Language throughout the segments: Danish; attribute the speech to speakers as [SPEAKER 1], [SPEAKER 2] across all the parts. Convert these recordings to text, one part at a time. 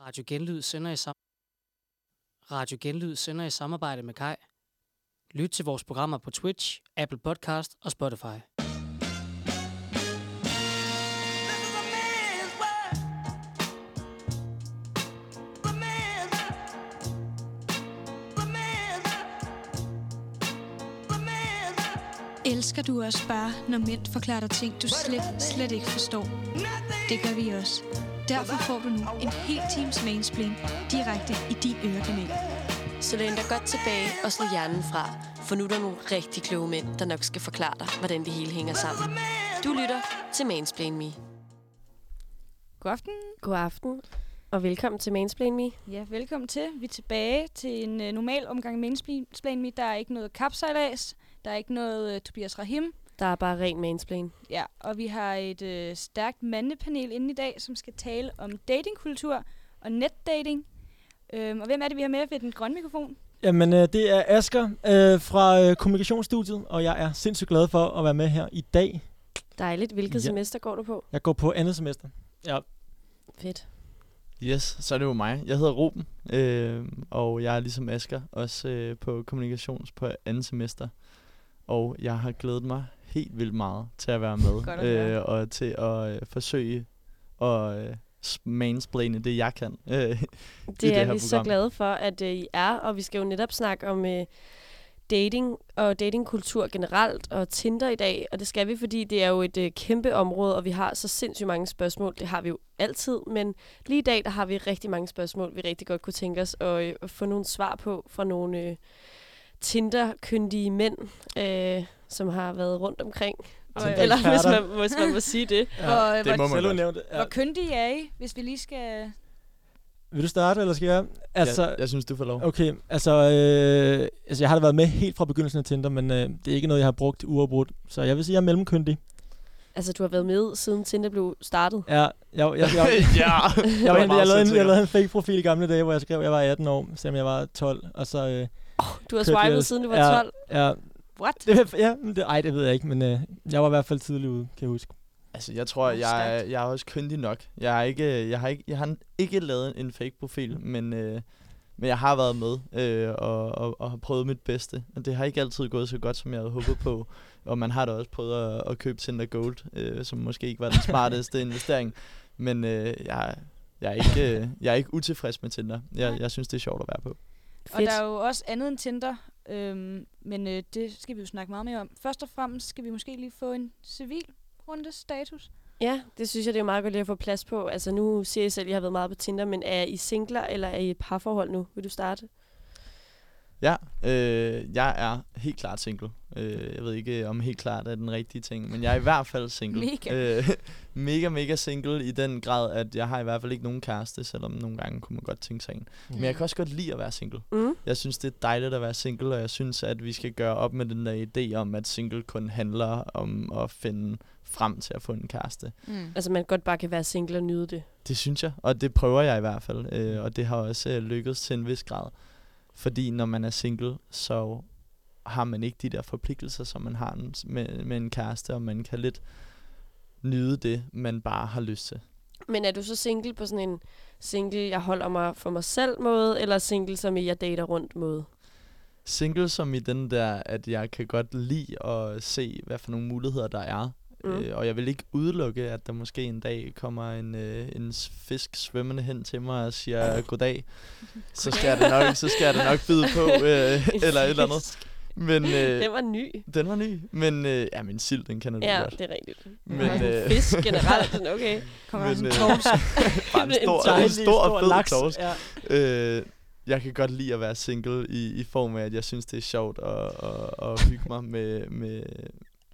[SPEAKER 1] Radio Genlyd sender i sam Radio Genlyd sender i samarbejde med Kai. Lyt til vores programmer på Twitch, Apple Podcast og Spotify.
[SPEAKER 2] This is a man's world. The man's world. The man's world. The man's world.
[SPEAKER 3] Elsker du også bare, når mænd forklarer dig ting, du slet, slet ikke forstår? Det gør vi også. Derfor får du nu en hel times mansplain direkte i din ørekanal.
[SPEAKER 4] Så læn dig godt tilbage og slå hjernen fra, for nu er der nogle rigtig kloge mænd, der nok skal forklare dig, hvordan det hele hænger sammen. Du lytter til Mansplain Me.
[SPEAKER 5] God aften.
[SPEAKER 4] God aften, og velkommen til Mansplain Me.
[SPEAKER 5] Ja, velkommen til. Vi er tilbage til en øh, normal omgang Mansplain Me. Der er ikke noget kapsejlads. Der er ikke noget øh, Tobias Rahim.
[SPEAKER 4] Der er bare ren mansplain.
[SPEAKER 5] Ja, og vi har et øh, stærkt mandepanel inde i dag, som skal tale om datingkultur og netdating. Øhm, og hvem er det, vi har med ved den grønne mikrofon?
[SPEAKER 6] Jamen, øh, det er Asker øh, fra øh, Kommunikationsstudiet, og jeg er sindssygt glad for at være med her i dag.
[SPEAKER 4] Dejligt. Hvilket
[SPEAKER 6] Ja.
[SPEAKER 4] semester går du på?
[SPEAKER 6] Jeg går på andet semester.
[SPEAKER 4] Fedt.
[SPEAKER 7] Yes, så er det jo mig. Jeg hedder Ruben, øh, og jeg er ligesom Asger også øh, på kommunikations på andet semester. Og jeg har glædet mig helt vildt meget til at være med,
[SPEAKER 5] Godt at høre.
[SPEAKER 7] øh, og til at øh, forsøge at øh, s- mansplaine det, jeg kan. Øh,
[SPEAKER 4] Det,
[SPEAKER 7] det
[SPEAKER 4] det er
[SPEAKER 7] her
[SPEAKER 4] vi program. så
[SPEAKER 7] program.
[SPEAKER 4] glade for, at øh, I er, og vi skal jo netop snakke om øh, dating og datingkultur generelt og Tinder i dag, og det skal vi, fordi det er jo et øh, kæmpe område, og vi har så sindssygt mange spørgsmål. Det har vi jo altid, men lige i dag der har vi rigtig mange spørgsmål, vi rigtig godt kunne tænke os at, øh, at få nogle svar på fra nogle øh, Tinder-kyndige mænd, øh, som har været rundt omkring. Og, eller hvis
[SPEAKER 6] Tinder-eksperter.
[SPEAKER 4] man, hvis man må sige det.
[SPEAKER 5] Ja, og, øh,
[SPEAKER 7] det
[SPEAKER 5] hvor,
[SPEAKER 7] må man godt.
[SPEAKER 6] Selvudnævnt. Ja.
[SPEAKER 5] hvor kyndige er I, hvis vi lige skal...
[SPEAKER 6] Vil du starte, eller skal jeg? Altså,
[SPEAKER 7] jeg, jeg synes, du får lov.
[SPEAKER 6] okay, altså, øh, altså, jeg har da været med helt fra begyndelsen af Tinder, men øh, det er ikke noget, jeg har brugt uafbrudt. Så jeg vil sige, at jeg er mellemkyndig.
[SPEAKER 4] Altså, du har været med, siden Tinder blev startet.
[SPEAKER 6] Ja, jeg, jeg, jeg, jeg,
[SPEAKER 7] ja,
[SPEAKER 6] jeg,
[SPEAKER 7] var
[SPEAKER 6] jeg, jeg,
[SPEAKER 7] meget
[SPEAKER 6] lavede en, jeg
[SPEAKER 7] selvsikker.
[SPEAKER 6] lavede en fake profil i gamle dage, hvor jeg skrev, at jeg var 18 år, selvom jeg var 12. Og så, øh,
[SPEAKER 4] Du har
[SPEAKER 6] Kørte jeg
[SPEAKER 4] swipet,
[SPEAKER 6] ellers-
[SPEAKER 4] siden du var
[SPEAKER 6] Ja.
[SPEAKER 4] 12.
[SPEAKER 6] ja,
[SPEAKER 5] What?
[SPEAKER 6] det, ja, men det, ej, det ved jeg ikke, men øh, jeg var i hvert fald tidlig ude, kan jeg huske.
[SPEAKER 7] Altså, jeg tror, jeg, er- jeg er også kyndig nok. Jeg, er ikke, øh, jeg, har ikke, jeg har ikke lavet en fake-profil, men, øh, men jeg har været med øh, og, og, og har prøvet mit bedste. Og det har ikke altid gået så godt, som jeg havde håbet på. Og man har da også prøvet at, at købe Tinder Gold, øh, som måske ikke var den smarteste investering. Men øh, jeg, jeg, er ikke, øh, jeg er ikke utilfreds med Tinder. Jeg, jeg synes, det er sjovt at være på.
[SPEAKER 5] Og der er jo også andet end Tinder, øhm, men øh, det skal vi jo snakke meget mere om. Først og fremmest skal vi måske lige få en civil runde status.
[SPEAKER 4] Ja, det synes jeg, det er meget godt lige at få plads på. Altså nu siger jeg selv, at jeg har været meget på Tinder, men er I singler, eller er I i et parforhold nu? Vil du starte?
[SPEAKER 7] Ja, øh, jeg er helt klart single. Øh, jeg ved ikke, om helt klart er den rigtige ting, men jeg er i hvert fald single.
[SPEAKER 5] Mega.
[SPEAKER 7] Øh, mega, mega single i den grad, at jeg har i hvert fald ikke nogen kæreste, selvom nogle gange kunne man godt tænke sig en. Men jeg kan også godt lide at være single.
[SPEAKER 4] Mm.
[SPEAKER 7] Jeg synes, det er dejligt at være single, og jeg synes, at vi skal gøre op med den der idé om, at single kun handler om at finde frem til at få en kæreste.
[SPEAKER 5] Mm.
[SPEAKER 4] Altså man godt bare kan være single og nyde det.
[SPEAKER 7] Det synes jeg, og det prøver jeg i hvert fald, øh, og det har også øh, lykkedes til en vis grad. Fordi når man er single, så har man ikke de der forpligtelser, som man har en- med, med en kæreste, og man kan lidt nyde det, man bare har lyst til.
[SPEAKER 4] Men er du så single på sådan en single, jeg holder mig for mig selv måde, eller single, som i jeg dater rundt måde?
[SPEAKER 7] Single som i den der, at jeg kan godt lide at se, hvad for nogle muligheder der er.
[SPEAKER 4] Mm.
[SPEAKER 7] Mm. Øh, og jeg vil ikke udelukke, at der måske en dag kommer en, øh, en s- fisk svømmende hen til mig og siger goddag. Så skal jeg det nok, så skal jeg det nok byde på, øh, eller et eller andet. Men øh,
[SPEAKER 4] Den var ny.
[SPEAKER 7] den var ny. Men øh, ja, men sild, den kender du
[SPEAKER 4] Ja,
[SPEAKER 7] godt.
[SPEAKER 4] det er rigtigt.
[SPEAKER 7] Men,
[SPEAKER 4] Øh. Fisk generelt, sådan, okay.
[SPEAKER 5] Kommer der sådan en
[SPEAKER 7] øh,
[SPEAKER 5] torsk?
[SPEAKER 7] bare en
[SPEAKER 4] En
[SPEAKER 7] stor, en
[SPEAKER 6] Dejlig,
[SPEAKER 7] stor, og fed laks.
[SPEAKER 6] Ja.
[SPEAKER 7] Øh, jeg kan godt lide at være single i, i form af, at jeg synes, det er sjovt at, at, at hygge mig med, med,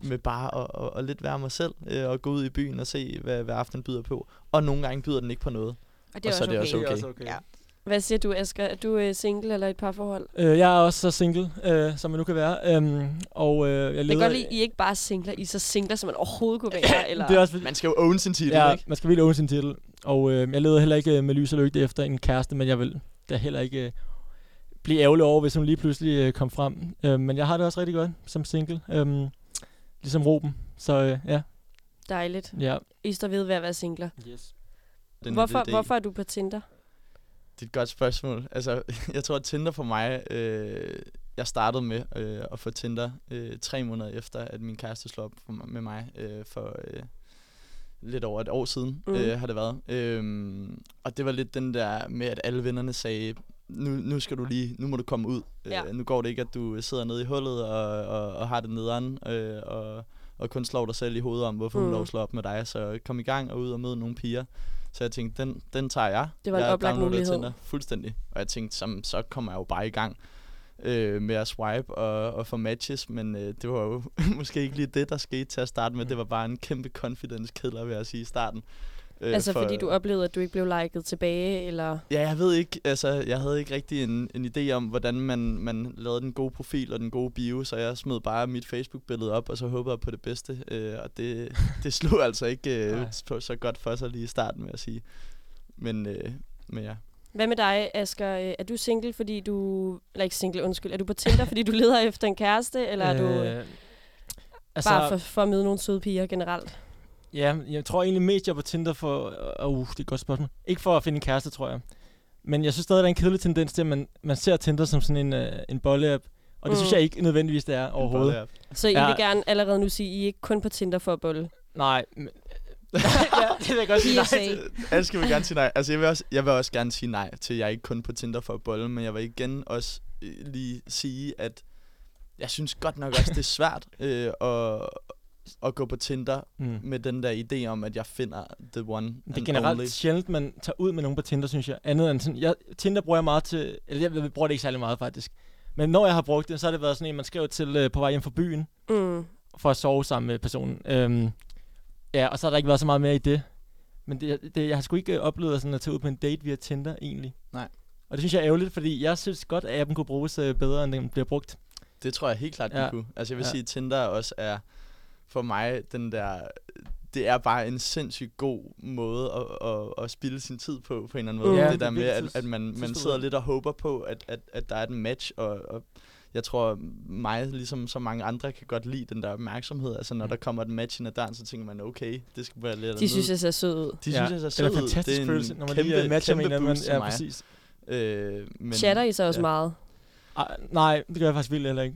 [SPEAKER 7] med bare at, at, at lidt være mig selv øh, og gå ud i byen og se, hvad, hvad aftenen byder på. Og nogle gange byder den ikke på noget.
[SPEAKER 5] Og det er
[SPEAKER 7] og så
[SPEAKER 5] også
[SPEAKER 7] er det
[SPEAKER 5] okay.
[SPEAKER 7] også okay.
[SPEAKER 5] Ja.
[SPEAKER 4] Hvad siger du, Asger? Er du øh, single eller i et parforhold?
[SPEAKER 6] Øh, jeg er også så single, øh, som man nu kan være. Øhm, og øh, jeg
[SPEAKER 4] Jeg kan
[SPEAKER 6] leder...
[SPEAKER 4] godt lide, at I ikke bare er singler. I er så singler, som man overhovedet kunne være. Eller...
[SPEAKER 6] det er også,
[SPEAKER 7] Man skal jo own sin titel,
[SPEAKER 6] ja,
[SPEAKER 7] ikke?
[SPEAKER 6] man skal virkelig own sin titel. Og øh, jeg leder heller ikke øh, med lys og lygte efter en kæreste, men jeg vil da heller ikke øh, blive ærgerlig over, hvis hun lige pludselig øh, kom frem. Øh, men jeg har det også rigtig godt som single. Øh, ligesom Ruben. Så øh, ja,
[SPEAKER 4] Dejligt.
[SPEAKER 6] ja.
[SPEAKER 4] I står ved ved at være singler.
[SPEAKER 6] Yes.
[SPEAKER 7] Den
[SPEAKER 4] Hvorfor,
[SPEAKER 7] idé.
[SPEAKER 4] hvorfor er du på Tinder?
[SPEAKER 7] Det er et godt spørgsmål. Altså, jeg tror, at Tinder for mig... Øh, jeg startede med øh, at få Tinder øh, tre måneder efter, at min kæreste slog op for, m- med mig øh, for øh, lidt over et år siden,
[SPEAKER 4] Mm.
[SPEAKER 7] mm. øh, har det været. Øhm, og det var lidt den der med, at alle vennerne sagde, nu, nu skal du lige, nu må du komme ud.
[SPEAKER 4] Ja.
[SPEAKER 7] Ja. Øh, nu går det ikke, at du sidder nede i hullet og, og, og har det nederen, øh, og, og kun slår dig selv i hovedet om, hvorfor mm.
[SPEAKER 4] Mm.
[SPEAKER 7] hun lov at slå op med dig. Så kom i gang og ud og mød nogle piger. Så jeg tænkte, den, den tager jeg.
[SPEAKER 4] Det var en
[SPEAKER 7] jeg
[SPEAKER 4] oplagt
[SPEAKER 7] downloadede
[SPEAKER 4] mulighed.
[SPEAKER 7] Tinder fuldstændig. Og jeg tænkte, så, så kommer jeg jo bare i gang øh, med at swipe og, og få matches, men øh, det var jo måske ikke lige det, der skete til at starte med.
[SPEAKER 4] Mm.
[SPEAKER 7] Det var bare en kæmpe confidence-killer, vil jeg sige, i starten. Øh,
[SPEAKER 4] Altså
[SPEAKER 7] for-
[SPEAKER 4] fordi du oplevede, at du ikke blev liket tilbage, eller...
[SPEAKER 7] Ja, jeg ved ikke, altså, jeg havde ikke rigtig en, en idé om, hvordan man, man lavede den gode profil og den gode bio, så jeg smed bare mit Facebook-billede op, og så håbede jeg på det bedste, øh, og det, det slog altså ikke øh,
[SPEAKER 6] Nej.
[SPEAKER 7] på så godt for sig lige i starten, vil jeg sige. Men, øh, men ja.
[SPEAKER 4] Hvad med dig, Asger? Øh, Er du single, fordi du... Eller ikke single, undskyld. Er du på Tinder, fordi du leder efter en kæreste, eller er du øh,
[SPEAKER 6] altså,
[SPEAKER 4] bare for, for at møde nogle søde piger generelt?
[SPEAKER 6] Ja, jeg tror egentlig mest, jeg er på Tinder for... Uh, uh, det er et godt spørgsmål. Ikke for at finde en kæreste, tror jeg. Men jeg synes stadig, der er en kedelig tendens til, at man, man ser Tinder som sådan en, uh, en bolle-app. Og det mm. synes
[SPEAKER 4] Mm.
[SPEAKER 6] jeg ikke nødvendigvis, det er overhovedet.
[SPEAKER 7] En bolle-app.
[SPEAKER 4] Så I
[SPEAKER 6] Ja.
[SPEAKER 4] ja. vil gerne allerede nu sige, at I er ikke kun på Tinder for at bolle.
[SPEAKER 6] Nej. Men, ja, det vil jeg godt sige nej
[SPEAKER 3] PSA.
[SPEAKER 6] til.
[SPEAKER 7] Øh, Alt skal vi gerne sige nej. Altså, jeg vil, også, jeg vil også gerne sige nej til, at jeg er ikke kun på Tinder for at bolle, men jeg vil igen også øh, lige sige, at jeg synes godt nok også, det er svært øh, at, at gå på Tinder
[SPEAKER 6] Mm.
[SPEAKER 7] med den der idé om, at jeg finder the one
[SPEAKER 6] Det er
[SPEAKER 7] and
[SPEAKER 6] generelt
[SPEAKER 7] only.
[SPEAKER 6] sjældent, man tager ud med nogen på Tinder, synes jeg. Andet end sådan, jeg, Tinder bruger jeg meget til... Eller jeg, jeg bruger det ikke særlig meget, faktisk. Men når jeg har brugt det, så har det været sådan en, man skrev til uh, på vej hjem fra byen.
[SPEAKER 4] Mm.
[SPEAKER 6] for at sove sammen med personen. Øhm, ja, og så har der ikke været så meget mere i det. Men det, det, jeg har sgu ikke øh, oplevet sådan at tage ud på en date via Tinder, egentlig.
[SPEAKER 7] Nej.
[SPEAKER 6] Og det synes jeg er ærgerligt, fordi jeg synes godt, at appen kunne bruges øh, bedre, end den bliver brugt.
[SPEAKER 7] Det tror jeg helt klart, ja.
[SPEAKER 6] Ja.
[SPEAKER 7] den kunne. Altså jeg vil
[SPEAKER 6] Ja.
[SPEAKER 7] ja. sige, at Tinder også er for mig den der... Det er bare en sindssygt god måde at, at, at spille sin tid på, på en eller anden måde.
[SPEAKER 6] Mm. Ja,
[SPEAKER 7] Ja,
[SPEAKER 6] det
[SPEAKER 7] det der
[SPEAKER 6] er
[SPEAKER 7] med,
[SPEAKER 6] virkelig
[SPEAKER 7] at,
[SPEAKER 6] tids-
[SPEAKER 7] at man, man
[SPEAKER 6] tidsfordriv.
[SPEAKER 7] sidder lidt og håber på, at, at, at der er et match, og, og jeg tror, mig, ligesom så mange andre, kan godt lide den der opmærksomhed. Altså når der kommer et match ind ad døren, så tænker man, okay, det skal være lidt
[SPEAKER 4] De synes, jeg ser sød ud.
[SPEAKER 7] de synes, jeg er
[SPEAKER 6] det er
[SPEAKER 7] sød.
[SPEAKER 6] en fantastisk
[SPEAKER 7] det er en
[SPEAKER 6] følelse, når man
[SPEAKER 7] kæmpe,
[SPEAKER 6] lige øh, matcher med
[SPEAKER 7] kæmpe
[SPEAKER 6] hinanden.
[SPEAKER 7] boost til
[SPEAKER 6] Ja,
[SPEAKER 7] mig.
[SPEAKER 6] præcis.
[SPEAKER 7] Øh, men
[SPEAKER 4] Chatter I så også
[SPEAKER 7] ja.
[SPEAKER 4] ja. meget?
[SPEAKER 6] Ej, Ah, nej, det gør jeg faktisk vildt heller ikke.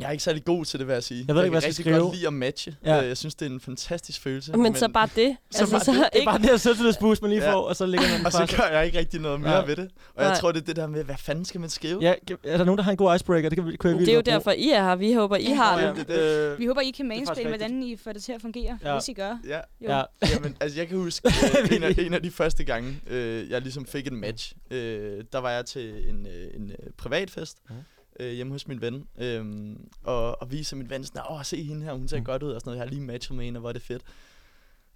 [SPEAKER 7] Jeg er ikke særlig god til det, vil jeg sige.
[SPEAKER 6] Jeg ved ikke, hvad
[SPEAKER 7] kan
[SPEAKER 6] jeg skal
[SPEAKER 7] rigtig
[SPEAKER 6] skrive.
[SPEAKER 7] godt lide at matche.
[SPEAKER 6] Ja.
[SPEAKER 7] Ja. Jeg synes, det er en fantastisk følelse.
[SPEAKER 4] Men, så bare det.
[SPEAKER 7] Så bare det.
[SPEAKER 6] Det er bare det her selvtillidsboost, man lige
[SPEAKER 7] Ja.
[SPEAKER 6] får, og så ligger man
[SPEAKER 7] Og
[SPEAKER 6] fast.
[SPEAKER 7] så gør jeg ikke rigtig noget mere
[SPEAKER 6] Nej.
[SPEAKER 7] Nej. ved det. Og jeg
[SPEAKER 4] Nej.
[SPEAKER 7] tror, det er det der med, hvad fanden skal man skrive?
[SPEAKER 6] Ja, kan- er der nogen, der har en god icebreaker? Det kan vi, kunne jeg
[SPEAKER 4] det er jo
[SPEAKER 6] vildt godt
[SPEAKER 4] derfor, I er her. Vi håber, I har
[SPEAKER 7] Ja,
[SPEAKER 4] det.
[SPEAKER 7] det, øh, det,
[SPEAKER 5] Vi håber, I kan
[SPEAKER 6] faktisk
[SPEAKER 5] mainsplain,
[SPEAKER 6] rigtigt.
[SPEAKER 5] hvordan I får det til at fungere,
[SPEAKER 6] Ja.
[SPEAKER 5] ja. hvis I gør.
[SPEAKER 7] ja.
[SPEAKER 5] Jo.
[SPEAKER 6] bruge. Ja,
[SPEAKER 7] Jamen, altså, jeg kan huske, øh, en, af, en af de første gange, øh, jeg ligesom fik en match, øh, der var jeg til en, øh, en øh, privatfest
[SPEAKER 6] Mhm.
[SPEAKER 7] øh, hjemme hos min ven, øh, og, og viser min ven sådan, åh, se hende her, hun ser
[SPEAKER 6] Mhm.
[SPEAKER 7] godt ud, og sådan noget, jeg har lige matchet med hende, og hvor er det fedt.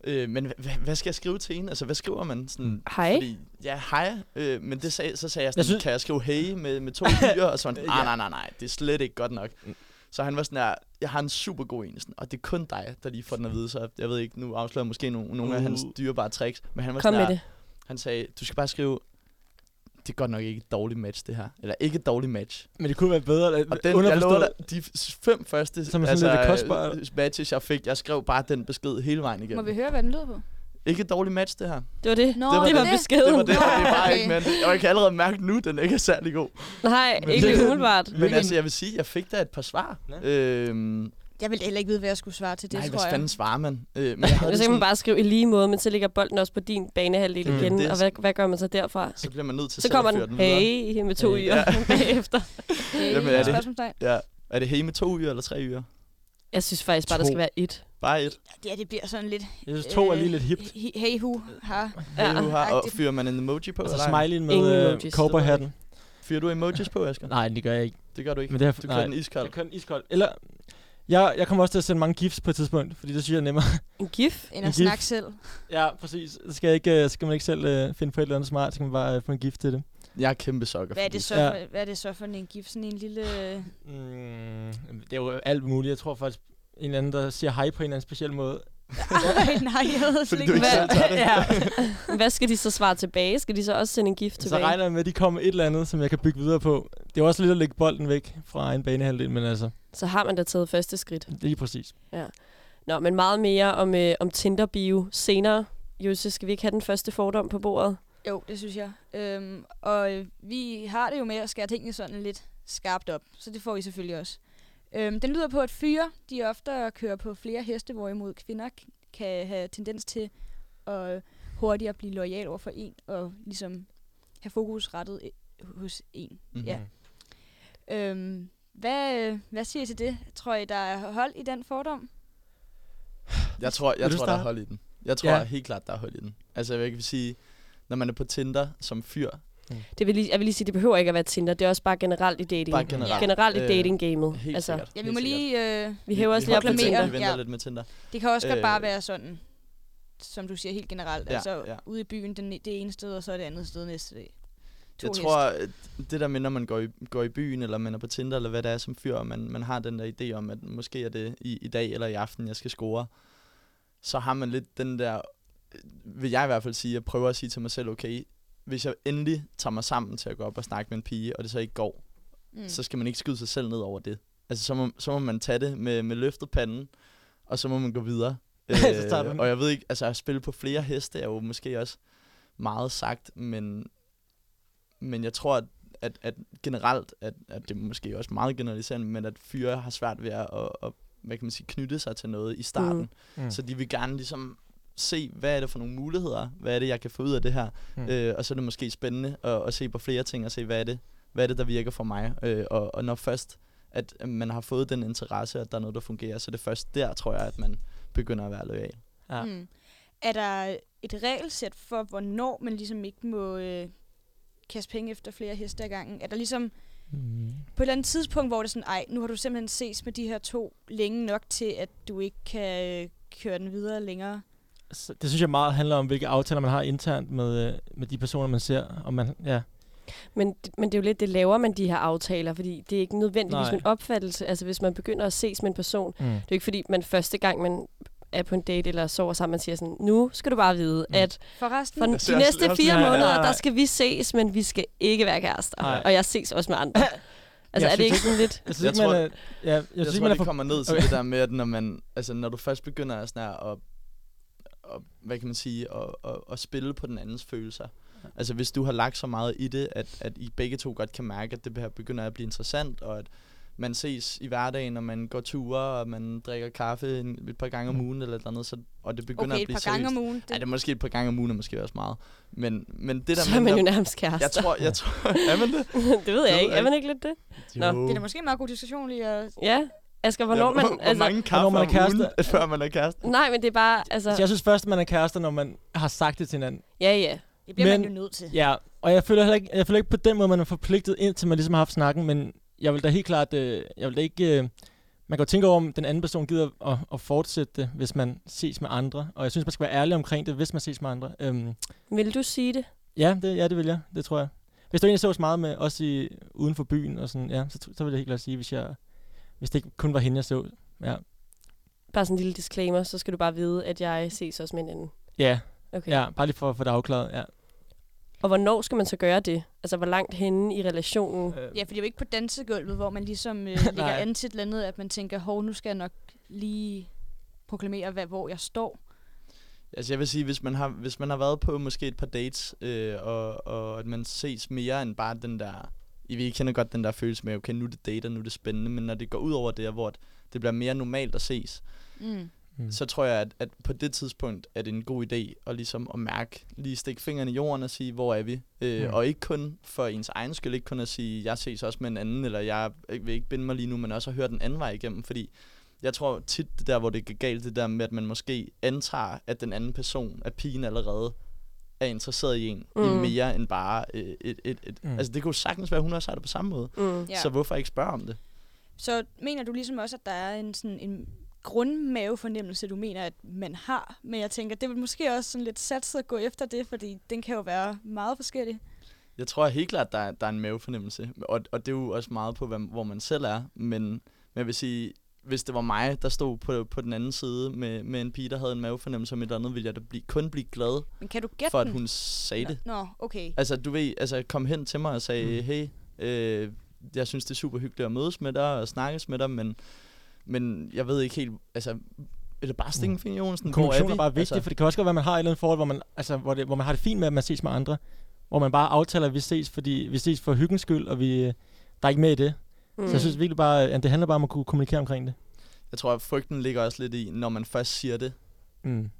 [SPEAKER 7] Øh, men hvad, hvad skal jeg skrive til hende? Altså, hvad skriver man? Sådan,
[SPEAKER 4] Hej.
[SPEAKER 7] Fordi, ja, hej. Øh, men det sag, så sagde jeg sådan,
[SPEAKER 6] Jeg Mm. synes-
[SPEAKER 7] kan jeg skrive hey med, med to byer? Og så var han, nej, nej, nej, nej, det er slet ikke godt nok.
[SPEAKER 6] Mm.
[SPEAKER 7] Så han var sådan her, jeg har en super god en, sådan, og det er kun dig, der lige får den at vide, så jeg ved ikke, nu afslører jeg måske nogle, nogle af hans
[SPEAKER 6] Uh.
[SPEAKER 7] dyrebare tricks, men han var
[SPEAKER 4] Kom
[SPEAKER 7] sådan
[SPEAKER 4] med
[SPEAKER 7] her,
[SPEAKER 4] det.
[SPEAKER 7] han sagde, du skal bare skrive, det er godt nok ikke et dårligt match, det her. Eller ikke et dårligt match.
[SPEAKER 6] men det kunne være bedre.
[SPEAKER 7] Og den, jeg lover dig, de f- fem første
[SPEAKER 6] Som er sådan lidt kostbare.
[SPEAKER 7] øh, matches, jeg fik, jeg skrev bare den besked hele vejen
[SPEAKER 5] Må
[SPEAKER 7] igennem.
[SPEAKER 5] vi høre, hvad den lyder på?
[SPEAKER 7] Ikke et dårligt match, det her.
[SPEAKER 4] Det var det.
[SPEAKER 5] Nå,
[SPEAKER 7] var
[SPEAKER 4] det var
[SPEAKER 7] Det
[SPEAKER 4] beskeden.
[SPEAKER 7] var det, og det var
[SPEAKER 5] Okay.
[SPEAKER 7] ikke, men og jeg kan allerede mærke nu, den ikke er særlig god.
[SPEAKER 4] Nej,
[SPEAKER 6] Men
[SPEAKER 4] ikke
[SPEAKER 6] det-
[SPEAKER 4] lige umiddelbart.
[SPEAKER 7] Men, men altså, jeg vil sige, jeg fik da et par svar.
[SPEAKER 6] Ja.
[SPEAKER 7] Øhm,
[SPEAKER 3] Jeg ville heller ikke vide, hvad jeg skulle svare til det,
[SPEAKER 7] nej,
[SPEAKER 3] tror
[SPEAKER 7] hvad
[SPEAKER 3] jeg.
[SPEAKER 7] fanden svarer man? Øh, men jeg havde det
[SPEAKER 4] Så kan man
[SPEAKER 7] sådan,
[SPEAKER 4] bare skrive i lige måde, men så ligger bolden også på din banehalvdel
[SPEAKER 6] Mm.
[SPEAKER 4] igen.
[SPEAKER 7] Det er
[SPEAKER 4] Og hvad, hvad gør man så derfra?
[SPEAKER 7] så bliver man nødt til
[SPEAKER 4] Så
[SPEAKER 7] selv at
[SPEAKER 4] kommer
[SPEAKER 7] føre
[SPEAKER 4] den,
[SPEAKER 7] den videre.
[SPEAKER 4] hey, med to
[SPEAKER 6] Hey.
[SPEAKER 4] ører bagefter.
[SPEAKER 5] Øh,
[SPEAKER 7] Jamen, er det-
[SPEAKER 5] spørgsmålstegn.
[SPEAKER 7] Ja. Er det hey med to uger eller tre uger?
[SPEAKER 4] Jeg synes faktisk bare, der
[SPEAKER 6] To.
[SPEAKER 4] skal være et.
[SPEAKER 7] Bare et.
[SPEAKER 5] Ja, det bliver sådan lidt...
[SPEAKER 6] Jeg synes, to er lige lidt hipt.
[SPEAKER 5] he- Hey, hu, ha.
[SPEAKER 7] Hey,
[SPEAKER 4] Ja.
[SPEAKER 7] ja, har, og
[SPEAKER 5] Agtigt.
[SPEAKER 7] fyrer man en emoji på?
[SPEAKER 6] Og så
[SPEAKER 7] eller ej?
[SPEAKER 6] smileyen med
[SPEAKER 4] Ingen
[SPEAKER 6] øh,
[SPEAKER 4] emojis,
[SPEAKER 6] cowboyhatten.
[SPEAKER 7] Fyrer du emojis på, Asger?
[SPEAKER 6] Nej, det gør jeg ikke.
[SPEAKER 7] Det gør du ikke.
[SPEAKER 6] Men det har,
[SPEAKER 7] Du kører
[SPEAKER 6] nej.
[SPEAKER 7] den iskold.
[SPEAKER 6] Jeg kører den iskold. Eller, jeg, jeg kommer også til at sende mange gifs på et tidspunkt, fordi det synes jeg er nemmere.
[SPEAKER 4] En gif?
[SPEAKER 3] End
[SPEAKER 6] En
[SPEAKER 3] at
[SPEAKER 6] gift.
[SPEAKER 3] snakke selv.
[SPEAKER 6] ja, præcis. Så skal, jeg ikke, øh, så skal man ikke selv øh, finde på et eller andet smart, så kan man bare øh, få en gift til det.
[SPEAKER 7] Jeg er kæmpe sokker.
[SPEAKER 5] Hvad er, det så
[SPEAKER 6] Ja.
[SPEAKER 5] for, hvad er det så for en gift? Sådan en lille...
[SPEAKER 6] Mm, det er jo alt muligt. Jeg tror faktisk, en eller anden, der siger hej på en eller anden speciel måde.
[SPEAKER 5] Ej, nej, jeg havde slet
[SPEAKER 7] Fordi
[SPEAKER 5] ikke...
[SPEAKER 7] du ikke
[SPEAKER 5] Hvad-
[SPEAKER 7] selv tager det.
[SPEAKER 4] ja. Hvad skal de så svare tilbage? Skal de så også sende en gift
[SPEAKER 6] Så
[SPEAKER 4] tilbage?
[SPEAKER 6] regner jeg med, at de kommer med et eller andet, som jeg kan bygge videre på. Det er jo også lidt at lægge bolden væk fra egen banehalvdel, men altså,
[SPEAKER 4] så har man da taget første skridt.
[SPEAKER 6] lige præcis.
[SPEAKER 4] Nå, men meget mere om, øh, om Tinder-bio senere. Jose, skal vi ikke have den første fordom på bordet?
[SPEAKER 5] Jo, det synes jeg. Øhm, og øh, vi har det jo med at skære tingene sådan lidt skarpt op, så det får I selvfølgelig også. Øhm, den lyder på, at fyre, de ofte kører på flere heste, hvorimod kvinder k- kan have tendens til at hurtigere blive lojal over for en, og ligesom have fokus rettet øh, hos en.
[SPEAKER 7] Mhm.
[SPEAKER 5] Ja. Øhm, hvad, øh, hvad siger I til det? Tror I, der er hold i den fordom?
[SPEAKER 7] Jeg tror,
[SPEAKER 6] Vil
[SPEAKER 7] jeg
[SPEAKER 6] du
[SPEAKER 7] tror der er
[SPEAKER 6] starte?
[SPEAKER 7] hold i den. Jeg tror
[SPEAKER 6] Ja.
[SPEAKER 7] helt klart, der er hold i den. Altså, jeg vil sige, når man er på Tinder som fyr,
[SPEAKER 4] Det vil lige, jeg vil lige sige, det behøver ikke at være Tinder. Det er også bare generelt i dating.
[SPEAKER 7] bare generelt.
[SPEAKER 4] generelt i
[SPEAKER 7] Øh,
[SPEAKER 4] dating-gamet.
[SPEAKER 7] Helt
[SPEAKER 4] altså,
[SPEAKER 7] sikkert.
[SPEAKER 5] Ja, vi
[SPEAKER 7] helt
[SPEAKER 5] må
[SPEAKER 7] sikkert.
[SPEAKER 5] lige... Øh,
[SPEAKER 4] vi hæver os lige op på
[SPEAKER 7] hopper lidt
[SPEAKER 5] Tinder.
[SPEAKER 7] Vi venter
[SPEAKER 5] Ja.
[SPEAKER 7] lidt med Tinder.
[SPEAKER 5] Det kan også godt
[SPEAKER 7] Øh,
[SPEAKER 5] bare være sådan, som du siger helt generelt.
[SPEAKER 7] ja,
[SPEAKER 5] altså
[SPEAKER 7] ja.
[SPEAKER 5] ude i byen den, det ene sted, og så det andet sted næste dag. To
[SPEAKER 7] Jeg
[SPEAKER 5] heste.
[SPEAKER 7] tror, at det der med, når man går i, går i byen, eller man er på Tinder, eller hvad det er som fyr, og man, man har den der idé om, at måske er det i, i dag eller i aften, jeg skal score, så har man lidt den der, øh, vil jeg i hvert fald sige, jeg prøver at sige til mig selv, okay, hvis jeg endelig tager mig sammen til at gå op og snakke med en pige, og det så ikke går,
[SPEAKER 5] Mm.
[SPEAKER 7] så skal man ikke skyde sig selv ned over det. Altså, så må, så må man tage det med, med løftet panden, og så må man gå videre.
[SPEAKER 6] Så tager man-
[SPEAKER 7] og jeg ved ikke, altså at spille på flere heste er jo måske også meget sagt, men, men jeg tror, at, at, at generelt, at, at det er måske også meget generaliserende, men at fyre har svært ved at, at, at hvad kan man sige, knytte sig til noget i starten.
[SPEAKER 6] Mm.
[SPEAKER 7] Så de vil gerne ligesom se, hvad er det for nogle muligheder? Hvad er det, jeg kan få ud af det her?
[SPEAKER 6] Mm.
[SPEAKER 7] Mm. Øh, og så er det måske spændende at, at se på flere ting og se, hvad er det, hvad er det der virker for mig? Øh, og, og når først, at man har fået den interesse, at der er noget, der fungerer, så er det først der, tror jeg, at man begynder at være lojal.
[SPEAKER 6] Ja.
[SPEAKER 5] Mm. Er der et regelsæt for, hvornår man ligesom ikke må øh, kaste penge efter flere heste ad gangen? Er der ligesom
[SPEAKER 6] Mm.
[SPEAKER 5] på et eller andet tidspunkt, hvor det er sådan, ej, nu har du simpelthen ses med de her to længe nok til, at du ikke kan øh, køre den videre længere?
[SPEAKER 6] Så det synes jeg meget handler om, hvilke aftaler man har internt med, øh, med de personer, man ser. Og man, ja.
[SPEAKER 4] Men, men det er jo lidt, det laver man de her aftaler, fordi det er ikke nødvendigvis
[SPEAKER 6] Nej.
[SPEAKER 4] en opfattelse. Altså hvis man begynder at ses med en person,
[SPEAKER 6] Mm.
[SPEAKER 4] det er jo ikke fordi, man første gang, man er på en date eller sover sammen, man siger sådan, nu skal du bare vide,
[SPEAKER 6] Mm.
[SPEAKER 4] mm. at
[SPEAKER 5] Forresten,
[SPEAKER 4] for
[SPEAKER 7] Jeg ser
[SPEAKER 4] de
[SPEAKER 7] også-
[SPEAKER 4] næste
[SPEAKER 7] jeg er også
[SPEAKER 4] fire
[SPEAKER 6] sådan, ja,
[SPEAKER 4] måneder,
[SPEAKER 6] ja, ja.
[SPEAKER 4] der skal vi ses, men vi skal ikke være kærester.
[SPEAKER 6] Nej.
[SPEAKER 4] Og jeg ses også med andre. Altså
[SPEAKER 6] Jeg
[SPEAKER 4] er det ikke
[SPEAKER 6] synes
[SPEAKER 4] sådan lidt...
[SPEAKER 6] Jeg synes,
[SPEAKER 7] Jeg
[SPEAKER 6] ikke, man
[SPEAKER 7] tror-
[SPEAKER 6] er, ja, jeg synes
[SPEAKER 7] Jeg, jeg
[SPEAKER 6] ikke,
[SPEAKER 7] tror,
[SPEAKER 6] man er
[SPEAKER 7] det
[SPEAKER 6] for...
[SPEAKER 7] kommer ned til
[SPEAKER 6] Okay.
[SPEAKER 7] okay. det der med, at når, man, altså, når du først begynder sådan her at, at, hvad kan man sige, at, at, at spille på den andens følelser. Altså hvis du har lagt så meget i det, at, at I begge to godt kan mærke, at det her begynder at blive interessant, og at man ses i hverdagen, og man går ture, og man drikker kaffe en, et par gange om
[SPEAKER 6] Mm.
[SPEAKER 7] ugen, eller et eller andet, så, og det begynder
[SPEAKER 5] okay,
[SPEAKER 7] at
[SPEAKER 5] et
[SPEAKER 7] blive
[SPEAKER 5] par gange
[SPEAKER 7] seriøst.
[SPEAKER 5] om ugen. Det,
[SPEAKER 7] Ja, det er måske et par gange om ugen, er måske også meget. Men, men det der
[SPEAKER 4] Så er
[SPEAKER 7] med,
[SPEAKER 4] man jo
[SPEAKER 7] når-
[SPEAKER 4] nærmest
[SPEAKER 7] jeg
[SPEAKER 4] kærester.
[SPEAKER 7] tror, jeg tror, er man det?
[SPEAKER 4] det ved jeg
[SPEAKER 7] ved
[SPEAKER 4] ikke.
[SPEAKER 7] jeg
[SPEAKER 4] Er man ikke lidt det? Nå.
[SPEAKER 7] Jo.
[SPEAKER 5] det er da måske en meget god diskussion lige at...
[SPEAKER 4] Ja. Asger, hvornår
[SPEAKER 7] ja, hvor,
[SPEAKER 4] man... altså-
[SPEAKER 7] hvor
[SPEAKER 5] altså-
[SPEAKER 7] mange kaffe
[SPEAKER 6] hvornår man er
[SPEAKER 7] om ugen,
[SPEAKER 6] kærester?
[SPEAKER 7] før man er kæreste?
[SPEAKER 4] nej, men det er bare... Altså,
[SPEAKER 6] Så jeg synes først, man er kærester, når man har sagt det til hinanden.
[SPEAKER 4] ja, ja.
[SPEAKER 5] Det bliver men,
[SPEAKER 6] Men-
[SPEAKER 5] man jo nødt til.
[SPEAKER 6] Ja, og jeg føler heller ikke, jeg føler ikke på den måde, man er forpligtet, indtil man ligesom har haft snakken, men jeg vil da helt klart, øh, jeg vil da ikke, øh, man kan jo tænke over, om den anden person gider at, at fortsætte det, hvis man ses med andre, og jeg synes, man skal være ærlig omkring det, hvis man ses med andre. Øhm,
[SPEAKER 4] Vil du sige det?
[SPEAKER 6] ja, det, ja, det vil jeg, det tror jeg. Hvis du egentlig sås meget med, også i, uden for byen og sådan, ja, så, tr- så vil jeg helt klart sige, hvis, jeg, hvis det ikke kun var hende, jeg så. Ja,
[SPEAKER 4] Bare sådan en lille disclaimer, så skal du bare vide, at jeg ses også med en anden.
[SPEAKER 6] ja,
[SPEAKER 4] Okay.
[SPEAKER 6] ja bare lige for at få det afklaret, ja.
[SPEAKER 4] Og hvornår skal man så gøre det? Altså, hvor langt henne i relationen?
[SPEAKER 6] Øh,
[SPEAKER 5] Uh, Ja, for det er jo ikke på dansegulvet, hvor man ligesom øh, lægger
[SPEAKER 6] Nej.
[SPEAKER 5] an til et eller andet, at man tænker, hov, nu skal jeg nok lige proklamere, hvad, hvor jeg står.
[SPEAKER 7] Altså jeg vil sige, hvis man har, hvis man har været på måske et par dates, øh, og, og at man ses mere end bare den der... I vi kender godt den der følelse med, okay, nu er det date, og nu er det spændende, men når det går ud over det, og hvor det bliver mere normalt at ses,
[SPEAKER 5] Mm.
[SPEAKER 6] mm.
[SPEAKER 7] så tror jeg, at, at på det tidspunkt er det en god idé at, ligesom at mærke, lige stikke fingeren i jorden og sige, hvor er vi? Øh,
[SPEAKER 6] Mm.
[SPEAKER 7] Og ikke kun for ens egen skyld, ikke kun at sige, jeg ses også med en anden, eller jeg øh, vil ikke binde mig lige nu, men også at høre den anden vej igennem, fordi jeg tror tit det der, hvor det går galt, det der med, at man måske antager, at den anden person, at pigen allerede er interesseret i en, mm. i
[SPEAKER 4] Mm.
[SPEAKER 7] mere end bare øh, et... et, et
[SPEAKER 6] Mm.
[SPEAKER 7] mm. Altså det kunne sagtens være, at hun også har det på samme måde.
[SPEAKER 4] Mm.
[SPEAKER 5] Ja.
[SPEAKER 7] Ja. Så
[SPEAKER 5] Så,
[SPEAKER 7] hvorfor ikke spørge om det?
[SPEAKER 5] så mener du ligesom også, at der er en, sådan, en grundmavefornemmelse, du mener, at man har, men jeg tænker, det vil måske også sådan lidt satset at gå efter det, fordi den kan jo være meget forskellig.
[SPEAKER 7] Jeg tror helt klart, der er, der er en mavefornemmelse, og, og det er jo også meget på, hvad, hvor man selv er, men, men jeg vil sige, hvis det var mig, der stod på, på den anden side med, med en pige, der havde en mavefornemmelse om et eller andet, ville jeg da blive, kun blive glad
[SPEAKER 5] Men kan du gætte
[SPEAKER 7] for, at
[SPEAKER 5] den?
[SPEAKER 7] hun sagde det.
[SPEAKER 5] Nå, okay.
[SPEAKER 7] Altså, du ved, altså, kom hen til mig og sagde,
[SPEAKER 6] Mm.
[SPEAKER 7] mm. hey, øh, jeg synes, det er super hyggeligt at mødes med dig og snakkes med dig, men, men jeg ved ikke helt, altså, Eller bare stikke en finger i Johansen. Hvor
[SPEAKER 6] Kommunikation Mm.
[SPEAKER 7] vi?
[SPEAKER 6] er bare vigtig, altså. for det kan også godt være, at man har et eller andet forhold, hvor man, altså, hvor, det, hvor man har det fint med, at man ses med andre. Hvor man bare aftaler, at vi ses, fordi vi ses for hyggens skyld, og vi, øh, der er ikke med i det. Mm.
[SPEAKER 4] Mm.
[SPEAKER 6] Så jeg synes virkelig bare, at det handler bare om at kunne kommunikere omkring det.
[SPEAKER 7] Jeg tror, at frygten ligger også lidt i, når man først siger det,
[SPEAKER 6] Mm.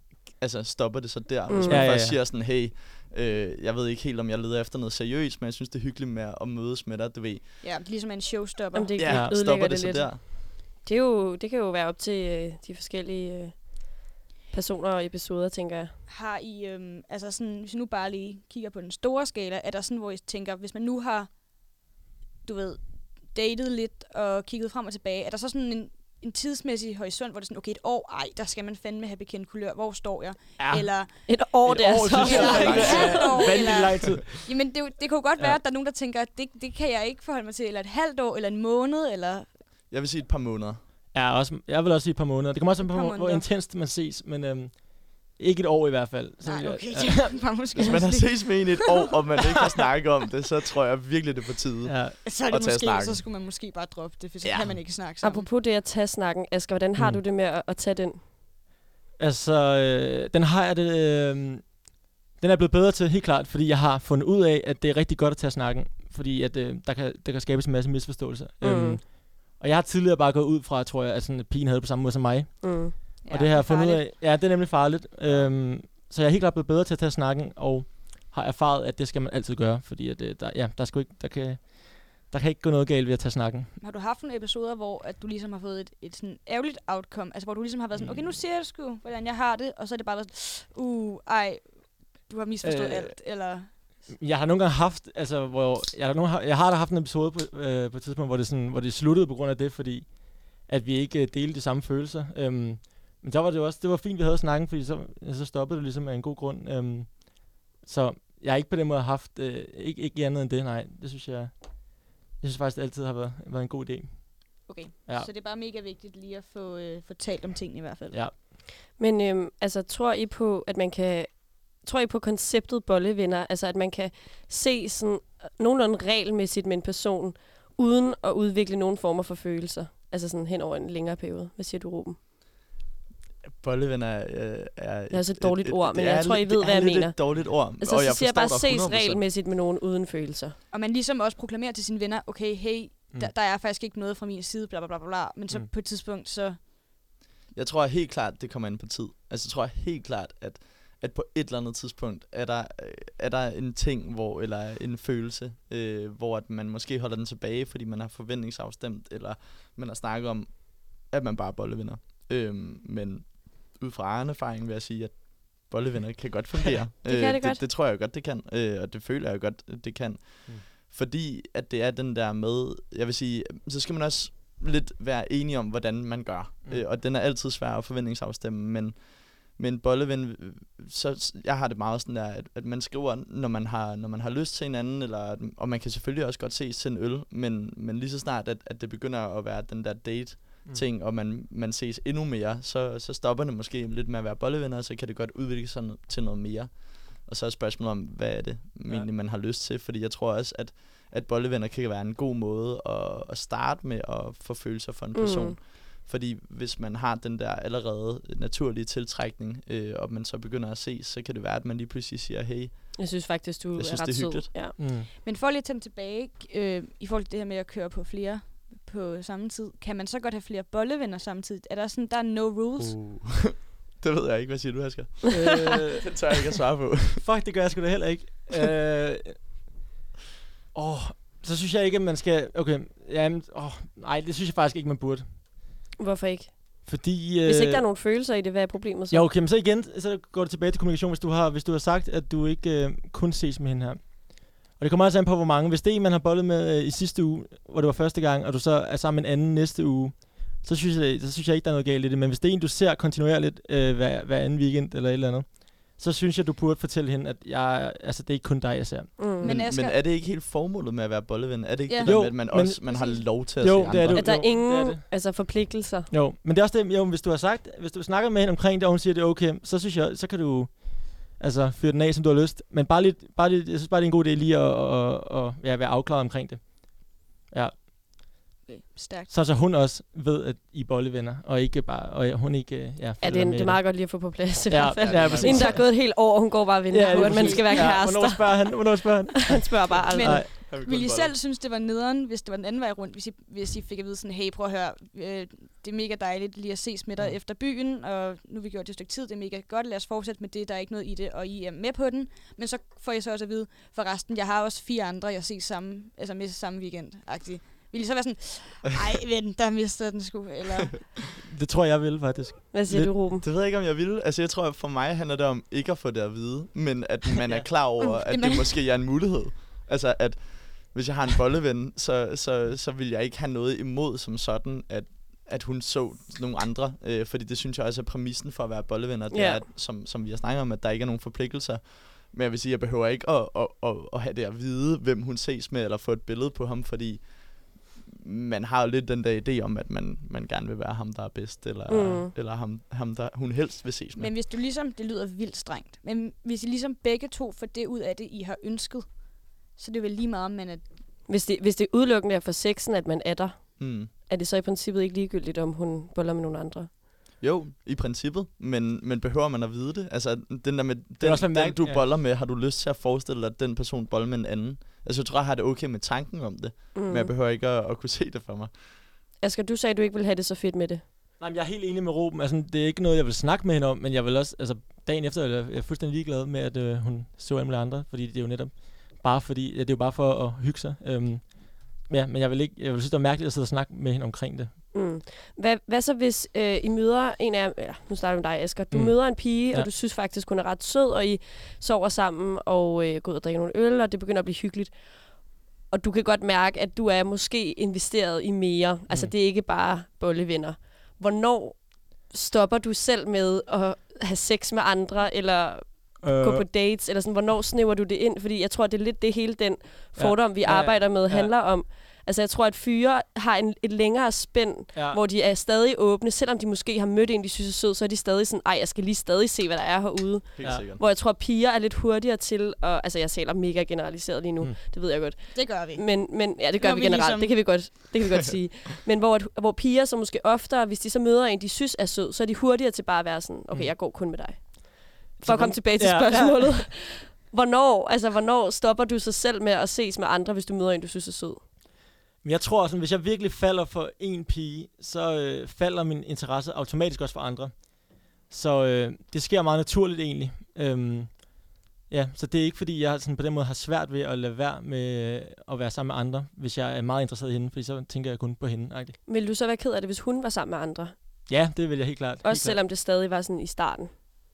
[SPEAKER 7] altså stopper det så der.
[SPEAKER 4] Mm.
[SPEAKER 7] Hvis man
[SPEAKER 6] Ja,
[SPEAKER 7] ja,
[SPEAKER 6] ja,
[SPEAKER 7] først
[SPEAKER 6] ja.
[SPEAKER 7] siger sådan, hey, øh, jeg ved ikke helt, om jeg leder efter noget seriøst, men jeg synes, det er hyggeligt med at mødes med dig, du ved.
[SPEAKER 5] Ja, ligesom en showstopper.
[SPEAKER 4] Jamen, det,
[SPEAKER 6] Ja,
[SPEAKER 4] ja, det ødelægger
[SPEAKER 7] stopper
[SPEAKER 4] det,
[SPEAKER 7] det,
[SPEAKER 4] det
[SPEAKER 7] så
[SPEAKER 4] lidt.
[SPEAKER 7] der.
[SPEAKER 4] Det, er jo, det kan jo være op til øh, de forskellige øh, personer og episoder, tænker jeg.
[SPEAKER 5] Har I, øhm, altså sådan, hvis I nu bare lige kigger på den store skala, er der sådan, hvor I tænker, hvis man nu har, du ved, datet lidt og kigget frem og tilbage, er der så sådan en, en tidsmæssig horisont, hvor det er sådan, okay, et år, ej, der skal man fandme have bekendt kulør, hvor står jeg? Ja.
[SPEAKER 6] Ah.
[SPEAKER 5] Eller,
[SPEAKER 4] Et år,
[SPEAKER 6] Et
[SPEAKER 4] det er
[SPEAKER 6] år,
[SPEAKER 4] så.
[SPEAKER 6] synes jeg.
[SPEAKER 5] eller
[SPEAKER 6] langt.
[SPEAKER 5] et halvt år,
[SPEAKER 6] Vanvittig
[SPEAKER 5] eller,
[SPEAKER 6] lang tid.
[SPEAKER 5] jamen det, er jo- det kan jo godt
[SPEAKER 6] Ja.
[SPEAKER 5] være, at der er nogen, der tænker, at det, det kan jeg ikke forholde mig til, eller et halvt år, eller en måned, eller
[SPEAKER 7] Jeg vil sige et par måneder.
[SPEAKER 6] Ja, også, jeg vil også sige et par måneder. Det kommer også an på,
[SPEAKER 5] Par
[SPEAKER 6] hvor, hvor
[SPEAKER 5] måneder.
[SPEAKER 6] intenst man ses, men øhm, ikke et år i hvert fald. Så vil
[SPEAKER 5] Nej,
[SPEAKER 6] jeg-
[SPEAKER 5] okay,
[SPEAKER 6] ja.
[SPEAKER 5] det var måske
[SPEAKER 7] Hvis man har
[SPEAKER 5] også
[SPEAKER 7] ses med en i et år, og man ikke har snakket om det, så tror jeg virkelig, det er på tide. Ja.
[SPEAKER 6] Ja.
[SPEAKER 5] lidt- så er
[SPEAKER 7] at
[SPEAKER 5] det
[SPEAKER 7] tage
[SPEAKER 5] måske,
[SPEAKER 7] snakken.
[SPEAKER 5] så skulle man måske bare droppe det, for så
[SPEAKER 7] Ja.
[SPEAKER 5] kan man ikke snakke sammen.
[SPEAKER 4] Apropos det at tage snakken, Asger, hvordan har
[SPEAKER 6] Mm.
[SPEAKER 4] du det med at, at tage den?
[SPEAKER 6] Altså, øh, den har jeg det... Øh, den er jeg blevet bedre til, helt klart, fordi jeg har fundet ud af, at det er rigtig godt at tage snakken. Fordi at, øh, der, kan, der kan skabes en masse misforståelser. Mm.
[SPEAKER 4] Mm.
[SPEAKER 6] Øhm, og jeg har tidligere bare gået ud fra, tror jeg, at, sådan, at pigen havde det på samme måde som mig.
[SPEAKER 4] Mm.
[SPEAKER 6] Ja, og det har jeg fundet ud af. Ja, det er nemlig farligt. Øhm, så jeg er helt klart blevet bedre til at tage snakken, og har erfaret, at det skal man altid gøre. Fordi at, øh, der, ja, der, skal ikke, der, kan, der kan ikke gå noget galt ved at tage snakken.
[SPEAKER 5] Har du haft nogle episoder, hvor at du ligesom har fået et, et sådan ærgerligt outcome? Altså, hvor du ligesom har været sådan,
[SPEAKER 6] Mm.
[SPEAKER 5] okay, nu ser jeg sgu, hvordan jeg har det, og så er det bare været sådan, uh, ej, du har misforstået
[SPEAKER 6] Øh.
[SPEAKER 5] øh, alt, eller...
[SPEAKER 6] Jeg har nogle gange haft, altså, hvor jeg har, nogle, jeg har da haft en episode på, øh, på et tidspunkt, hvor det, sådan, hvor det sluttede på grund af det, fordi at vi ikke øh, delte de samme følelser. Øhm, men der var det jo også, det var fint, vi havde snakken, fordi så, ja, så stoppede det ligesom af en god grund. Øhm, så jeg har ikke på den måde haft, øh, ikke, ikke andet end det, nej. Det synes jeg, jeg synes faktisk, det altid har været, været en god idé.
[SPEAKER 5] Okay,
[SPEAKER 6] Ja.
[SPEAKER 5] ja. så det er bare mega vigtigt lige at få, øh, få talt om tingene i hvert fald.
[SPEAKER 6] Ja.
[SPEAKER 4] Men øhm, altså, tror I på, at man kan... Tror I på konceptet bollevenner? Altså, at man kan se sådan øh, nogenlunde regelmæssigt med en person, uden at udvikle nogen former for følelser? Altså sådan hen over en længere periode. Hvad siger du, Ruben?
[SPEAKER 7] Bollevenner øh, er...
[SPEAKER 4] er også et dårligt ord, men jeg tror, I ved,
[SPEAKER 7] det er
[SPEAKER 4] hvad jeg
[SPEAKER 7] lidt
[SPEAKER 4] mener.
[SPEAKER 7] et dårligt ord,
[SPEAKER 4] Altså,
[SPEAKER 7] og
[SPEAKER 4] så
[SPEAKER 7] jeg
[SPEAKER 4] siger jeg bare,
[SPEAKER 7] forstår dig
[SPEAKER 4] ses
[SPEAKER 7] 100%.
[SPEAKER 4] regelmæssigt med nogen uden følelser.
[SPEAKER 5] Og man ligesom også proklamerer til sine venner, okay, hey,
[SPEAKER 6] Mm.
[SPEAKER 5] mm. der, der er faktisk ikke noget fra min side, bla bla bla bla, bla. men så
[SPEAKER 6] Mm.
[SPEAKER 5] mm. på et tidspunkt, så...
[SPEAKER 7] Jeg tror helt klart, det kommer an på tid. Altså, jeg tror helt klart, at, at på et eller andet tidspunkt er der, øh, er der en ting, hvor, eller en følelse, øh, hvor at man måske holder den tilbage, fordi man har forventningsafstemt, eller man har snakket om, at man bare er bollevinder. Øhm, men ud fra egen erfaring vil jeg sige, at bollevinder kan godt fungere. Øh,
[SPEAKER 4] Det kan det
[SPEAKER 7] det,
[SPEAKER 4] godt.
[SPEAKER 7] det tror jeg godt, det kan, øh, og det føler jeg godt, det kan.
[SPEAKER 6] Mm.
[SPEAKER 7] Mm. Fordi at det er den der med, jeg vil sige, så skal man også lidt være enige om, hvordan man gør.
[SPEAKER 6] Mm.
[SPEAKER 7] Mm. Øh, og den er altid svær at forventningsafstemme, men men bolleven, øh, så s- jeg har det meget sådan der, at, at man skriver, når man, har, når man har lyst til hinanden, eller, at- og man kan selvfølgelig også godt ses til en øl, men, men lige så snart, at, at det begynder at være den der date-ting, og man, man ses endnu mere, så, så stopper det måske lidt med at være bollevenner, og så kan det godt udvikle sig no- til noget mere. Og så er spørgsmålet om, hvad er det
[SPEAKER 6] Ja.
[SPEAKER 7] egentlig, man har lyst til, fordi jeg tror også, at, at bollevenner kan være en god måde at, at starte med at få følelser for en person.
[SPEAKER 4] Mm.
[SPEAKER 7] Mm. Fordi hvis man har den der allerede naturlige tiltrækning, øh, og man så begynder at se, så kan det være, at man lige pludselig siger, hey,
[SPEAKER 4] Jeg synes faktisk, du
[SPEAKER 7] Jeg
[SPEAKER 4] er
[SPEAKER 7] synes,
[SPEAKER 4] ret
[SPEAKER 7] det er
[SPEAKER 4] sød.
[SPEAKER 7] hyggeligt.
[SPEAKER 4] Ja.
[SPEAKER 6] Mm.
[SPEAKER 5] Men for lige at tage dem tilbage, øh, i forhold til det her med at køre på flere på samme tid, kan man så godt have flere bollevenner samtidig? Er der sådan, der er no rules?
[SPEAKER 7] uh. det ved jeg ikke. Hvad siger du, Asger?
[SPEAKER 6] øh,
[SPEAKER 7] Det tør jeg ikke at svare på.
[SPEAKER 6] Fuck, det gør jeg sgu da heller ikke. øh, åh, så synes jeg ikke, at man skal... Okay, jamen, åh, nej, det synes jeg faktisk ikke, man burde.
[SPEAKER 4] Hvorfor ikke?
[SPEAKER 6] Fordi... Øh,
[SPEAKER 4] Hvis ikke der er nogen følelser i det, hvad er problemet så?
[SPEAKER 6] Ja, okay, men så igen, så går det tilbage til kommunikation, hvis du har, hvis du har sagt, at du ikke øh, kun ses med hende her. Og det kommer også an på, hvor mange. Hvis det er en, man har bollet med øh, i sidste uge, hvor det var første gang, og du så er sammen med en anden næste uge, så synes jeg, så synes jeg ikke, der er noget galt i det. Men hvis det er en, du ser kontinuerligt øh, hver, hver anden weekend eller et eller andet, så synes jeg, du burde fortælle hende, at jeg, altså, det er ikke kun dig, jeg ser.
[SPEAKER 4] Mm.
[SPEAKER 5] Men
[SPEAKER 7] Men,
[SPEAKER 5] Asger-
[SPEAKER 7] men er det ikke helt formålet med at være bolleven? Er det ikke
[SPEAKER 5] Ja.
[SPEAKER 7] ja. det der
[SPEAKER 6] Jo,
[SPEAKER 7] med, at man,
[SPEAKER 6] men-
[SPEAKER 7] også, man har
[SPEAKER 5] præcis.
[SPEAKER 7] lov til at
[SPEAKER 6] Jo,
[SPEAKER 7] se
[SPEAKER 6] det er
[SPEAKER 7] andre?
[SPEAKER 6] det jo.
[SPEAKER 4] at der er
[SPEAKER 6] det er
[SPEAKER 4] ingen
[SPEAKER 6] det.
[SPEAKER 4] altså forpligtelser.
[SPEAKER 6] Jo, men det er også det, jo, hvis du har sagt, hvis du snakker med hende omkring det, og hun siger, det er okay, så synes jeg, så kan du altså, fyre den af, som du har lyst. Men bare lidt, bare lidt, jeg synes bare, det er en god idé lige at, at, at, at ja, være afklaret omkring det.
[SPEAKER 5] Okay, stærkt.
[SPEAKER 6] Så, så hun også ved, at I er bollevenner, og ikke bare, og hun ikke øh, ja,
[SPEAKER 4] Ja,
[SPEAKER 6] følger
[SPEAKER 4] det, er-
[SPEAKER 6] med
[SPEAKER 4] det er
[SPEAKER 6] i
[SPEAKER 4] meget godt lige at få på plads i
[SPEAKER 6] Ja,
[SPEAKER 4] hvert fald.
[SPEAKER 6] ja,
[SPEAKER 4] Ja,
[SPEAKER 6] præcis.
[SPEAKER 4] Inden der er gået et helt år, og hun går bare og venter ja, på,
[SPEAKER 6] lige
[SPEAKER 4] at man
[SPEAKER 6] præcis.
[SPEAKER 4] skal være kærester.
[SPEAKER 6] Hvornår spørger han? Hvornår spørger han?
[SPEAKER 4] Han spørger bare aldrig.
[SPEAKER 5] Men-
[SPEAKER 6] Nej.
[SPEAKER 5] Vil I selv synes, det var nederen, hvis det var den anden vej rundt, hvis I, hvis I fik at vide sådan, hey, prøv at høre, øh, det er mega dejligt lige at ses med dig
[SPEAKER 6] Mm.
[SPEAKER 5] efter byen, og nu har vi gjort det et stykke tid, det er mega godt, lad os fortsætte med det, der er ikke noget i det, og I er med på den. Men så får I så også at vide, for resten, jeg har også fire andre, jeg ses samme, altså med samme weekend -agtigt. Vil I så være sådan, ej, ven, der mister den sgu, eller...
[SPEAKER 6] Det tror jeg vil, faktisk.
[SPEAKER 4] Hvad siger du, Ruben?
[SPEAKER 7] Det ved jeg ikke, om jeg ville. Altså, jeg tror, at for mig handler det om ikke at få det at vide, men at man er klar over,
[SPEAKER 5] Uh,
[SPEAKER 7] at
[SPEAKER 5] jamen.
[SPEAKER 7] det måske er en mulighed. Altså, at hvis jeg har en bolleven, så, så, så vil jeg ikke have noget imod som sådan, at, at hun så nogle andre. Øh, fordi det synes jeg også er præmissen for at være bollevenner. Det
[SPEAKER 4] Ja.
[SPEAKER 7] er, at, som, som vi har snakket om, at der ikke er nogen forpligtelser. Men jeg vil sige, at jeg behøver ikke at, at, at, at have det at vide, hvem hun ses med, eller få et billede på ham, fordi man har jo lidt den der idé om, at man, man gerne vil være ham, der er bedst, eller,
[SPEAKER 4] Mm.
[SPEAKER 7] mm. eller ham, ham, der hun helst vil ses med.
[SPEAKER 5] Men hvis du ligesom, det lyder vildt strengt, men hvis I ligesom begge to får det ud af det, I har ønsket, så er det vel lige meget, om man er
[SPEAKER 4] Hvis det, hvis det udelukkende er for sexen, at man er der,
[SPEAKER 7] Mm.
[SPEAKER 4] er det så i princippet ikke ligegyldigt, om hun boller med nogen andre?
[SPEAKER 7] Jo, i princippet, men, men behøver man at vide det? Altså, den der med, den,
[SPEAKER 6] også,
[SPEAKER 7] også,
[SPEAKER 6] hvad
[SPEAKER 7] den
[SPEAKER 6] mærke-
[SPEAKER 7] du
[SPEAKER 6] ja.
[SPEAKER 7] ja. boller med, har du lyst til at forestille dig, at den person boller med en anden? Altså, jeg tror, jeg har det okay med tanken om det, mm. men jeg behøver ikke at, at kunne se det for mig.
[SPEAKER 4] Asger, du sagde, at du ikke ville have det så fedt med det.
[SPEAKER 6] Nej, men jeg er helt enig med Ruben. Altså, det er ikke noget, jeg vil snakke med hende om, men jeg vil også, altså, dagen efter, jeg er jeg fuldstændig ligeglad med, at øh, hun så alle mulige andre, fordi det er jo netop bare fordi, ja, det er jo bare for at hygge sig. Øhm, ja, men jeg vil ikke, jeg vil synes, det var mærkeligt at sidde og snakke med hende omkring det.
[SPEAKER 4] Mm. Hvad, hvad så, hvis øh, I møder en af... Ja, nu starter jeg med dig, Asger. Du
[SPEAKER 6] Mm.
[SPEAKER 4] mm. møder en pige, ja.
[SPEAKER 6] Ja.
[SPEAKER 4] og du synes faktisk, hun er ret sød, og I sover sammen og øh, går ud og drikker nogle øl, og det begynder at blive hyggeligt. Og du kan godt mærke, at du er måske investeret i mere. Mm. Altså,
[SPEAKER 6] Mm.
[SPEAKER 4] det er ikke bare bollevenner. Hvornår stopper du selv med at have sex med andre, eller
[SPEAKER 6] Øh,
[SPEAKER 4] gå på dates, eller sådan, hvornår snæver du det ind? Fordi jeg tror, det er lidt det hele den fordom, ja. vi
[SPEAKER 6] Ja, ja,
[SPEAKER 4] arbejder med,
[SPEAKER 6] ja.
[SPEAKER 4] handler om. Altså, jeg tror, at fyre har en, et længere spænd,
[SPEAKER 6] ja.
[SPEAKER 4] ja. hvor de er stadig åbne. Selvom de måske har mødt en, de synes er sød, så er de stadig sådan, ej, jeg skal lige stadig se, hvad der er herude.
[SPEAKER 7] Helt
[SPEAKER 6] Ja.
[SPEAKER 7] ja. sikkert.
[SPEAKER 4] Hvor jeg tror, piger er lidt hurtigere til, og, altså, jeg taler mega generaliseret lige nu,
[SPEAKER 6] Mm.
[SPEAKER 4] mm. det ved jeg godt.
[SPEAKER 5] Det gør vi.
[SPEAKER 4] Men, men ja, det gør
[SPEAKER 5] Når
[SPEAKER 4] vi
[SPEAKER 5] vi
[SPEAKER 4] generelt,
[SPEAKER 5] ligesom-
[SPEAKER 4] det kan vi godt, det kan vi godt sige. Men hvor, at- hvor piger så måske oftere, hvis de så møder en, de synes er sød, så er de hurtigere til bare at være sådan, okay,
[SPEAKER 6] Mm.
[SPEAKER 4] jeg går kun med dig. For
[SPEAKER 6] Så
[SPEAKER 4] at komme
[SPEAKER 6] hvor-
[SPEAKER 4] tilbage til
[SPEAKER 6] Ja.
[SPEAKER 4] spørgsmålet. Hvornår, altså, hvornår stopper du sig selv med at ses med andre, hvis du møder en, du synes er sød?
[SPEAKER 6] Men jeg tror også, at hvis jeg virkelig falder for en pige, så øh, falder min interesse automatisk også for andre. Så øh, det sker meget naturligt egentlig. Øhm, ja, så det er ikke fordi, jeg sådan på den måde har svært ved at lade være med øh, at være sammen med andre, hvis jeg er meget interesseret i hende, fordi så tænker jeg kun på hende. Agtigt.
[SPEAKER 4] Vil du så være ked af det, hvis hun var sammen med andre?
[SPEAKER 6] Ja, det vil jeg helt klart. helt
[SPEAKER 4] Også selvom det stadig var sådan i starten.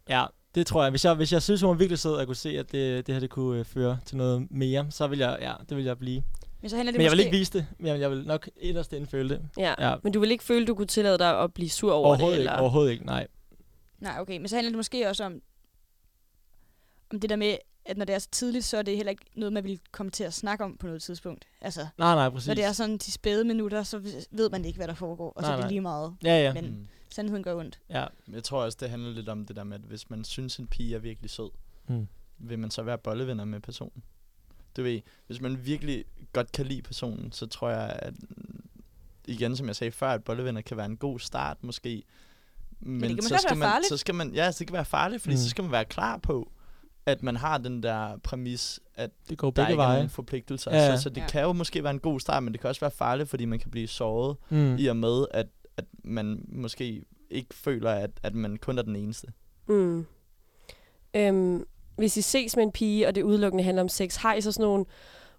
[SPEAKER 6] Klart. Ja, det tror jeg. Hvis jeg, hvis jeg synes, hun var virkelig sød, og jeg kunne se, at det, det her det kunne øh, føre til noget mere, så vil jeg, ja, det vil jeg blive.
[SPEAKER 5] Men så handler det
[SPEAKER 6] Men jeg vil
[SPEAKER 5] måske...
[SPEAKER 6] ikke vise det, men jeg vil nok inderst inden føle det.
[SPEAKER 4] Ja. ja.
[SPEAKER 6] Ja.
[SPEAKER 4] Men du vil ikke føle, du kunne tillade dig at blive sur over
[SPEAKER 6] Overhovedet
[SPEAKER 4] det?
[SPEAKER 6] ikke, overhovedet ikke, nej.
[SPEAKER 5] Nej, okay. Men så handler det måske også om, om det der med, at når det er så tidligt, så er det heller ikke noget, man vil komme til at snakke om på noget tidspunkt. Altså, Præcis.
[SPEAKER 6] Nej, nej, præcis.
[SPEAKER 5] når det er sådan de spæde minutter, så v- ved man ikke, hvad der foregår, og så
[SPEAKER 6] Nej,
[SPEAKER 5] er det
[SPEAKER 6] nej.
[SPEAKER 5] lige meget.
[SPEAKER 6] Ja, ja.
[SPEAKER 5] Men-
[SPEAKER 7] Mm.
[SPEAKER 5] Sandheden gør ondt.
[SPEAKER 6] ja.
[SPEAKER 7] Jeg tror også, det handler lidt om det der med, at hvis man synes, en pige er virkelig sød,
[SPEAKER 6] Mm.
[SPEAKER 7] mm. vil man så være bollevenner med personen. Du ved, hvis man virkelig godt kan lide personen, så tror jeg, at mm, igen, som jeg sagde før, at bollevenner kan være en god start måske. Men,
[SPEAKER 5] kan måske
[SPEAKER 7] så
[SPEAKER 5] også
[SPEAKER 7] skal
[SPEAKER 5] være
[SPEAKER 7] man,
[SPEAKER 5] farligt.
[SPEAKER 7] så skal man, ja, så det kan være farligt, fordi
[SPEAKER 6] Mm.
[SPEAKER 7] mm. så skal man være klar på, at man har den der præmis, at
[SPEAKER 6] Det går
[SPEAKER 7] der
[SPEAKER 6] begge
[SPEAKER 7] ikke er
[SPEAKER 6] veje.
[SPEAKER 7] nogen forpligtelser.
[SPEAKER 6] Ja, ja.
[SPEAKER 7] Så, så det
[SPEAKER 5] Ja.
[SPEAKER 7] kan jo måske være en god start, men det kan også være farligt, fordi man kan blive såret
[SPEAKER 6] Mm.
[SPEAKER 7] i og med, at, at man måske ikke føler, at, at man kun er den eneste.
[SPEAKER 4] Mm. Øhm, hvis I ses med en pige, og det udelukkende handler om sex, har I så sådan nogle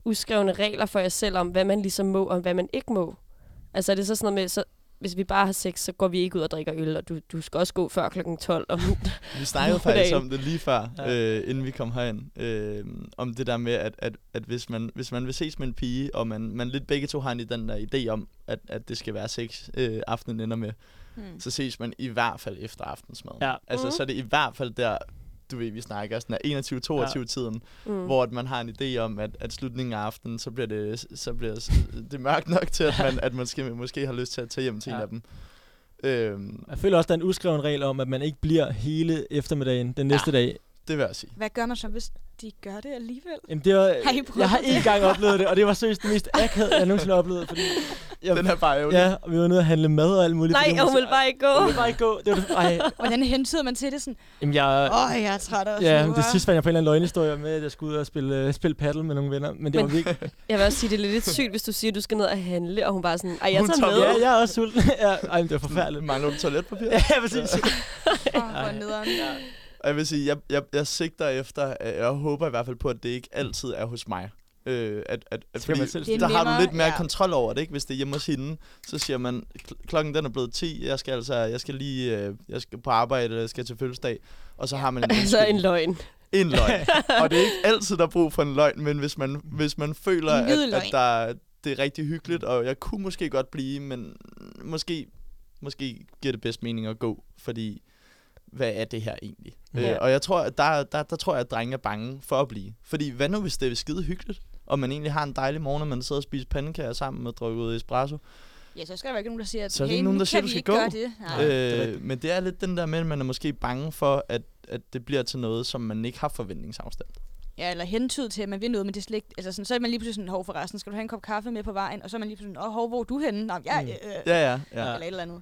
[SPEAKER 4] uskrevne regler for jer selv om, hvad man ligesom må, og hvad man ikke må? Altså er det så sådan noget med, så hvis vi bare har sex, så går vi ikke ud og drikker øl, og du, du skal også gå før klokken 12. Om,
[SPEAKER 7] Vi snakkede
[SPEAKER 4] Goddag.
[SPEAKER 7] faktisk om det lige før,
[SPEAKER 6] Ja.
[SPEAKER 7] ja. øh, inden vi kom herind, øh, om det der med, at, at, at hvis, man, hvis man vil ses med en pige, og man, man lidt begge to har en i den der idé om, at, at det skal være sex, øh, aftenen ender med,
[SPEAKER 5] Hmm.
[SPEAKER 7] så ses man i hvert fald efter aftensmaden.
[SPEAKER 6] Ja.
[SPEAKER 7] Altså,
[SPEAKER 4] Mhm.
[SPEAKER 7] så er det i hvert fald der, du ved, vi snakker sådan af 21-22-tiden,
[SPEAKER 4] mm.
[SPEAKER 7] hvor at man har en idé om, at, at slutningen af aftenen, så bliver det, så bliver s- det mørkt nok til, at man, at man skal, måske har lyst til at tage hjem til ja.
[SPEAKER 6] Ja.
[SPEAKER 7] en af dem. Øhm,
[SPEAKER 6] Jeg føler også, der er en uskreven regel om, at man ikke bliver hele eftermiddagen den næste ja. dag.
[SPEAKER 7] det vil jeg sige.
[SPEAKER 5] Hvad gør man så, hvis de gør det alligevel?
[SPEAKER 6] Jamen, det var,
[SPEAKER 5] Har I prøvet
[SPEAKER 6] jeg har
[SPEAKER 5] det?
[SPEAKER 6] én gang oplevet det, og det var seriøst det mest akavede, jeg nogensinde har oplevet. Fordi Ja,
[SPEAKER 7] Den er bare ærgerlig.
[SPEAKER 6] ja, og vi var nede og handle mad og alt muligt.
[SPEAKER 4] Nej,
[SPEAKER 6] fordi hun
[SPEAKER 4] og hun
[SPEAKER 6] var
[SPEAKER 4] vil bare ikke gå.
[SPEAKER 6] så- Hun ville bare ikke gå. Det var det, ej,
[SPEAKER 5] Hvordan hentyder man til det sådan?
[SPEAKER 6] jamen jeg...
[SPEAKER 5] Åh, oh, jeg er træt af
[SPEAKER 6] Ja, men det sidste fandt jeg på en eller anden løgnhistorie med, at jeg skulle ud og spille, øh, spille paddle med nogle venner. Men det var
[SPEAKER 4] Men-
[SPEAKER 6] virkelig...
[SPEAKER 4] Jeg vil også sige, det er lidt sygt, hvis du siger, at du skal ned og handle, og hun bare sådan, ej, jeg
[SPEAKER 7] Hun
[SPEAKER 4] tager
[SPEAKER 7] tager
[SPEAKER 4] med.
[SPEAKER 7] med.
[SPEAKER 6] Ja, jeg er også sulten. ja, ej, men det var forfærdeligt.
[SPEAKER 7] Mangler du toiletpapir?
[SPEAKER 6] Ja, præcis.
[SPEAKER 5] Åh, hvor nederen.
[SPEAKER 7] Og jeg vil sige, jeg, jeg, jeg sigter efter, øh, jeg håber i hvert fald på, at det ikke altid er hos mig. Øh, at, at, at,
[SPEAKER 6] Så kan man selv
[SPEAKER 5] Det er
[SPEAKER 7] der har du
[SPEAKER 5] nemmere,
[SPEAKER 7] lidt mere
[SPEAKER 5] ja.
[SPEAKER 7] ja. kontrol over det, ikke? Hvis det er hjemme hos hende, så siger man, "Kl- klokken den er blevet 10, jeg skal altså, jeg skal lige, øh, jeg skal på arbejde, eller jeg skal til fødselsdag. Og så har man en,
[SPEAKER 4] Altså en
[SPEAKER 7] undskyldning.
[SPEAKER 4] løgn.
[SPEAKER 7] en løgn. og det er ikke altid, der er brug for en løgn, men hvis man, hvis man føler,
[SPEAKER 5] En hvid
[SPEAKER 7] at, at
[SPEAKER 5] løgn.
[SPEAKER 7] der, det er rigtig hyggeligt, og jeg kunne måske godt blive, men måske, måske giver det bedst mening at gå, fordi hvad er det her egentlig?
[SPEAKER 6] Ja.
[SPEAKER 7] Ja. Øh, og jeg tror, at der, der, der tror jeg, at drenge er bange for at blive. Fordi hvad nu, hvis det er skide hyggeligt, og man egentlig har en dejlig morgen, og man sidder og spiser pandekager sammen og drikker ud espresso?
[SPEAKER 5] Ja, så skal der jo ikke nogen, der siger, at
[SPEAKER 7] Så er der
[SPEAKER 5] hey,
[SPEAKER 7] ikke nogen,
[SPEAKER 5] nu
[SPEAKER 7] der siger,
[SPEAKER 5] kan
[SPEAKER 7] du
[SPEAKER 5] vi
[SPEAKER 7] skal
[SPEAKER 5] ikke
[SPEAKER 7] gå.
[SPEAKER 5] gøre Ah, det. Nej.
[SPEAKER 6] Nej, det er
[SPEAKER 7] Øh,
[SPEAKER 6] rigtigt.
[SPEAKER 7] men det er lidt den der med, at man er måske bange for, at, at det bliver til noget, som man ikke har forventningsafstand.
[SPEAKER 5] Ja, eller hentyde til, at man vil noget, men det er slet ikke, altså sådan, så er man lige pludselig sådan, hov for resten, skal du have en kop kaffe med på vejen? Og så er man lige pludselig sådan, åh, hov, hvor er du henne? Nå, ja,
[SPEAKER 6] Mm.
[SPEAKER 5] øh, øh,
[SPEAKER 7] Ja, ja, ja.
[SPEAKER 5] eller et eller andet.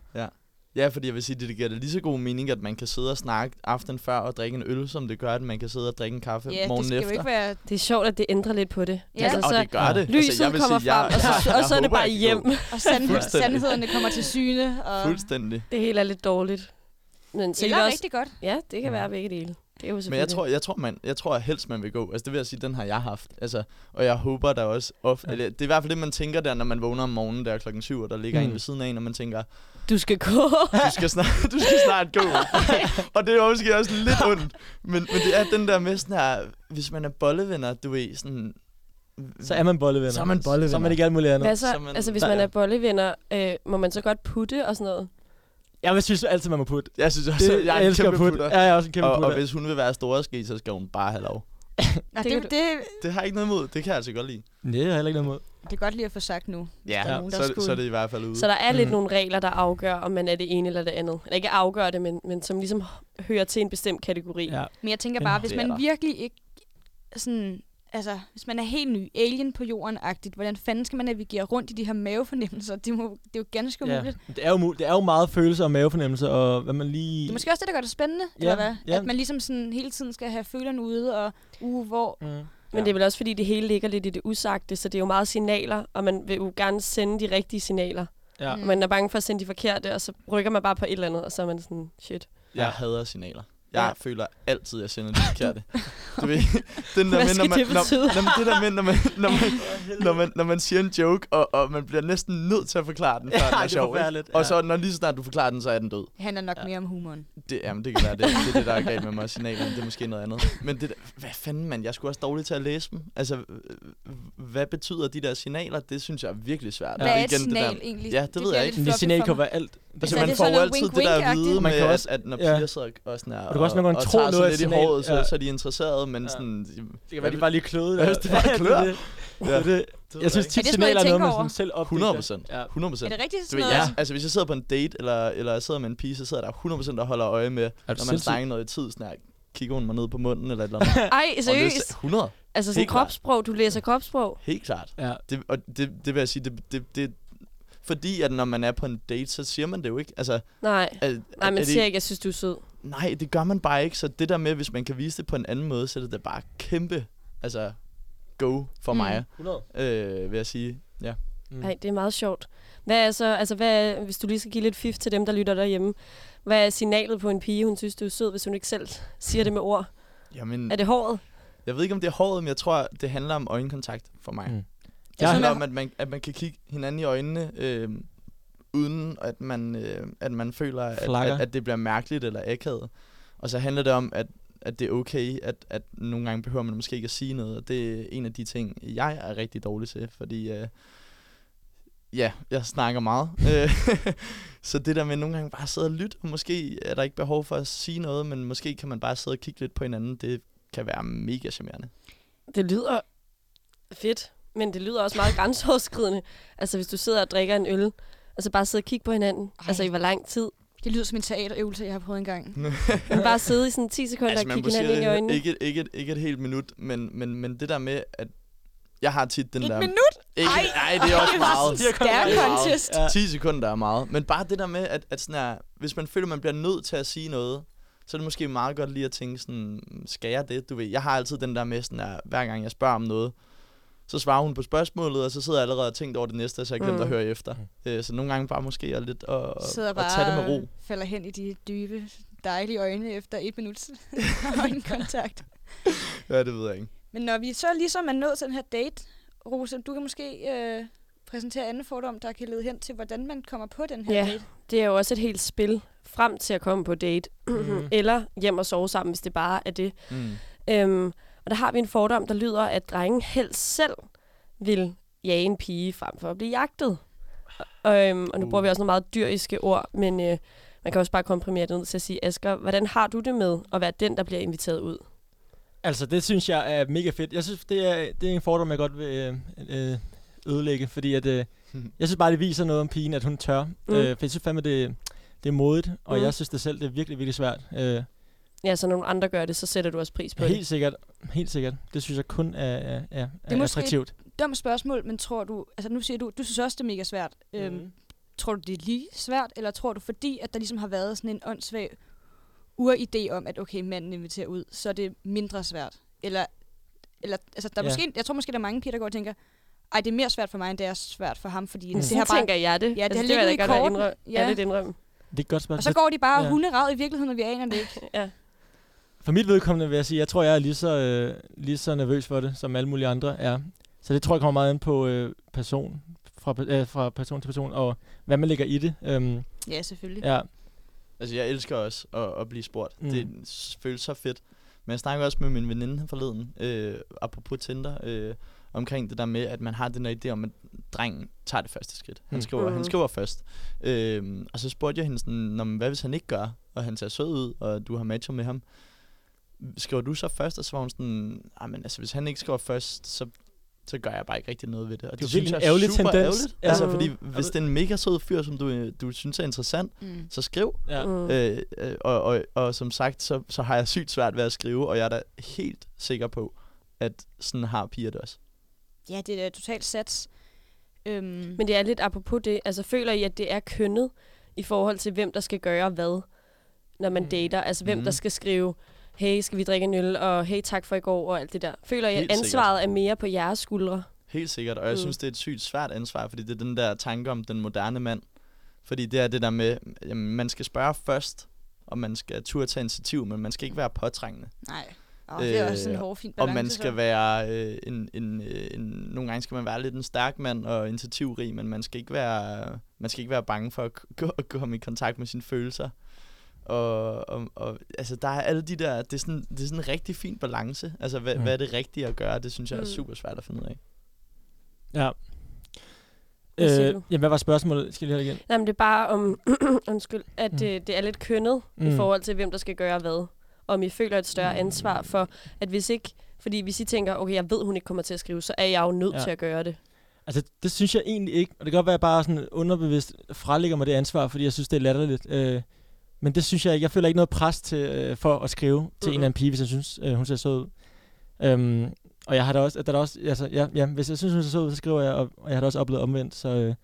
[SPEAKER 7] Ja, fordi jeg vil sige, at det giver det lige så god mening, at man kan sidde og snakke aften før og drikke en øl, som det gør, at man kan sidde og drikke en kaffe
[SPEAKER 5] Ja, det
[SPEAKER 7] Altså, morgen
[SPEAKER 5] skal jo
[SPEAKER 7] efter.
[SPEAKER 5] ikke være...
[SPEAKER 4] Det er sjovt, at det ændrer lidt på det.
[SPEAKER 5] Ja.
[SPEAKER 4] Altså,
[SPEAKER 7] og
[SPEAKER 4] så
[SPEAKER 7] det gør det.
[SPEAKER 4] lyset kommer frem, og så, og så er det
[SPEAKER 7] håber,
[SPEAKER 4] bare
[SPEAKER 7] jeg kan
[SPEAKER 4] hjem.
[SPEAKER 7] gå.
[SPEAKER 5] Og sand,
[SPEAKER 7] Fuldstændig.
[SPEAKER 5] sandhederne kommer til syne. Og,
[SPEAKER 7] Fuldstændig.
[SPEAKER 4] Det hele er lidt dårligt. Men så
[SPEAKER 5] Eller
[SPEAKER 4] kan vi også,
[SPEAKER 5] rigtig godt.
[SPEAKER 4] ja, det kan være begge dele. Det er jo
[SPEAKER 7] Men jeg tror, jeg tror, man, jeg tror helst, man vil gå. Altså, det vil jeg sige, den har jeg haft. Altså, og jeg håber der også ofte.
[SPEAKER 6] Ja.
[SPEAKER 7] Eller, det er i hvert fald det, man tænker der, når man vågner om morgenen der klokken 7, og der ligger
[SPEAKER 6] Mm.
[SPEAKER 7] mm. en ved siden af en, og man tænker,
[SPEAKER 4] du skal gå.
[SPEAKER 7] du skal snart, du skal snart gå. og det er måske også lidt ondt. Men, men det er den der med sådan her, hvis man er bollevenner, du ved, sådan...
[SPEAKER 6] Så er man bollevenner.
[SPEAKER 7] Så er man bollevenner.
[SPEAKER 6] Så er man ikke alt muligt andet.
[SPEAKER 4] Hvad så?
[SPEAKER 7] Så man-
[SPEAKER 4] Altså, hvis
[SPEAKER 6] Ja.
[SPEAKER 4] man er bollevenner, øh, må man så godt putte og sådan noget?
[SPEAKER 6] Jeg synes altid, man må putte.
[SPEAKER 7] Jeg synes også,
[SPEAKER 6] Det,
[SPEAKER 7] jeg
[SPEAKER 6] jeg
[SPEAKER 7] er en
[SPEAKER 6] elsker
[SPEAKER 7] kæmpe
[SPEAKER 6] at putte.
[SPEAKER 7] putter.
[SPEAKER 6] Ja, jeg er også en kæmpe
[SPEAKER 7] og,
[SPEAKER 6] putter.
[SPEAKER 7] og hvis hun vil være store ske, så skal hun bare have lov.
[SPEAKER 5] Nå,
[SPEAKER 4] Det
[SPEAKER 5] det,
[SPEAKER 4] kan
[SPEAKER 5] det, det,
[SPEAKER 7] Det har jeg ikke noget imod. Det kan jeg altså godt lide.
[SPEAKER 6] Nej, jeg har heller ikke noget imod.
[SPEAKER 5] det er godt lige at få sagt nu.
[SPEAKER 7] Ja,
[SPEAKER 5] Der er nogen, der
[SPEAKER 7] så,
[SPEAKER 5] skulle.
[SPEAKER 7] så er det i hvert fald ude.
[SPEAKER 4] Så der er lidt
[SPEAKER 6] Mm.
[SPEAKER 4] nogle regler, der afgør, om man er det ene eller det andet. Eller ikke afgør det, men, men som ligesom hører til en bestemt kategori.
[SPEAKER 6] Ja.
[SPEAKER 5] Men jeg tænker
[SPEAKER 6] Den-
[SPEAKER 5] bare, hvis
[SPEAKER 7] det er
[SPEAKER 5] man
[SPEAKER 7] der.
[SPEAKER 5] virkelig ikke sådan... Altså, hvis man er helt ny, alien på jorden-agtigt, hvordan fanden skal man navigere rundt i de her mavefornemmelser? Det, må, det er jo ganske
[SPEAKER 6] Ja.
[SPEAKER 5] umuligt.
[SPEAKER 6] Men Det, er jo, mul- det er jo meget følelser og mavefornemmelse, og hvad man lige...
[SPEAKER 5] Det er måske også det, der gør det spændende, ja,
[SPEAKER 6] Ja,
[SPEAKER 5] eller hvad?
[SPEAKER 6] ja.
[SPEAKER 5] At man ligesom sådan hele tiden skal have følerne ude, og uh, hvor...
[SPEAKER 6] Mm.
[SPEAKER 4] Men det er vel også, fordi det hele ligger lidt i det usagte, så det er jo meget signaler, og man vil jo gerne sende de rigtige signaler.
[SPEAKER 6] Ja.
[SPEAKER 4] Mm. Man er bange for at sende de forkerte, og så rykker man bare på et eller andet, og så er man sådan, shit.
[SPEAKER 7] Jeg hader signaler. Jeg ja. føler altid, at jeg sender de forkerte. Du ved, den
[SPEAKER 4] Hvad
[SPEAKER 7] der med, når
[SPEAKER 4] skal
[SPEAKER 7] man,
[SPEAKER 4] det betyde?
[SPEAKER 7] Når, når, det der med, når man, når man, når man, når man siger en joke, og, og man bliver næsten nødt til at forklare den, før
[SPEAKER 6] Ja,
[SPEAKER 7] den er
[SPEAKER 6] det er
[SPEAKER 7] sjov. ikke?
[SPEAKER 6] forfærdeligt, ja.
[SPEAKER 7] Og så når lige så snart du forklarer den, så er den død.
[SPEAKER 5] Det handler nok
[SPEAKER 6] Ja.
[SPEAKER 5] ja. mere om humoren.
[SPEAKER 7] Det, jamen, det kan være, det, det er det, der er galt med mig og signalerne. Det er måske noget andet. Men det der, hvad fanden, man? Jeg skulle også dårlig til at læse dem. Altså, øh, hvad betyder de der signaler? Det synes jeg er virkelig svært.
[SPEAKER 5] Ja.
[SPEAKER 7] Det
[SPEAKER 5] Hvad er et
[SPEAKER 7] igen det der-
[SPEAKER 5] signal egentlig?
[SPEAKER 7] Ja, det ved jeg
[SPEAKER 5] bliver
[SPEAKER 7] ikke.
[SPEAKER 5] lidt
[SPEAKER 6] Men det
[SPEAKER 5] fluffy
[SPEAKER 6] signal
[SPEAKER 5] for
[SPEAKER 6] kan
[SPEAKER 5] mig.
[SPEAKER 6] være alt.
[SPEAKER 7] Altså,
[SPEAKER 5] Altså,
[SPEAKER 6] er
[SPEAKER 7] man
[SPEAKER 5] det
[SPEAKER 7] får
[SPEAKER 5] sådan
[SPEAKER 7] jo
[SPEAKER 5] noget
[SPEAKER 7] altid
[SPEAKER 5] wink,
[SPEAKER 7] det der
[SPEAKER 5] wink-agtigt?
[SPEAKER 7] at vide,
[SPEAKER 6] Man
[SPEAKER 7] man
[SPEAKER 6] kan
[SPEAKER 7] med,
[SPEAKER 6] også-
[SPEAKER 7] at, at når
[SPEAKER 6] ja.
[SPEAKER 7] piger sidder og, sådan her,
[SPEAKER 6] Og du kan også nogle gange
[SPEAKER 7] og
[SPEAKER 6] tro
[SPEAKER 7] tager
[SPEAKER 6] noget
[SPEAKER 7] sig
[SPEAKER 6] af
[SPEAKER 7] lidt i
[SPEAKER 6] signal-
[SPEAKER 7] håret, så,
[SPEAKER 6] ja.
[SPEAKER 7] så er de interesserede, men
[SPEAKER 6] Ja.
[SPEAKER 7] sådan...
[SPEAKER 6] Det kan være, de bare lige kløde.
[SPEAKER 7] Ja, hvis det bare klør.
[SPEAKER 6] Ja. Det,
[SPEAKER 7] det
[SPEAKER 6] jeg synes
[SPEAKER 5] Er
[SPEAKER 7] ved
[SPEAKER 6] tit,
[SPEAKER 5] det sådan noget,
[SPEAKER 6] signaler
[SPEAKER 5] I
[SPEAKER 6] er noget,
[SPEAKER 5] tænker
[SPEAKER 6] man sådan
[SPEAKER 5] over?
[SPEAKER 6] selv opdager.
[SPEAKER 7] 100%.
[SPEAKER 6] Ja.
[SPEAKER 7] jeg ikke. 100%.
[SPEAKER 5] Er det rigtigt
[SPEAKER 7] Du
[SPEAKER 5] sådan
[SPEAKER 7] ved,
[SPEAKER 5] noget?
[SPEAKER 7] ja. altså hvis jeg sidder på en date, eller, eller jeg sidder med en pige, så sidder der 100% og holder øje med, når man
[SPEAKER 6] sindssyg?
[SPEAKER 7] snakker noget i tid, sådan her, kigger hun mig ned på munden, eller et eller andet.
[SPEAKER 4] Ej,
[SPEAKER 7] Og det er
[SPEAKER 4] seriøst?
[SPEAKER 7] 100,
[SPEAKER 4] Altså sådan
[SPEAKER 7] helt klart.
[SPEAKER 4] kropssprog, du læser kropssprog.
[SPEAKER 7] helt klart.
[SPEAKER 6] Ja.
[SPEAKER 7] Det, og det, det vil jeg sige, det, det, det, fordi at når man er på en date, så siger man det jo ikke. Altså,
[SPEAKER 4] Nej.
[SPEAKER 7] er,
[SPEAKER 4] Nej,
[SPEAKER 7] er
[SPEAKER 4] man
[SPEAKER 7] det
[SPEAKER 4] siger ikke, jeg synes, du er sød.
[SPEAKER 7] Nej, det gør man bare ikke. Så det der med, hvis man kan vise det på en anden måde, så er det da bare kæmpe, altså, go for
[SPEAKER 5] Mm.
[SPEAKER 7] mm. mig,
[SPEAKER 6] 100.
[SPEAKER 7] øh, vil jeg sige. Ja.
[SPEAKER 6] Mm.
[SPEAKER 4] Nej, det er meget sjovt. Hvad er så, altså hvad er, hvis du lige skal give lidt fif til dem, der lytter derhjemme. Hvad er signalet på en pige, hun synes, du er sød, hvis hun ikke selv siger det med ord?
[SPEAKER 7] Jamen,
[SPEAKER 4] Er det håret?
[SPEAKER 7] jeg ved ikke, om det er håret, men jeg tror, det handler om øjenkontakt for mig.
[SPEAKER 6] Mm.
[SPEAKER 7] Mm. Det
[SPEAKER 6] Jeg-
[SPEAKER 7] handler om, at man, at man kan kigge hinanden i øjnene, øh, uden at man, øh, at man føler, at,
[SPEAKER 6] Flakker.
[SPEAKER 7] at, at det bliver mærkeligt eller akavet. Og så handler det om, at, at det er okay, at, at nogle gange behøver man måske ikke at sige noget. Og det er en af de ting, jeg er rigtig dårlig til, fordi... Øh, Ja, jeg snakker meget. Øh, så det der med nogle gange bare sidde og lytte, og måske er der ikke behov for at sige noget, men måske kan man bare sidde og kigge lidt på hinanden. Det kan være mega charmerende.
[SPEAKER 4] Det lyder fedt, men det lyder også meget grænseoverskridende. Altså hvis du sidder og drikker en øl, og så bare sidde og kigge på hinanden. Ej.
[SPEAKER 5] Ej.
[SPEAKER 4] Altså i hvor lang tid.
[SPEAKER 5] Det lyder som en teaterøvelse, jeg har prøvet engang.
[SPEAKER 4] Men bare sidde i sådan 10 sekunder altså, og
[SPEAKER 7] man
[SPEAKER 4] kigge
[SPEAKER 7] kunne sige,
[SPEAKER 4] hinanden ind i
[SPEAKER 7] det
[SPEAKER 4] øjnene.
[SPEAKER 7] ikke, ikke, ikke et helt minut, men, men, men det der med, at Jeg har tit den
[SPEAKER 5] Et
[SPEAKER 7] der...
[SPEAKER 5] minut?
[SPEAKER 7] Ikke,
[SPEAKER 5] Ej.
[SPEAKER 7] nej, det er også meget.
[SPEAKER 5] Det er Stærk
[SPEAKER 7] Det er meget.
[SPEAKER 5] contest.
[SPEAKER 6] Ja.
[SPEAKER 7] 10 sekunder er meget. Men bare det der med, at, at sådan her, hvis man føler, man bliver nødt til at sige noget, så er det måske meget godt lige at tænke sådan, skal jeg det? Du ved, jeg har altid den der med sådan her, hver gang jeg spørger om noget, så svarer hun på spørgsmålet, og så sidder jeg allerede og tænkt over det næste, så jeg glemte
[SPEAKER 4] Mm.
[SPEAKER 7] mm. at høre efter. Øh, så nogle gange bare måske at lidt og,
[SPEAKER 5] Sidder
[SPEAKER 7] og tage det med ro.
[SPEAKER 5] og falder hen i de dybe, dejlige øjne efter et minut øjenkontakt.
[SPEAKER 7] Ja, det ved jeg ikke.
[SPEAKER 5] Men når vi så ligesom er nået til den her date, Rose, du kan måske øh, præsentere anden fordom, der kan lede hen til, hvordan man kommer på den her
[SPEAKER 4] Ja.
[SPEAKER 5] date.
[SPEAKER 4] Det er jo også et helt spil frem til at komme på date.
[SPEAKER 6] Mhm.
[SPEAKER 4] Mm. Eller hjem og sove sammen, hvis det bare er det.
[SPEAKER 7] Mm.
[SPEAKER 4] Øhm, og der har vi en fordom, der lyder, at drengen helst selv vil jage en pige frem for at blive jagtet. Og, øhm, og nu
[SPEAKER 6] Uh.
[SPEAKER 4] bruger vi også nogle meget dyriske ord, men øh, man kan også bare komprimere det ned til at sige, Asger, hvordan har du det med at være den, der bliver inviteret ud?
[SPEAKER 6] Altså, det synes jeg er mega fedt. Jeg synes, det er, det er en fordom, jeg godt vil øh, øh, ødelægge, fordi at, øh, jeg synes bare, det viser noget om pigen, at hun tør. Mm. Øh, for jeg synes fandme, det, det er modigt, og
[SPEAKER 4] Mm.
[SPEAKER 6] mm. jeg synes det selv, det er virkelig, virkelig svært. Øh,
[SPEAKER 4] Ja, så når nogle andre gør det, så sætter du også pris på det.
[SPEAKER 6] helt sikkert, helt sikkert. Det synes jeg kun er, er, er, er
[SPEAKER 5] måske-
[SPEAKER 6] attraktivt.
[SPEAKER 5] Dumt spørgsmål, men tror du, altså nu siger du, du synes også, det er mega svært. Mm. Øhm, tror du, det er lige svært, eller tror du, fordi at der ligesom har været sådan en åndssvag uridé om, at okay, manden inviterer ud, så er det mindre svært? Eller, eller altså, der er
[SPEAKER 6] Ja.
[SPEAKER 5] måske, jeg tror måske, der er mange piger, der går og tænker, ej, det er mere svært for mig, end det er svært for ham, fordi mm. det
[SPEAKER 4] Sådan
[SPEAKER 5] har bare...
[SPEAKER 4] tænker jeg det.
[SPEAKER 5] Ja, det har
[SPEAKER 4] Altså, det vil jeg
[SPEAKER 5] ligget
[SPEAKER 4] da
[SPEAKER 5] i
[SPEAKER 4] godt være
[SPEAKER 5] kortene.
[SPEAKER 4] indrøm-
[SPEAKER 5] Ja.
[SPEAKER 4] ja. lidt indrømme.
[SPEAKER 6] Det er et godt
[SPEAKER 5] Og
[SPEAKER 6] spørgsmål.
[SPEAKER 5] så går de bare
[SPEAKER 6] Ja.
[SPEAKER 5] ja. hunderad i virkeligheden, og vi aner det ikke.
[SPEAKER 4] Ja.
[SPEAKER 6] For mit vedkommende vil jeg sige, jeg tror, jeg er lige så, øh, lige så nervøs for det, som alle mulige andre er. Så det tror jeg kommer meget ind på øh, person, fra, pe- øh, fra person til person, og hvad man lægger i det. Øhm,
[SPEAKER 5] Ja, selvfølgelig.
[SPEAKER 6] ja,
[SPEAKER 7] Altså, jeg elsker også at, at blive spurgt.
[SPEAKER 6] Mm.
[SPEAKER 7] Mm. Det s- føles så fedt. Men jeg snakkede også med min veninde her forleden, øh, apropos Tinder, øh, omkring det der med, at man har den der idé om, at drengen tager det første skridt. Han
[SPEAKER 6] Mm.
[SPEAKER 7] skriver, mm.
[SPEAKER 4] Mhm.
[SPEAKER 7] han skriver først. Øh, og så spurgte jeg hende sådan, "Nå, men hvad hvis han ikke gør, og han ser sød ud, og du har matchet med ham? Skriver du så først? Og så var hun sådan, "Ah, men altså, hvis han ikke skriver først, så så gør jeg bare ikke rigtig noget ved det. Og
[SPEAKER 6] Det er
[SPEAKER 7] det,
[SPEAKER 6] jo
[SPEAKER 7] synes
[SPEAKER 6] virkelig
[SPEAKER 7] jeg
[SPEAKER 6] en
[SPEAKER 7] er
[SPEAKER 6] ærgerlig
[SPEAKER 7] super
[SPEAKER 6] tendens.
[SPEAKER 7] ærgerligt.
[SPEAKER 6] Ja.
[SPEAKER 7] Altså,
[SPEAKER 4] Mhm.
[SPEAKER 7] fordi hvis det er en mega sød fyr, som du, øh, du synes er interessant,
[SPEAKER 5] Mm.
[SPEAKER 7] så skriv.
[SPEAKER 6] ja.
[SPEAKER 4] Mm.
[SPEAKER 7] Øh, øh, og, og, og som sagt, så, så har jeg sygt svært ved at skrive, og jeg er da helt sikker på, at sådan har piger det også.
[SPEAKER 5] Ja, det er totalt sats. Øhm, men
[SPEAKER 4] Men det er lidt apropos det. Altså, føler I, at det er kønnet i forhold til, hvem der skal gøre hvad, når man
[SPEAKER 6] Mm.
[SPEAKER 4] dater? Altså, hvem
[SPEAKER 7] Mhm.
[SPEAKER 4] der skal skrive, hey, skal vi drikke en øl, og hey, tak for i går, og alt det der. Føler I, at
[SPEAKER 7] Helt sikkert.
[SPEAKER 4] ansvaret er mere på jeres skuldre?
[SPEAKER 7] Helt sikkert, og jeg
[SPEAKER 4] Mm.
[SPEAKER 7] mm. synes, det er et sygt svært ansvar, fordi det er den der tanke om den moderne mand. Fordi det er det der med, jamen, man skal spørge først, og man skal turde tage initiativ, men man skal ikke være påtrængende.
[SPEAKER 5] nej. Åh, det er
[SPEAKER 7] Øh,
[SPEAKER 5] også sådan en hårfin
[SPEAKER 7] Og
[SPEAKER 5] balance.
[SPEAKER 7] man
[SPEAKER 5] så.
[SPEAKER 7] skal være øh, en, en, øh, en, nogle gange skal man være lidt en stærk mand og initiativrig, men man skal ikke være, man skal ikke være bange for at, k- gå, at komme i kontakt med sine følelser. Og, og, og altså, der er alle de der, det er sådan, det er sådan en rigtig fin balance. Altså, hvad,
[SPEAKER 6] Mm.
[SPEAKER 7] mm. hvad er det rigtige at gøre? Det synes jeg er
[SPEAKER 4] Mm.
[SPEAKER 7] super svært at finde ud af.
[SPEAKER 6] ja.
[SPEAKER 4] Hvad siger
[SPEAKER 6] Øh,
[SPEAKER 4] du?
[SPEAKER 6] jamen, hvad var spørgsmålet? Skal jeg lige have det igen?
[SPEAKER 4] Nej, men det er bare om, undskyld, at
[SPEAKER 6] Mm.
[SPEAKER 4] mm. det, det er lidt kønnet mm.
[SPEAKER 6] Mm.
[SPEAKER 4] i forhold til, hvem der skal gøre hvad. Om I føler et større ansvar for, at hvis ikke, fordi hvis I tænker, okay, jeg ved, hun ikke kommer til at skrive, så er jeg jo nødt
[SPEAKER 6] Ja.
[SPEAKER 4] ja. til at gøre det.
[SPEAKER 6] Altså, det synes jeg egentlig ikke. Og det kan godt være, at jeg bare sådan underbevidst frelægger mig det ansvar, fordi jeg synes, det er latterligt. Øh, men det synes jeg ikke. Jeg føler ikke noget pres til, øh, for at skrive til en
[SPEAKER 4] Mhm.
[SPEAKER 6] eller anden pige, hvis jeg synes, øh, hun ser sød ud. Øhm, og jeg har da også, der er da også altså, ja, ja, hvis jeg synes, hun ser sød ud, så skriver jeg, og, og jeg har da også oplevet omvendt. Så øh,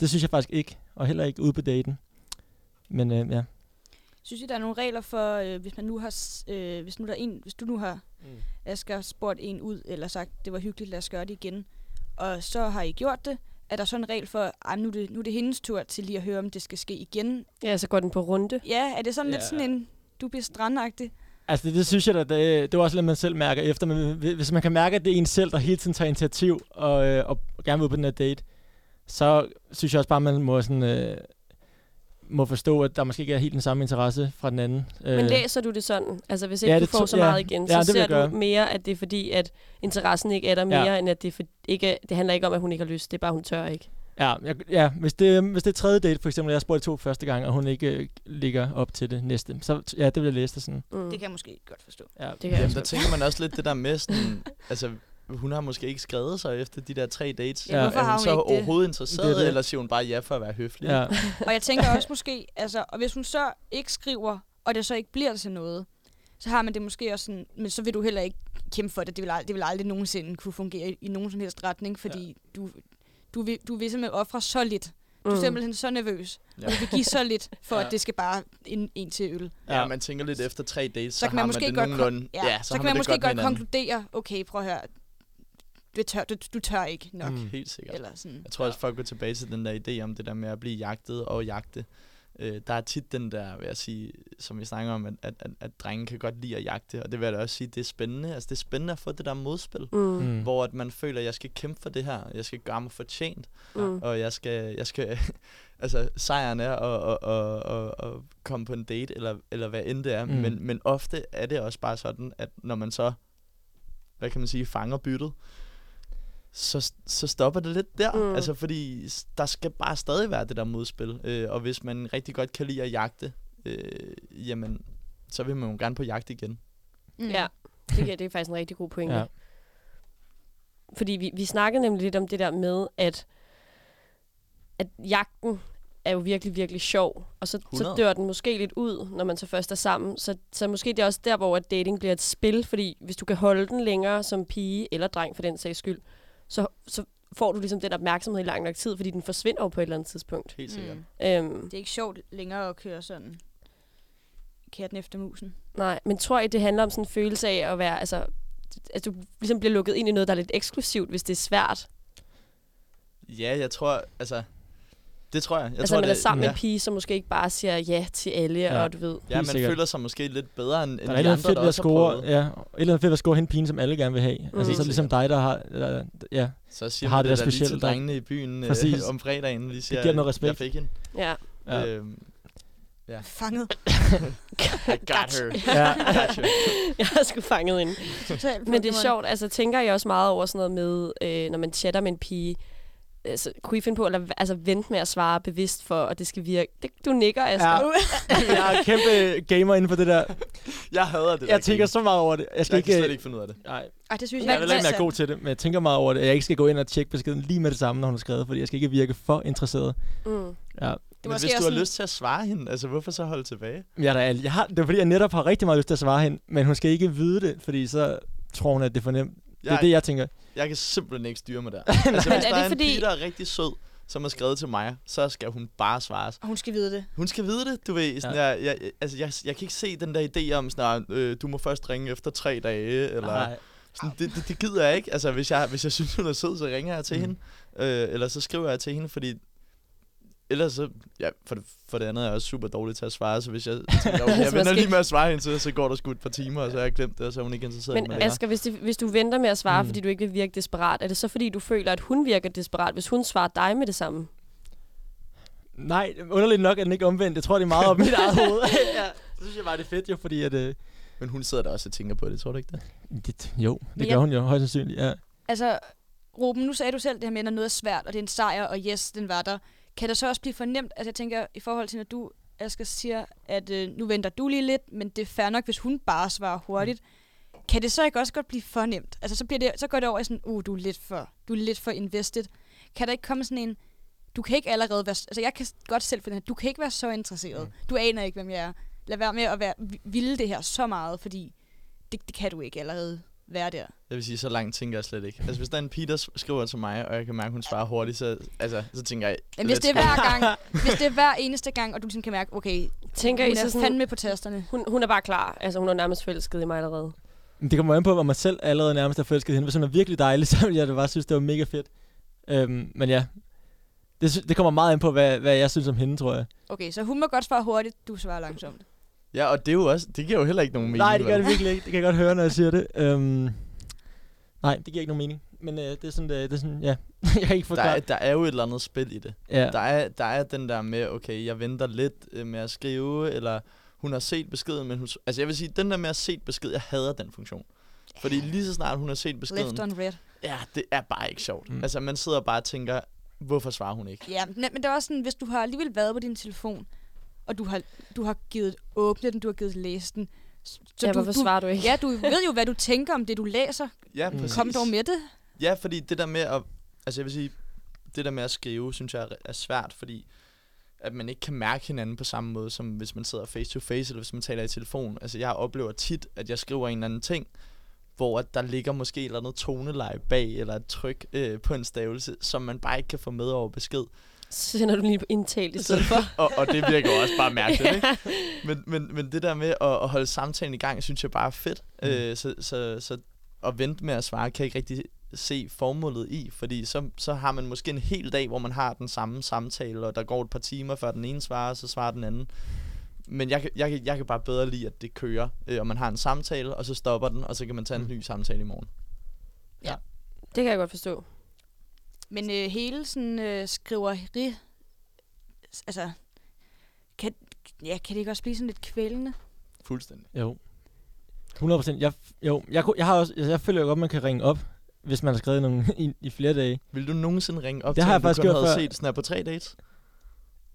[SPEAKER 6] det synes jeg faktisk ikke, og heller ikke ude på daten. Men øh, ja.
[SPEAKER 5] Synes I, der er nogle regler for, øh, hvis man nu har, s- øh, hvis nu der er en, hvis du nu har
[SPEAKER 6] Mm.
[SPEAKER 5] mm. Asger spurgt en ud, eller sagt, det var hyggeligt, lad os gøre det igen, og så har I gjort det, er der så en regel for, at nu, er det, nu er det hendes tur til lige at høre, om det skal ske igen?
[SPEAKER 4] Ja, så går den på runde.
[SPEAKER 5] Ja, er det sådan lidt
[SPEAKER 6] Ja.
[SPEAKER 5] sådan en, du bliver strandagtig?
[SPEAKER 6] Altså det, det synes jeg da, det, det er også lidt, man selv mærker efter. Men hvi- hvis man kan mærke, at det er en selv, der hele tiden tager initiativ og, øh, og gerne vil ud på den her date, så synes jeg også bare, at man må, sådan, øh, må forstå, at der måske ikke er helt den samme interesse fra den anden. Øh,
[SPEAKER 4] Men læser du det sådan? Altså hvis
[SPEAKER 6] ja,
[SPEAKER 4] ikke ja, du
[SPEAKER 6] det
[SPEAKER 4] får
[SPEAKER 6] tror-
[SPEAKER 4] så
[SPEAKER 6] ja.
[SPEAKER 4] meget igen,
[SPEAKER 6] Ja,
[SPEAKER 4] så
[SPEAKER 6] det vil
[SPEAKER 4] ser
[SPEAKER 6] jeg gøre.
[SPEAKER 4] du mere, at det er fordi, at interessen ikke er der mere, end at det, er for, ikke, er- det handler ikke om, at hun ikke har lyst. Det er bare, hun tør ikke.
[SPEAKER 6] Ja, jeg, ja hvis, det, hvis det er tredje date, for eksempel, og jeg spurgte to første gang, og hun ikke øh, ligger op til det næste, så ja, det vil jeg læse det sådan.
[SPEAKER 4] Mm.
[SPEAKER 5] Det kan jeg måske godt forstå.
[SPEAKER 6] Ja.
[SPEAKER 4] Det kan jeg
[SPEAKER 7] Jamen,
[SPEAKER 4] også
[SPEAKER 7] der
[SPEAKER 4] godt.
[SPEAKER 7] tænker man også lidt det der med sådan, altså, hun har måske ikke skrevet sig efter de der tre dates.
[SPEAKER 5] Ja, hvorfor
[SPEAKER 7] er
[SPEAKER 5] har
[SPEAKER 7] hun
[SPEAKER 5] hun
[SPEAKER 7] så
[SPEAKER 5] ikke det?
[SPEAKER 7] overhovedet
[SPEAKER 6] Det
[SPEAKER 7] interesseret,
[SPEAKER 6] er det.
[SPEAKER 7] eller siger hun bare ja for at være høflig?
[SPEAKER 6] Ja.
[SPEAKER 5] Og jeg tænker også måske, altså, og hvis hun så ikke skriver, og det så ikke bliver til noget, så har man det måske også sådan, men så vil du heller ikke kæmpe for det. Det vil, ald- det vil aldrig nogensinde kunne fungere i, i nogen som helst retning, fordi ja. du, du, vil, du vil simpelthen ofre så lidt. Du
[SPEAKER 4] Mm.
[SPEAKER 5] er simpelthen så nervøs,
[SPEAKER 7] Ja.
[SPEAKER 5] ja. og du vil give så lidt, for
[SPEAKER 6] Ja.
[SPEAKER 5] ja. at det skal bare en, en til øl.
[SPEAKER 7] Ja, man tænker lidt efter tre dates, så,
[SPEAKER 5] så kan man
[SPEAKER 7] har
[SPEAKER 5] måske
[SPEAKER 7] det
[SPEAKER 5] godt kon-
[SPEAKER 7] nogenlunde.
[SPEAKER 5] Ja, ja så, så
[SPEAKER 7] har
[SPEAKER 5] kan man
[SPEAKER 7] det
[SPEAKER 5] måske godt
[SPEAKER 7] med hinanden.
[SPEAKER 5] konkludere, okay, prøv at høre, du tør, du, du tør ikke nok. Mm.
[SPEAKER 1] Mm.
[SPEAKER 7] Helt sikkert.
[SPEAKER 5] Eller sådan.
[SPEAKER 7] Jeg tror også, folk går tilbage til den der idé om det der med at blive jagtet og jagte. Øh, der er tit den der, vil jeg sige, som vi snakker om, at, at, at, at drenge kan godt lide at jagte, og det vil jeg da også sige, det er spændende. Altså, det er spændende at få det der modspil,
[SPEAKER 4] Mm.
[SPEAKER 6] Mm.
[SPEAKER 7] hvor at man føler, at jeg skal kæmpe for det her, jeg skal gøre mig fortjent,
[SPEAKER 4] Mm.
[SPEAKER 7] og jeg skal, jeg skal altså sejren er at, at, at, at, at komme på en date, eller, eller hvad end det er,
[SPEAKER 6] Mm.
[SPEAKER 7] mm. men, men ofte er det også bare sådan, at når man så, hvad kan man sige, fanger byttet, så, så stopper det lidt der,
[SPEAKER 4] Mm.
[SPEAKER 7] mm. altså fordi s- der skal bare stadig være det der modspil, øh, og hvis man rigtig godt kan lide at jagte, øh, jamen, så vil man jo gerne på jagt igen.
[SPEAKER 5] Mm.
[SPEAKER 4] Ja, det, kan- det er faktisk en rigtig god pointe.
[SPEAKER 6] Ja.
[SPEAKER 4] Ja. Fordi vi, vi snakkede nemlig lidt om det der med, at, at jagten er jo virkelig, virkelig sjov. Og så, så
[SPEAKER 7] 100.
[SPEAKER 4] dør den måske lidt ud, når man så først er sammen. Så, så måske det er også der, hvor at dating bliver et spil. Fordi hvis du kan holde den længere som pige eller dreng for den sags skyld, så, så får du ligesom den opmærksomhed i lang nok tid, fordi den forsvinder jo på et eller andet tidspunkt.
[SPEAKER 7] Helt sikkert.
[SPEAKER 5] Mm.
[SPEAKER 4] Øhm,
[SPEAKER 5] Det er ikke sjovt længere at køre sådan katten efter musen.
[SPEAKER 4] nej, men tror I, det handler om sådan en følelse af at være... Altså, at du ligesom bliver lukket ind i noget, der er lidt eksklusivt, hvis det er svært.
[SPEAKER 7] Ja, jeg tror, altså, det tror jeg. jeg
[SPEAKER 4] Jeg altså,
[SPEAKER 7] tror,
[SPEAKER 4] tror, man er
[SPEAKER 7] det,
[SPEAKER 4] sammen med
[SPEAKER 7] ja.
[SPEAKER 4] en pige, som måske ikke bare siger ja til alle,
[SPEAKER 6] Ja.
[SPEAKER 4] ja. og du ved.
[SPEAKER 7] Ja,
[SPEAKER 6] Helt
[SPEAKER 7] man
[SPEAKER 6] sikkert.
[SPEAKER 7] sikkert. føler sig måske lidt bedre end, end
[SPEAKER 6] Der
[SPEAKER 7] de
[SPEAKER 6] er et eller andet
[SPEAKER 7] andre,
[SPEAKER 6] fedt
[SPEAKER 7] der
[SPEAKER 6] ved at
[SPEAKER 7] også har
[SPEAKER 6] score,
[SPEAKER 7] prøvet.
[SPEAKER 6] ja, og et eller andet fedt ved at score hende pigen, som alle gerne vil have. Mm. Altså,
[SPEAKER 4] Helt
[SPEAKER 6] så er det ligesom dig, der har... Eller, ja,
[SPEAKER 7] Så siger
[SPEAKER 6] Har
[SPEAKER 7] har
[SPEAKER 6] det
[SPEAKER 7] det
[SPEAKER 6] der
[SPEAKER 7] der, der lige
[SPEAKER 6] specielle,
[SPEAKER 7] til
[SPEAKER 6] der-
[SPEAKER 7] drengene i byen
[SPEAKER 6] Præcis.
[SPEAKER 7] øh, om fredagen, lige siger,
[SPEAKER 6] giver noget respekt.
[SPEAKER 7] jeg fik hende.
[SPEAKER 4] Ja.
[SPEAKER 6] ja.
[SPEAKER 7] Ja. Øhm,
[SPEAKER 5] Fanget.
[SPEAKER 7] I got her.
[SPEAKER 6] ja.
[SPEAKER 7] Gotcha.
[SPEAKER 4] jeg er sgu fanget ind.
[SPEAKER 5] Totalt
[SPEAKER 4] Men det er
[SPEAKER 5] Pokémon.
[SPEAKER 4] sjovt, altså tænker jeg også meget over sådan noget med, øh, når man chatter med en pige, altså, kunne I finde på at lade, altså, vente med at svare bevidst for, at det skal virke? Det, du nikker, Asger.
[SPEAKER 6] Ja. jeg er kæmpe gamer inden for det der.
[SPEAKER 7] Jeg hader det. der
[SPEAKER 6] Jeg tænker
[SPEAKER 7] game.
[SPEAKER 6] så meget over det. Jeg skal
[SPEAKER 7] jeg kan
[SPEAKER 6] ikke...
[SPEAKER 7] slet ikke finde ud af det.
[SPEAKER 6] Nej,
[SPEAKER 5] Ej, det synes
[SPEAKER 6] jeg
[SPEAKER 5] jeg,
[SPEAKER 6] er heller ikke mere god til det, men jeg tænker meget over det. Jeg ikke skal gå ind og tjekke beskeden lige med det samme, når hun har skrevet, fordi jeg skal ikke virke for interesseret.
[SPEAKER 4] Mm.
[SPEAKER 6] Ja.
[SPEAKER 5] Det
[SPEAKER 7] Men
[SPEAKER 5] måske
[SPEAKER 7] hvis du
[SPEAKER 5] også
[SPEAKER 7] har
[SPEAKER 5] sådan-
[SPEAKER 7] lyst til at svare hende, altså hvorfor så holde tilbage?
[SPEAKER 6] Men Jeg er da, ærlig. jeg har, det er fordi, jeg netop har rigtig meget lyst til at svare hende, men hun skal ikke vide det, fordi så tror hun, at det er for nemt. Det er
[SPEAKER 7] Jeg,
[SPEAKER 6] det, jeg tænker.
[SPEAKER 7] jeg kan simpelthen ikke styre mig der. altså,
[SPEAKER 4] Men
[SPEAKER 7] hvis
[SPEAKER 4] er
[SPEAKER 7] der
[SPEAKER 4] det
[SPEAKER 7] er en
[SPEAKER 4] fordi-
[SPEAKER 7] pige, der er rigtig sød, som har skrevet til mig, så skal hun bare svare.
[SPEAKER 5] Og hun skal vide det.
[SPEAKER 7] Hun skal vide det, du ved. Sådan,
[SPEAKER 6] Ja.
[SPEAKER 7] ja. jeg, jeg, altså, jeg, jeg kan ikke se den der idé om, sådan, "Nå, øh, du må først ringe efter tre dage, eller...
[SPEAKER 6] Nej.
[SPEAKER 7] Sådan, det, det, det gider jeg ikke. Altså, hvis jeg, hvis jeg synes, hun er sød, så ringer jeg til
[SPEAKER 6] Mm.
[SPEAKER 7] mm. hende. Øh, eller så skriver jeg til hende, fordi... Ellers så... Ja, for det, for det andet er jeg også super dårlig til at svare, så hvis jeg tænker, okay,
[SPEAKER 4] Så man
[SPEAKER 7] jeg vender
[SPEAKER 4] skal
[SPEAKER 7] lige
[SPEAKER 4] ikke-
[SPEAKER 7] med at svare hende, så, så går der sgu et par timer, og så har jeg glemt det, og så er hun ikke interesseret i
[SPEAKER 4] Men
[SPEAKER 7] mig længere.
[SPEAKER 4] Asger, hvis, det, hvis du venter med at svare,
[SPEAKER 6] Mm.
[SPEAKER 4] mm. fordi du ikke vil virke desperat, er det så fordi, du føler, at hun virker desperat, hvis hun svarer dig med det samme?
[SPEAKER 6] Nej, underligt nok er den ikke omvendt. Jeg tror, det er meget op i mit eget hoved. ja. Så synes jeg bare, det er fedt jo, fordi at... Øh,
[SPEAKER 7] Men hun sidder der også og tænker på det, tror du ikke det?
[SPEAKER 6] det, jo, det
[SPEAKER 4] Ja.
[SPEAKER 6] gør hun jo højst sandsynligt. Ja.
[SPEAKER 5] Altså, Ruben, nu sagde du selv det her med, når noget er svært, og det er en sejr, og yes, den var der. Kan det så også blive fornemt, at jeg tænker i forhold til, når du, Asger, siger, at øh, nu venter du lige lidt, men det er fair nok, hvis hun bare svarer hurtigt. Kan det så ikke også godt blive fornemt? Altså, så, bliver det, så går det over i sådan, uh, du er lidt for, du er lidt for invested. Kan der ikke komme sådan en, du kan ikke allerede være, altså jeg kan s- godt selv finde, du kan ikke være så interesseret. Du aner ikke, hvem jeg er. Lad være med at være, vi- ville det her så meget, fordi det, det kan du ikke allerede være der.
[SPEAKER 7] Jeg vil sige, så langt tænker jeg slet ikke. Altså, hvis der er en pige, der s- skriver til mig, og jeg kan mærke, hun svarer hurtigt, så, altså, så tænker jeg...
[SPEAKER 5] Men hvis
[SPEAKER 7] let's
[SPEAKER 5] det er
[SPEAKER 7] go.
[SPEAKER 5] hver gang, hvis det er hver eneste gang, og du ligesom kan mærke, okay,
[SPEAKER 4] Tænker I
[SPEAKER 5] hun
[SPEAKER 4] så
[SPEAKER 5] er
[SPEAKER 4] sådan,
[SPEAKER 5] fandme på tasterne.
[SPEAKER 4] hun, hun er bare klar. Altså, hun er nærmest forelsket i mig allerede.
[SPEAKER 6] Men det kommer an på, hvor man selv allerede nærmest er forelsket i hende. Hvis hun er virkelig dejlig, så ville jeg da bare synes, det var mega fedt. Øhm, men ja, det, sy- det kommer meget an på, hvad, hvad jeg synes om hende, tror jeg.
[SPEAKER 5] Okay, så hun må godt svare hurtigt, du svarer langsomt.
[SPEAKER 7] Ja, og det er jo også... Det giver jo heller ikke nogen mening.
[SPEAKER 6] nej, det gør
[SPEAKER 7] vel?
[SPEAKER 6] det virkelig ikke. Det kan jeg godt høre, når jeg siger det. Øhm, nej, det giver ikke nogen mening. Men øh, det er sådan, det, det er sådan, ja. jeg kan ikke
[SPEAKER 7] Der
[SPEAKER 6] forklare.
[SPEAKER 7] er, der er jo et eller andet spil i det.
[SPEAKER 6] ja.
[SPEAKER 7] Der er, der er den der med, okay, jeg venter lidt øh, med at skrive, eller hun har set beskeden, men hun... s- Altså jeg vil sige, den der med at set besked, jeg hader den funktion. Fordi lige så snart hun har set
[SPEAKER 5] Left
[SPEAKER 7] beskeden,
[SPEAKER 5] on red.
[SPEAKER 7] ja, det er bare ikke sjovt.
[SPEAKER 6] Mm.
[SPEAKER 7] Mm. Altså man sidder bare og tænker, hvorfor svarer hun ikke?
[SPEAKER 5] Ja, men men det er også sådan, hvis du har alligevel været på din telefon, og du har, du har givet åbne den, du har givet læse den. Så
[SPEAKER 4] Så ja,
[SPEAKER 5] du,
[SPEAKER 4] hvorfor
[SPEAKER 5] du,
[SPEAKER 4] svarer du ikke?
[SPEAKER 5] Ja, du ved jo, hvad du tænker om det, du læser.
[SPEAKER 7] Ja,
[SPEAKER 6] Mm.
[SPEAKER 7] præcis.
[SPEAKER 5] Kom dog med det.
[SPEAKER 7] Ja, fordi det der med at... Altså jeg vil sige, det der med at skrive, synes jeg er- er svært, fordi at man ikke kan mærke hinanden på samme måde, som hvis man sidder face to face, eller hvis man taler i telefon. Altså, jeg oplever tit, at jeg skriver en eller anden ting, hvor at der ligger måske et eller andet toneleje bag, eller et tryk øh, på en stavelse, som man bare ikke kan få med over besked.
[SPEAKER 4] Så sender du lige på indtalt i stedet for.
[SPEAKER 7] og, og det virker jo også bare mærkeligt, ikke?
[SPEAKER 4] Ja.
[SPEAKER 7] men, men, men det der med at, at holde samtalen i gang, synes jeg bare er fedt. Mm. Øh, så, så, så at vente med at svare, kan jeg ikke rigtig se formålet i, fordi så, så har man måske en hel dag, hvor man har den samme samtale, og der går et par timer, før den ene svarer, og så svarer den anden. Men jeg, kan- jeg, kan- jeg kan bare bedre lide, at det kører, øh, og man har en samtale, og så stopper den, og så kan man
[SPEAKER 6] Mm.
[SPEAKER 7] tage en ny samtale i morgen.
[SPEAKER 4] Det kan jeg godt forstå.
[SPEAKER 5] Men øh, hele sådan øh, skriveri, altså, kan, ja, kan det ikke også blive sådan lidt kvælende?
[SPEAKER 7] Fuldstændig.
[SPEAKER 6] Jo. 100 procent. Jeg, jo, jeg, kunne- jeg, har også, jeg føler jo godt, man kan ringe op, hvis man har skrevet nogle i, i flere dage.
[SPEAKER 7] Vil du nogensinde ringe op
[SPEAKER 6] Det
[SPEAKER 7] til,
[SPEAKER 6] har
[SPEAKER 7] en,
[SPEAKER 6] jeg faktisk
[SPEAKER 7] du kun
[SPEAKER 6] gjort
[SPEAKER 7] havde
[SPEAKER 6] før.
[SPEAKER 7] set sådan her på tre dates?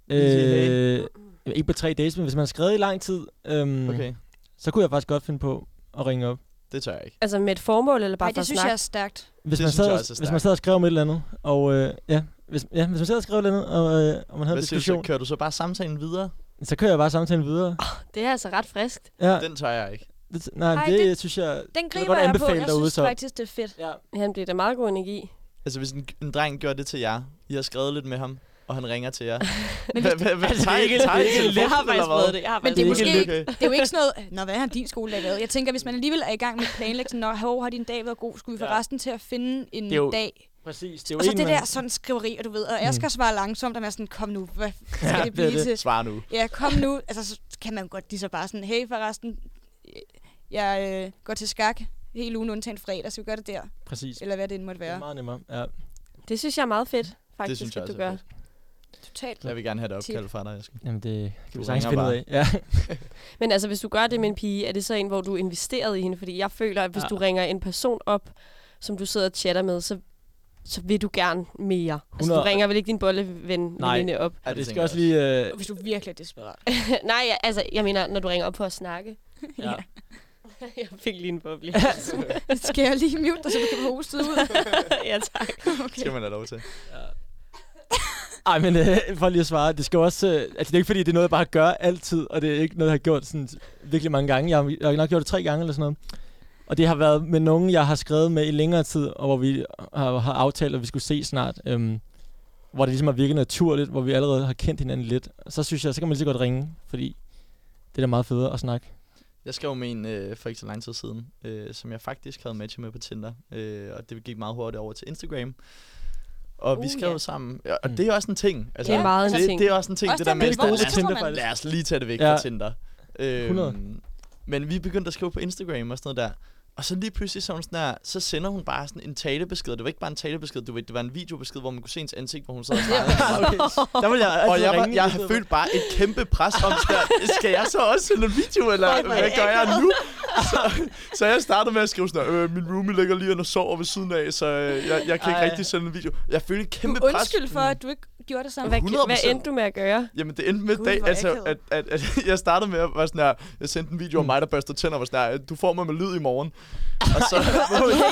[SPEAKER 7] sige, hey.
[SPEAKER 6] Øh, ikke på tre days, men hvis man har skrevet i lang tid, øhm, okay.
[SPEAKER 7] Mm-hmm. Okay,
[SPEAKER 6] så kunne jeg faktisk godt finde på at ringe op.
[SPEAKER 7] det tør jeg ikke.
[SPEAKER 4] Altså med et formål, eller bare
[SPEAKER 5] Nej,
[SPEAKER 4] for
[SPEAKER 5] det
[SPEAKER 4] at
[SPEAKER 5] synes
[SPEAKER 4] snakke?
[SPEAKER 5] jeg er stærkt.
[SPEAKER 6] Hvis
[SPEAKER 7] Det
[SPEAKER 6] man,
[SPEAKER 7] synes jeg
[SPEAKER 6] sad,
[SPEAKER 7] også er
[SPEAKER 6] hvis man
[SPEAKER 7] stærkt.
[SPEAKER 6] sad og skrev om et eller andet, og øh, ja, hvis, ja, hvis man sad og skrev et eller andet, og, øh, og man havde en
[SPEAKER 7] Hvad siger du så?
[SPEAKER 6] diskussion, så,
[SPEAKER 7] Kører du så bare samtalen videre?
[SPEAKER 6] så kører jeg bare samtalen videre.
[SPEAKER 4] Det er altså ret friskt.
[SPEAKER 6] Ja,
[SPEAKER 7] Den tør jeg ikke.
[SPEAKER 6] det, nej,
[SPEAKER 5] Ej,
[SPEAKER 6] Ej, det,
[SPEAKER 5] det-
[SPEAKER 6] det, synes jeg...
[SPEAKER 5] Den
[SPEAKER 6] vil
[SPEAKER 5] griber
[SPEAKER 6] godt
[SPEAKER 5] jeg, på.
[SPEAKER 6] anbefale
[SPEAKER 5] Jeg
[SPEAKER 6] derude,
[SPEAKER 5] synes
[SPEAKER 6] så-
[SPEAKER 5] faktisk, det er fedt.
[SPEAKER 6] Ja.
[SPEAKER 4] Han bliver da meget god energi.
[SPEAKER 7] Altså, hvis en, en dreng gør det til jer, I har skrevet lidt med ham, og han ringer til jer.
[SPEAKER 5] Men Altså,
[SPEAKER 7] Hva- hva- hva- tager I- tager I telefonen,
[SPEAKER 4] Jeg har
[SPEAKER 7] eller
[SPEAKER 4] faktisk
[SPEAKER 7] hvad?
[SPEAKER 4] prøvet det. Jeg har
[SPEAKER 5] Men
[SPEAKER 4] faktisk
[SPEAKER 5] det er,
[SPEAKER 6] er
[SPEAKER 5] måske,
[SPEAKER 6] ikke
[SPEAKER 5] ikke, det er jo ikke sådan noget, Nå, hvad har din skoledag været? Jeg tænker, hvis man alligevel er i gang med at planlægge, sådan, Nå, hvor har din dag været god? Skulle vi
[SPEAKER 6] Ja.
[SPEAKER 5] forresten til at finde en
[SPEAKER 6] Det er jo-
[SPEAKER 5] dag?
[SPEAKER 6] Præcis, det er jo
[SPEAKER 5] Og så
[SPEAKER 6] en,
[SPEAKER 5] det
[SPEAKER 6] man-
[SPEAKER 5] der sådan skriveri, og du ved, og jeg
[SPEAKER 6] Mm.
[SPEAKER 5] skal svare langsomt, og man er sådan, kom nu, hvad skal
[SPEAKER 6] Ja,
[SPEAKER 5] det
[SPEAKER 6] det er
[SPEAKER 5] blive
[SPEAKER 6] det.
[SPEAKER 5] til?
[SPEAKER 7] Svar nu.
[SPEAKER 5] Ja, kom nu. Altså, så kan man godt lige så bare sådan, hey forresten, øh, jeg øh, går til skak hele ugen undtagen fredag, så vi gør det der.
[SPEAKER 6] Præcis,
[SPEAKER 5] Eller hvad det end måtte
[SPEAKER 6] det er
[SPEAKER 5] være.
[SPEAKER 6] meget nemmere. Ja.
[SPEAKER 4] Det synes jeg er meget fedt, faktisk,
[SPEAKER 7] synes jeg
[SPEAKER 4] at du
[SPEAKER 7] også er
[SPEAKER 4] gør.
[SPEAKER 7] fedt.
[SPEAKER 5] Totalt.
[SPEAKER 7] Jeg vil gerne have det
[SPEAKER 5] Tip.
[SPEAKER 7] opkald fra dig, Aske.
[SPEAKER 6] Jamen, det
[SPEAKER 7] Du
[SPEAKER 6] kan vi sagtens
[SPEAKER 7] ringer
[SPEAKER 6] finde ud
[SPEAKER 7] bare.
[SPEAKER 6] af. Ja.
[SPEAKER 4] Men altså, hvis du gør det med en pige, er det så en, hvor du er investeret i hende? Fordi jeg føler, at hvis
[SPEAKER 6] Ja.
[SPEAKER 4] ja. du ringer en person op, som du sidder og chatter med, så, så vil du gerne mere. Altså, du
[SPEAKER 6] 100.
[SPEAKER 4] ringer vel ikke din bolleven
[SPEAKER 6] Nej.
[SPEAKER 4] veninde op?
[SPEAKER 7] Ja,
[SPEAKER 6] det
[SPEAKER 7] tænker
[SPEAKER 6] skal
[SPEAKER 7] jeg
[SPEAKER 6] også lige... Øh,
[SPEAKER 5] Hvis du virkelig er desperat.
[SPEAKER 4] Nej, jeg, altså, jeg mener, når du ringer op på at snakke.
[SPEAKER 6] øh, ja.
[SPEAKER 4] jeg fik lige en boble.
[SPEAKER 5] skal jeg lige mute dig, så du kan få hostet ud?
[SPEAKER 4] ja, tak.
[SPEAKER 7] Det skal man have lov til.
[SPEAKER 6] Ej, men øh, for lige at svare, det skal jo også... Øh, altså, det er ikke fordi, det er noget, jeg bare gør altid, og det er ikke noget, jeg har gjort sådan virkelig mange gange. Jeg har, jeg har nok gjort det tre gange eller sådan noget. Og det har været med nogen, jeg har skrevet med i længere tid, og hvor vi har, har aftalt, at vi skulle se snart. Øhm, hvor det ligesom har virket naturligt, hvor vi allerede har kendt hinanden lidt. Så synes jeg, så kan man lige så godt ringe, fordi det er da meget federe at snakke.
[SPEAKER 7] Jeg skrev med en øh, for ikke så lang tid siden, øh, som jeg faktisk havde matchet med på Tinder, øh, og det gik meget hurtigt over til Instagram. Og uh, vi
[SPEAKER 4] Uh,
[SPEAKER 7] skrev
[SPEAKER 4] ja.
[SPEAKER 7] sammen, ja, og
[SPEAKER 6] Mm.
[SPEAKER 7] det er også en ting. Altså,
[SPEAKER 4] Det er meget en
[SPEAKER 7] det,
[SPEAKER 4] ting.
[SPEAKER 7] Det er også en ting,
[SPEAKER 5] Også
[SPEAKER 7] det der
[SPEAKER 5] den
[SPEAKER 7] med,
[SPEAKER 5] med,
[SPEAKER 6] Det er gode
[SPEAKER 5] hvor
[SPEAKER 7] lad
[SPEAKER 6] til
[SPEAKER 7] os-
[SPEAKER 5] skriver
[SPEAKER 6] Tinder,
[SPEAKER 5] man?
[SPEAKER 6] faktisk.
[SPEAKER 7] lad os lige tage det væk
[SPEAKER 6] Ja.
[SPEAKER 7] ja. fra Tinder.
[SPEAKER 6] 100.
[SPEAKER 7] Øhm, men vi begyndte at skrive på Instagram og sådan noget der. Og så lige pludselig så, er hun sådan der, så sender hun bare sådan en talebesked. Det var ikke bare en talebesked, du ved, det var en videobesked, hvor man kunne se hendes ansigt, hvor hun sad og snakkede.
[SPEAKER 6] okay. Der vil jeg
[SPEAKER 5] Altså,
[SPEAKER 6] altid
[SPEAKER 7] Og jeg, var,
[SPEAKER 6] ringe.
[SPEAKER 7] jeg følte bare et kæmpe pres om, skal, skal jeg så også sende en video, eller hvad gør jeg nu? Så, så jeg startede med at skrive sådan, her, øh, min roomie ligger lige og sover ved siden af, så øh, jeg, jeg kan ikke
[SPEAKER 6] Ej.
[SPEAKER 7] rigtig sende en video. Jeg følte et kæmpe
[SPEAKER 5] Du
[SPEAKER 7] pres.
[SPEAKER 5] undskyld for, at du ikke gjorde det samme.
[SPEAKER 4] Hvad, hvad
[SPEAKER 7] 100%.
[SPEAKER 4] endte du med at gøre?
[SPEAKER 7] Jamen, det endte med
[SPEAKER 5] Gud,
[SPEAKER 7] dag,
[SPEAKER 5] hvor
[SPEAKER 7] altså,
[SPEAKER 5] akavet.
[SPEAKER 7] at, at, at, jeg startede med at være sådan her, jeg sendte en video om mig, der børster tænder, og var sådan her, du får mig med lyd i morgen. Og så,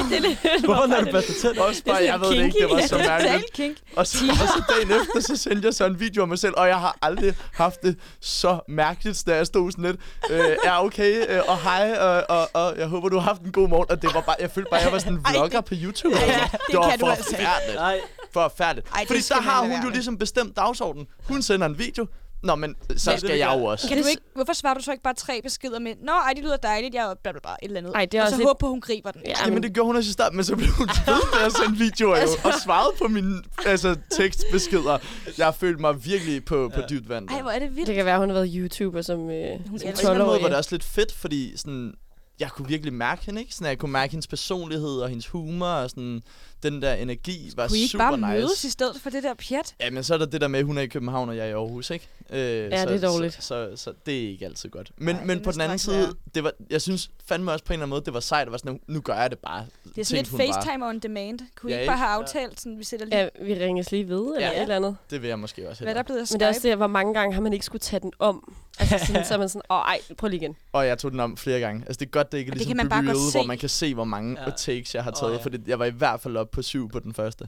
[SPEAKER 6] Hvorfor når du børste tænder?
[SPEAKER 7] også bare, jeg ved det ikke, det var så mærkeligt.
[SPEAKER 5] Totalt kink.
[SPEAKER 7] Og så, og så dagen efter, så sendte jeg så en video af mig selv, og jeg har aldrig haft det så mærkeligt, da jeg stod sådan lidt, øh, er okay, øh, og hej, og, og, og jeg håber, du har haft en god morgen. Og det var bare, jeg følte bare, jeg var sådan en
[SPEAKER 5] Ej,
[SPEAKER 7] vlogger på YouTube.
[SPEAKER 5] Ej,
[SPEAKER 7] altså.
[SPEAKER 5] det
[SPEAKER 7] det var
[SPEAKER 5] kan du altså ikke.
[SPEAKER 7] forfærdeligt.
[SPEAKER 6] Nej.
[SPEAKER 7] Forfærdeligt.
[SPEAKER 5] Ej, det
[SPEAKER 7] Fordi så
[SPEAKER 5] skal man
[SPEAKER 7] har
[SPEAKER 5] lade
[SPEAKER 7] hun
[SPEAKER 5] være
[SPEAKER 7] jo
[SPEAKER 5] med.
[SPEAKER 7] ligesom bestemt dagsordenen. Hun sender en video. Nå, men så
[SPEAKER 6] Men-
[SPEAKER 7] skal jeg jo også.
[SPEAKER 5] Kan du ikke, hvorfor svarer du så ikke bare tre beskeder med, Nå, ej, det lyder dejligt, jeg er bla bla bla, et eller andet.
[SPEAKER 4] Ej, det er
[SPEAKER 5] og
[SPEAKER 4] også
[SPEAKER 5] så
[SPEAKER 4] lidt-
[SPEAKER 5] håber på, hun griber den.
[SPEAKER 4] Ja,
[SPEAKER 7] Jamen, det gjorde hun også i starten, men så blev hun ved med at sende videoer
[SPEAKER 5] Altså.
[SPEAKER 7] jo, og svarede på mine altså, tekstbeskeder. Jeg følte mig virkelig på, på dybt vand.
[SPEAKER 5] Ej, hvor er det vildt.
[SPEAKER 4] det kan være, at hun har været YouTuber som, øh,
[SPEAKER 5] Hun
[SPEAKER 4] som
[SPEAKER 5] er-
[SPEAKER 7] på en eller anden måde
[SPEAKER 4] 12-årig.
[SPEAKER 7] var det også lidt fedt, fordi sådan, jeg kunne virkelig mærke hende, ikke? Sådan, jeg kunne mærke hendes personlighed og hendes humor og sådan, den der energi var
[SPEAKER 5] Kunne I ikke
[SPEAKER 7] super
[SPEAKER 5] bare
[SPEAKER 7] nice.
[SPEAKER 5] mødes i stedet for det der pjat?
[SPEAKER 7] Ja, men så er der det der med, at hun er i København, og jeg er i Aarhus, ikke? Øh, ja,
[SPEAKER 4] det er dårligt.
[SPEAKER 7] Så, så, så, det er ikke altid godt. Men,
[SPEAKER 5] Nej,
[SPEAKER 7] men
[SPEAKER 5] det
[SPEAKER 7] på den anden
[SPEAKER 5] vidste jeg
[SPEAKER 7] side,
[SPEAKER 5] ikke,
[SPEAKER 7] det var, jeg synes fandme også på en eller anden måde, det var sejt at være sådan, nu gør jeg det bare.
[SPEAKER 5] Det er sådan lidt
[SPEAKER 7] tænkte hun bare.
[SPEAKER 5] FaceTime on demand. Kunne I
[SPEAKER 7] Ja,
[SPEAKER 5] ikke bare
[SPEAKER 7] ikke?
[SPEAKER 5] have aftalt, sådan, vi sætter lige,
[SPEAKER 4] Ja, vi ringes lige ved, eller
[SPEAKER 7] Ja.
[SPEAKER 4] et eller andet.
[SPEAKER 7] Det vil jeg måske også
[SPEAKER 5] hvad der
[SPEAKER 7] hellere.
[SPEAKER 5] er blevet af
[SPEAKER 4] Men det er også
[SPEAKER 5] Skype?
[SPEAKER 4] det, hvor mange gange har man ikke skulle tage den om. Altså sådan, så er man sådan, åh ej, prøv lige igen.
[SPEAKER 7] Og jeg tog den om flere gange. Altså, det er godt, det ikke er
[SPEAKER 5] Og det kan
[SPEAKER 7] ligesom
[SPEAKER 5] man bare
[SPEAKER 7] Baby
[SPEAKER 5] godt
[SPEAKER 7] Jøde,
[SPEAKER 5] se.
[SPEAKER 7] hvor man kan se, hvor mange
[SPEAKER 6] Ja.
[SPEAKER 7] ja. takes jeg har taget.
[SPEAKER 6] Åh,
[SPEAKER 7] Oh,
[SPEAKER 6] ja.
[SPEAKER 7] ja. Fordi jeg var i hvert fald oppe på syv på den første.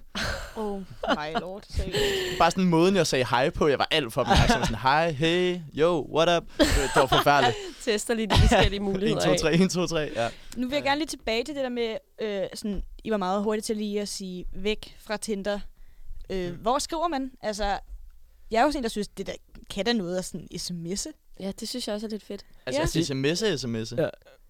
[SPEAKER 5] Oh my lord.
[SPEAKER 7] Bare sådan måden, jeg sagde hej på, jeg var alt for opmærksom. Sådan, hej, hey, yo, what up? Det, det var forfærdeligt.
[SPEAKER 4] Tester lige de forskellige
[SPEAKER 7] 1,
[SPEAKER 4] muligheder
[SPEAKER 7] 2,
[SPEAKER 4] af.
[SPEAKER 7] 3, 1, 2, 3. Ja.
[SPEAKER 5] nu vil jeg gerne lige tilbage til det der med, øh, sådan, I var meget hurtige til lige at sige væk fra Tinder. Øh, Hvor skriver man? Altså, jeg er jo sådan en, der synes, det der kan da noget at sådan sms'e.
[SPEAKER 4] Ja, det synes jeg også er lidt fedt.
[SPEAKER 7] Altså,
[SPEAKER 6] Ja.
[SPEAKER 7] ja. sms er sms.
[SPEAKER 6] Ja,
[SPEAKER 7] Ja,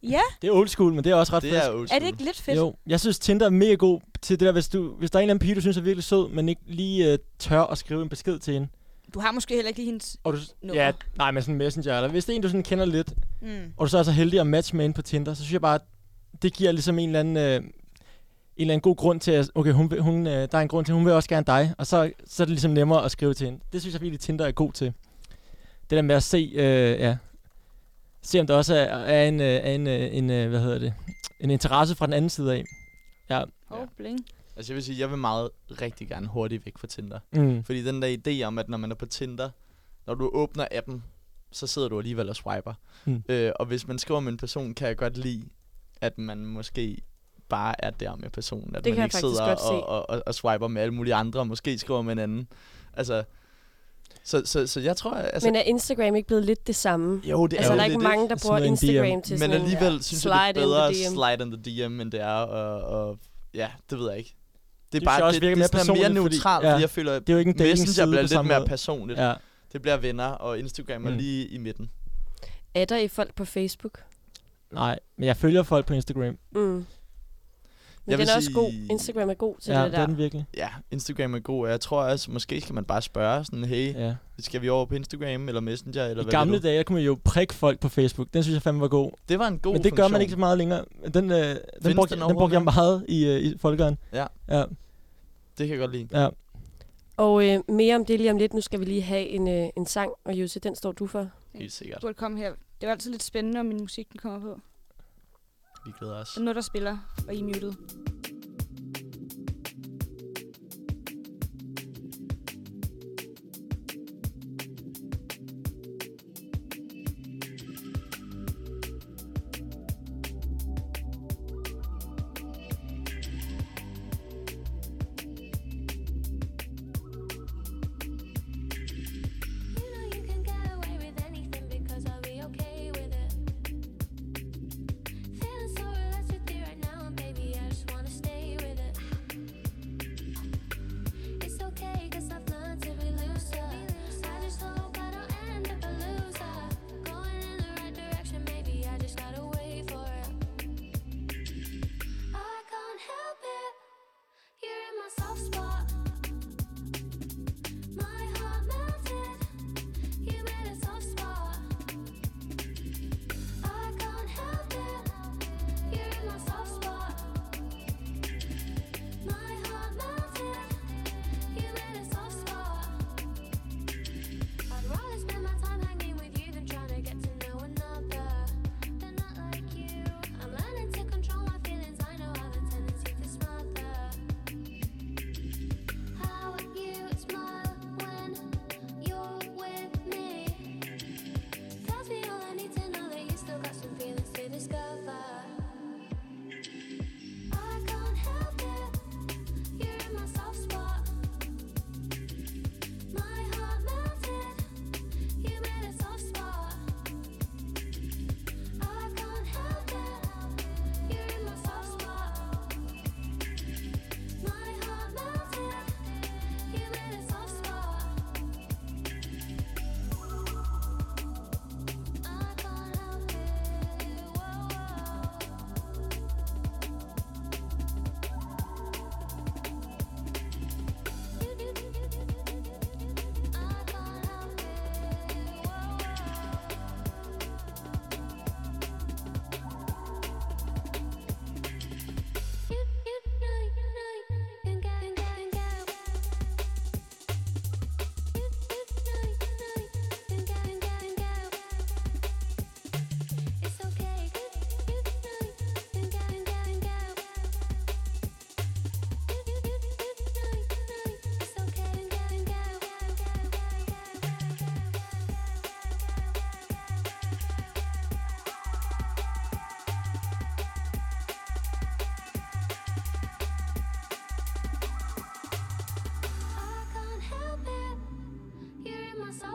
[SPEAKER 5] Ja,
[SPEAKER 6] Det er old school, men det er også ret
[SPEAKER 7] det
[SPEAKER 6] frisk.
[SPEAKER 7] er old
[SPEAKER 5] er det
[SPEAKER 7] school.
[SPEAKER 5] ikke lidt fedt?
[SPEAKER 6] Jo, jeg synes Tinder er mega god til det der, hvis, du, hvis der er en eller anden pige, du synes er virkelig sød, men ikke lige øh, tør at skrive en besked til hende.
[SPEAKER 5] Du har måske heller ikke lige hendes...
[SPEAKER 6] Og du,
[SPEAKER 5] Nummer.
[SPEAKER 6] ja, nej, men sådan en messenger, eller hvis det er en, du sådan kender lidt,
[SPEAKER 5] Mm.
[SPEAKER 6] og du så er så heldig at matche med en på Tinder, så synes jeg bare, at det giver ligesom en eller anden, øh, en eller anden god grund til, at okay, hun, vil- hun, øh, der er en grund til, at hun vil også gerne dig, og så, så er det ligesom nemmere at skrive til hende. Det synes jeg virkelig, Tinder er god til. Det der med at se, øh, ja, se om der også er, er en, øh, er en, øh, en øh, hvad hedder det, en interesse fra den anden side af.
[SPEAKER 5] Hov,
[SPEAKER 7] Ja.
[SPEAKER 5] bling.
[SPEAKER 7] Altså, jeg vil sige, jeg vil meget rigtig gerne hurtigt væk fra Tinder.
[SPEAKER 6] Mm.
[SPEAKER 7] Fordi den der idé om, at når man er på Tinder, når du åbner appen, så sidder du alligevel og swiper.
[SPEAKER 6] Mm.
[SPEAKER 4] Hmm.
[SPEAKER 7] Mm. Øh, og hvis man skriver med en person, kan jeg godt lide, at man måske bare er der med personen.
[SPEAKER 4] Det
[SPEAKER 7] At
[SPEAKER 4] kan
[SPEAKER 7] man
[SPEAKER 4] jeg
[SPEAKER 7] ikke
[SPEAKER 4] faktisk
[SPEAKER 7] sidder
[SPEAKER 4] godt se.
[SPEAKER 7] og, og, og, og swiper med alle mulige andre, og måske skriver med en anden. Altså, så, så, så jeg tror... Altså,
[SPEAKER 4] Men er Instagram ikke blevet lidt det samme?
[SPEAKER 7] jo, det
[SPEAKER 4] altså,
[SPEAKER 7] jo
[SPEAKER 4] der er
[SPEAKER 7] lidt
[SPEAKER 4] ikke
[SPEAKER 7] det.
[SPEAKER 4] mange, der
[SPEAKER 6] Smider
[SPEAKER 4] bruger
[SPEAKER 6] en DM.
[SPEAKER 4] Instagram til sådan
[SPEAKER 7] Men
[SPEAKER 4] nogle-
[SPEAKER 7] alligevel
[SPEAKER 4] ja,
[SPEAKER 7] synes jeg,
[SPEAKER 4] slide
[SPEAKER 7] det er
[SPEAKER 4] in the
[SPEAKER 7] bedre at
[SPEAKER 4] DM.
[SPEAKER 7] slide in the DM, end det er at... at- Ja, det ved jeg ikke. Det
[SPEAKER 6] synes
[SPEAKER 7] er bare
[SPEAKER 6] jeg også
[SPEAKER 7] det,
[SPEAKER 6] virker
[SPEAKER 7] det,
[SPEAKER 6] mere
[SPEAKER 7] er sådan mere
[SPEAKER 6] personligt, fordi-
[SPEAKER 7] neutralt,
[SPEAKER 6] ja.
[SPEAKER 7] fordi jeg føler, at
[SPEAKER 6] Det er jo ikke en dating
[SPEAKER 7] Messenger
[SPEAKER 6] side
[SPEAKER 7] bliver
[SPEAKER 6] på
[SPEAKER 7] lidt
[SPEAKER 6] samme
[SPEAKER 7] mere
[SPEAKER 6] måde.
[SPEAKER 7] personligt.
[SPEAKER 6] Ja.
[SPEAKER 7] Det bliver venner, og Instagram er
[SPEAKER 6] Mm.
[SPEAKER 7] lige i midten.
[SPEAKER 4] Er der i folk på Facebook?
[SPEAKER 6] Nej, men jeg følger folk på Instagram.
[SPEAKER 4] Mm. Men
[SPEAKER 7] Jeg
[SPEAKER 4] den
[SPEAKER 7] vil
[SPEAKER 4] er også god.
[SPEAKER 7] sige-
[SPEAKER 4] Instagram er god til
[SPEAKER 6] Ja,
[SPEAKER 4] det
[SPEAKER 6] det
[SPEAKER 4] der.
[SPEAKER 6] er den virkelig.
[SPEAKER 7] Ja, Instagram er god, og jeg tror også, måske skal man bare spørge sådan, hey,
[SPEAKER 6] Ja.
[SPEAKER 7] skal vi over på Instagram eller Messenger? Eller
[SPEAKER 6] I
[SPEAKER 7] hvad
[SPEAKER 6] gamle
[SPEAKER 7] vil du?
[SPEAKER 6] dage, der kunne man jo prikke folk på Facebook. Den synes jeg fandme var god.
[SPEAKER 7] Det var en god
[SPEAKER 6] men det gør
[SPEAKER 7] funktion.
[SPEAKER 6] man ikke så meget længere. Den, øh, den,
[SPEAKER 7] den
[SPEAKER 6] brugte, den, den brugte jeg
[SPEAKER 7] overhovedet?
[SPEAKER 6] meget i, øh, i folkeren.
[SPEAKER 7] Ja.
[SPEAKER 6] ja.
[SPEAKER 7] Det kan jeg godt lide.
[SPEAKER 6] Ja.
[SPEAKER 4] Og øh, mere om det lige om lidt. Nu skal vi lige have en, øh, en sang, og Jose, den står du for.
[SPEAKER 7] Helt sikkert.
[SPEAKER 5] Du burde komme her. Det er jo altid lidt spændende, når min musik den kommer på.
[SPEAKER 7] Vi glæder os.
[SPEAKER 5] Der er noget, der spiller, og I er muted.
[SPEAKER 8] You know you can get away with anything because I'll be okay with it. Feeling so relaxed with you right now, baby. I just wanna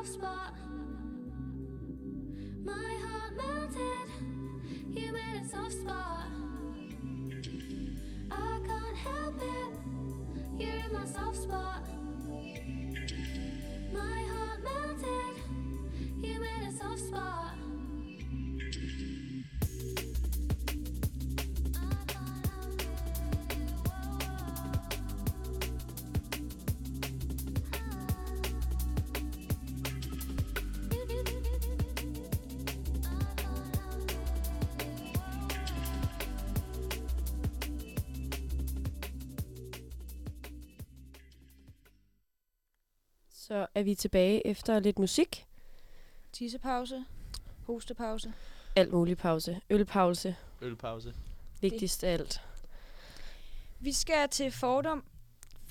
[SPEAKER 8] spot. My heart melted, you made a soft spot. I can't help it, you're in my soft spot. My heart melted, you made a soft spot. I can't help it, whoa, whoa.
[SPEAKER 4] Så er vi tilbage efter lidt musik.
[SPEAKER 5] Tissepause. Hostepause.
[SPEAKER 4] Alt mulig pause. Ølpause.
[SPEAKER 7] Ølpause.
[SPEAKER 4] Vigtigst af alt.
[SPEAKER 5] Vi skal til fordom.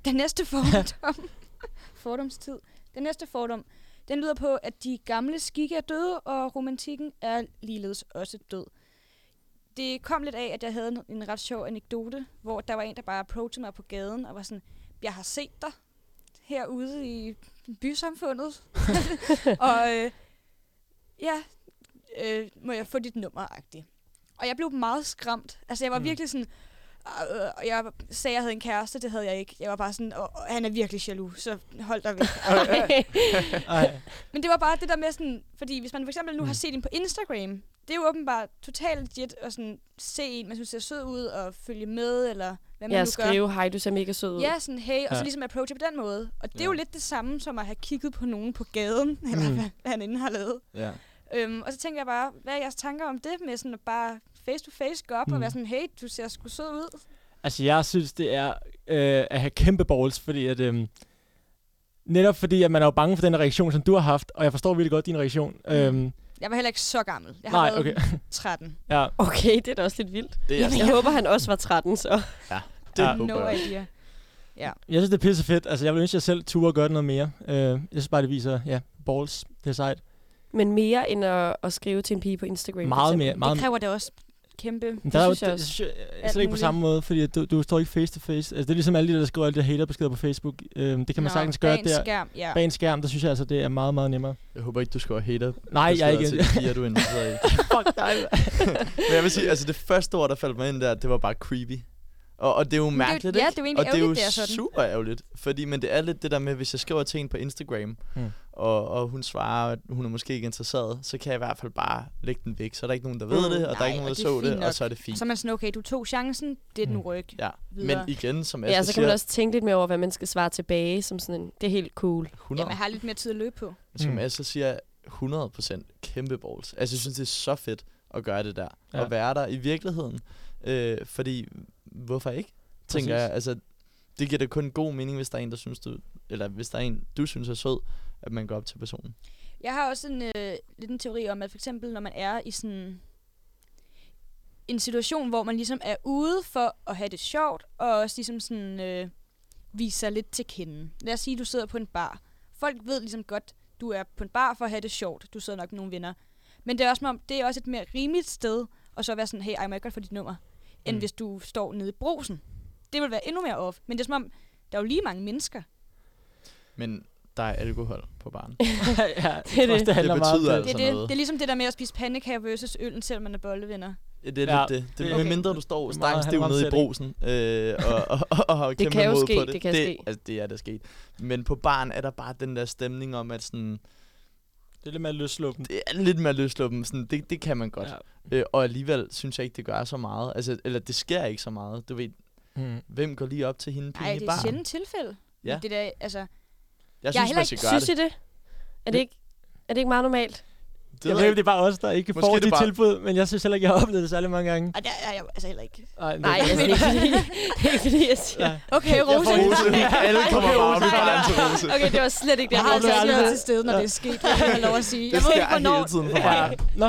[SPEAKER 5] Den næste fordom. Fordomstid. Den næste fordom. Den lyder på, at de gamle skikke er døde, og romantikken er ligeledes også død. Det kom lidt af, at jeg havde en- en ret sjov anekdote, hvor der var en, der bare approachede mig på gaden og var sådan, jeg har set dig herude i bysamfundet. og øh, ja, øh, må jeg få dit nummer -agtigt. Og jeg blev meget skræmt. Altså, jeg var
[SPEAKER 6] Mm.
[SPEAKER 5] mm. virkelig sådan, øh, og jeg sagde, at jeg havde en kæreste, det havde jeg ikke. Jeg var bare sådan, og, og han er virkelig jaloux, så hold dig væk.
[SPEAKER 6] Ej.
[SPEAKER 5] Men det var bare det der med sådan, fordi hvis man for eksempel nu
[SPEAKER 6] Mm.
[SPEAKER 5] har set en på Instagram, det er jo åbenbart totalt legit at sådan se en, man synes ser sød ud, og følge med, eller hvad man
[SPEAKER 4] Jeg
[SPEAKER 5] nu gør.
[SPEAKER 4] skrive, hej, du ser mega sød ud.
[SPEAKER 5] Ja, sådan hey, og
[SPEAKER 6] Ja.
[SPEAKER 5] så ligesom approache på den måde. Og det er jo
[SPEAKER 7] Ja.
[SPEAKER 5] lidt det samme som at have kigget på nogen på gaden, eller
[SPEAKER 6] Mm.
[SPEAKER 5] hvad, hvad han inden har lavet.
[SPEAKER 7] Ja.
[SPEAKER 5] Øhm, og så tænker jeg bare, hvad er jeres tanker om det med sådan at bare face to face gå op
[SPEAKER 6] Mm.
[SPEAKER 5] og være sådan, hey, du ser sgu sød ud.
[SPEAKER 6] Altså, jeg synes, det er øh, at have kæmpe balls, fordi at... Øh, netop fordi, at man er jo bange for den reaktion, som du har haft, og jeg forstår virkelig godt din reaktion. Mm. Øhm,
[SPEAKER 5] Jeg var heller ikke så gammel. Jeg har
[SPEAKER 6] nej,
[SPEAKER 5] været
[SPEAKER 6] okay.
[SPEAKER 5] 13.
[SPEAKER 6] ja.
[SPEAKER 4] Okay, det er da også lidt vildt.
[SPEAKER 7] Det er
[SPEAKER 4] Jeg håber, han også var 13, så.
[SPEAKER 7] det
[SPEAKER 6] Ja.
[SPEAKER 7] håber
[SPEAKER 5] No
[SPEAKER 7] jeg.
[SPEAKER 5] idea.
[SPEAKER 6] Jeg synes, det er pisse fedt. Altså, jeg vil ønske, at jeg selv turde gøre det noget mere. Øh, jeg synes bare, det viser, ja, balls. Det er sejt.
[SPEAKER 4] Men mere end at, at skrive til en pige på Instagram. for
[SPEAKER 6] Meget
[SPEAKER 4] eksempel.
[SPEAKER 6] mere. Meget
[SPEAKER 5] Det kræver da også kæmpe
[SPEAKER 6] Men der er jo,
[SPEAKER 4] synes jeg også.
[SPEAKER 6] det, synes jeg, øh,
[SPEAKER 5] Alt
[SPEAKER 6] slet ikke på
[SPEAKER 5] muligt.
[SPEAKER 6] samme måde, fordi at du, du står ikke face to face. Altså, det er ligesom alle de, der skriver alle de haterbeskeder på Facebook. Øhm, det kan man
[SPEAKER 5] Nå,
[SPEAKER 6] sagtens gøre
[SPEAKER 5] bag en
[SPEAKER 6] der.
[SPEAKER 5] skærm, ja.
[SPEAKER 6] Bag en skærm, der synes jeg altså, det er meget, meget nemmere.
[SPEAKER 7] Jeg håber ikke, du skal hater.
[SPEAKER 6] Nej, jeg er ikke.
[SPEAKER 7] Til de piger, du er interesseret i.
[SPEAKER 6] Fuck dig.
[SPEAKER 7] Men jeg vil sige, altså det første ord, der faldt mig ind der, det var bare creepy. Og, og det er jo
[SPEAKER 5] Men det er jo-
[SPEAKER 7] mærkeligt,
[SPEAKER 5] ja,
[SPEAKER 7] ikke?
[SPEAKER 5] det er jo egentlig
[SPEAKER 7] og det er jo
[SPEAKER 5] ærgerligt, det er sådan.
[SPEAKER 7] super ærgerligt. Fordi, men det er lidt det der med, hvis jeg skriver til en på Instagram,
[SPEAKER 6] Mm.
[SPEAKER 7] og, og hun svarer, at hun er måske ikke interesseret, så kan jeg i hvert fald bare lægge den væk. Så er der ikke nogen, der ved
[SPEAKER 4] Mm,
[SPEAKER 7] det, og der
[SPEAKER 5] nej,
[SPEAKER 7] er ikke nogen,
[SPEAKER 5] og det er
[SPEAKER 7] der så det,
[SPEAKER 5] fint
[SPEAKER 7] og
[SPEAKER 5] nok.
[SPEAKER 7] så er det
[SPEAKER 5] Og
[SPEAKER 7] fint.
[SPEAKER 5] så er man sådan, okay, du tog chancen, det er den
[SPEAKER 6] Mm.
[SPEAKER 5] ryg.
[SPEAKER 7] Ja, Men
[SPEAKER 5] videre.
[SPEAKER 7] igen, som Asger
[SPEAKER 4] Ja, så kan man
[SPEAKER 7] Altså, siger,
[SPEAKER 4] også tænke lidt mere over, hvad man skal svare tilbage, som sådan en, det er helt cool.
[SPEAKER 7] 100,
[SPEAKER 5] Jamen, jeg har lidt mere tid at løbe på.
[SPEAKER 7] som
[SPEAKER 6] Mm.
[SPEAKER 7] Asger siger, 100% kæmpe balls. Altså, jeg synes, det er så fedt at gøre det der.
[SPEAKER 6] Ja.
[SPEAKER 7] Ja. At være der i virkeligheden. Øh, fordi, hvorfor ikke? Tænker
[SPEAKER 6] Præcis.
[SPEAKER 7] jeg, altså, det giver da kun god mening, hvis der er en, der synes, du, eller hvis der er en, du synes er sød, at man går op til personen.
[SPEAKER 5] Jeg har også en øh, lidt en teori om, at for eksempel, når man er i sådan en situation, hvor man ligesom er ude for at have det sjovt, og også ligesom sådan øh, vise sig lidt til kende. Lad os sige, du sidder på en bar. Folk ved ligesom godt, du er på en bar for at have det sjovt. Du sidder nok med nogle venner. Men det er også, som om, det er også et mere rimeligt sted, og så være sådan, hey, ej, må jeg godt få dit nummer, end
[SPEAKER 6] Mm.
[SPEAKER 5] mm. hvis du står nede i brosen. Det vil være endnu mere off. Men det er som om, der er jo lige mange mennesker.
[SPEAKER 7] Men der er alkohol på baren.
[SPEAKER 6] ja,
[SPEAKER 4] Det er
[SPEAKER 6] det, det,
[SPEAKER 4] det.
[SPEAKER 6] det handler meget om
[SPEAKER 7] betyder
[SPEAKER 6] det.
[SPEAKER 7] altså-
[SPEAKER 5] Det er, det,
[SPEAKER 7] noget.
[SPEAKER 5] det er ligesom det der med at spise pandekager versus øllen, selvom man er bollevenner.
[SPEAKER 7] Det er
[SPEAKER 6] Ja,
[SPEAKER 7] ja, lidt det. det
[SPEAKER 6] det-
[SPEAKER 7] okay.
[SPEAKER 5] okay.
[SPEAKER 7] Med mindre du står
[SPEAKER 6] Det er meget-
[SPEAKER 7] stangstiv
[SPEAKER 6] han er
[SPEAKER 7] nede i
[SPEAKER 6] meget
[SPEAKER 7] brosen øh, og, og, og, og, har
[SPEAKER 4] Det
[SPEAKER 7] kæmpe
[SPEAKER 4] kan jo
[SPEAKER 7] mod
[SPEAKER 4] ske,
[SPEAKER 7] på det.
[SPEAKER 4] det kan
[SPEAKER 7] det,
[SPEAKER 4] ske.
[SPEAKER 7] Altså, det er da sket. Men på baren er der bare den der stemning om, at sådan,
[SPEAKER 6] Det er lidt mere løsluppen.
[SPEAKER 7] det er lidt mere løsluppen. Sådan, det, det kan man godt.
[SPEAKER 6] Ja. Mm.
[SPEAKER 7] Øh, og alligevel synes jeg ikke, det gør så meget. Altså, eller det sker ikke så meget. Du ved,
[SPEAKER 6] Mm.
[SPEAKER 7] hvem går lige op til hende
[SPEAKER 5] Nej,
[SPEAKER 7] pigen i
[SPEAKER 5] det er et
[SPEAKER 7] baren?
[SPEAKER 5] sjældent tilfælde.
[SPEAKER 7] Ja.
[SPEAKER 5] Det der, altså,
[SPEAKER 7] Jeg
[SPEAKER 5] Jeg er
[SPEAKER 7] synes,
[SPEAKER 5] heller
[SPEAKER 7] man
[SPEAKER 5] ikke-
[SPEAKER 7] skal gøre
[SPEAKER 4] Synes
[SPEAKER 7] det.
[SPEAKER 4] I det? Er det ikke, er det ikke meget normalt?
[SPEAKER 7] det
[SPEAKER 6] Jeg
[SPEAKER 7] ved
[SPEAKER 6] ved,
[SPEAKER 7] jeg
[SPEAKER 6] ikke, det er bare os, der ikke
[SPEAKER 7] Måske
[SPEAKER 6] får
[SPEAKER 7] er det
[SPEAKER 6] de
[SPEAKER 7] bare-
[SPEAKER 6] tilbud, men jeg synes heller ikke, jeg har oplevet det særlig mange gange.
[SPEAKER 5] ej, der er jeg altså heller ikke.
[SPEAKER 6] Ej, men-
[SPEAKER 4] Nej, altså, det er ikke fordi, det er ikke fordi jeg siger.
[SPEAKER 6] Ja.
[SPEAKER 5] Okay,
[SPEAKER 6] Jeg får
[SPEAKER 5] Rose.
[SPEAKER 6] Rose.
[SPEAKER 7] Alle kommer
[SPEAKER 6] Okay,
[SPEAKER 7] bare op i
[SPEAKER 6] Rose.
[SPEAKER 7] baren til Rose.
[SPEAKER 4] Okay, det var slet ikke det,
[SPEAKER 5] Jeg
[SPEAKER 4] jeg
[SPEAKER 5] har altså
[SPEAKER 4] havde
[SPEAKER 5] ikke været
[SPEAKER 4] sagt.
[SPEAKER 5] til stede, når det er sket, det har jeg lov at sige.
[SPEAKER 7] Det
[SPEAKER 5] Jeg ved
[SPEAKER 7] sker
[SPEAKER 5] ikke, hvornår.
[SPEAKER 7] hele tiden for mig.
[SPEAKER 6] Ja. Nå,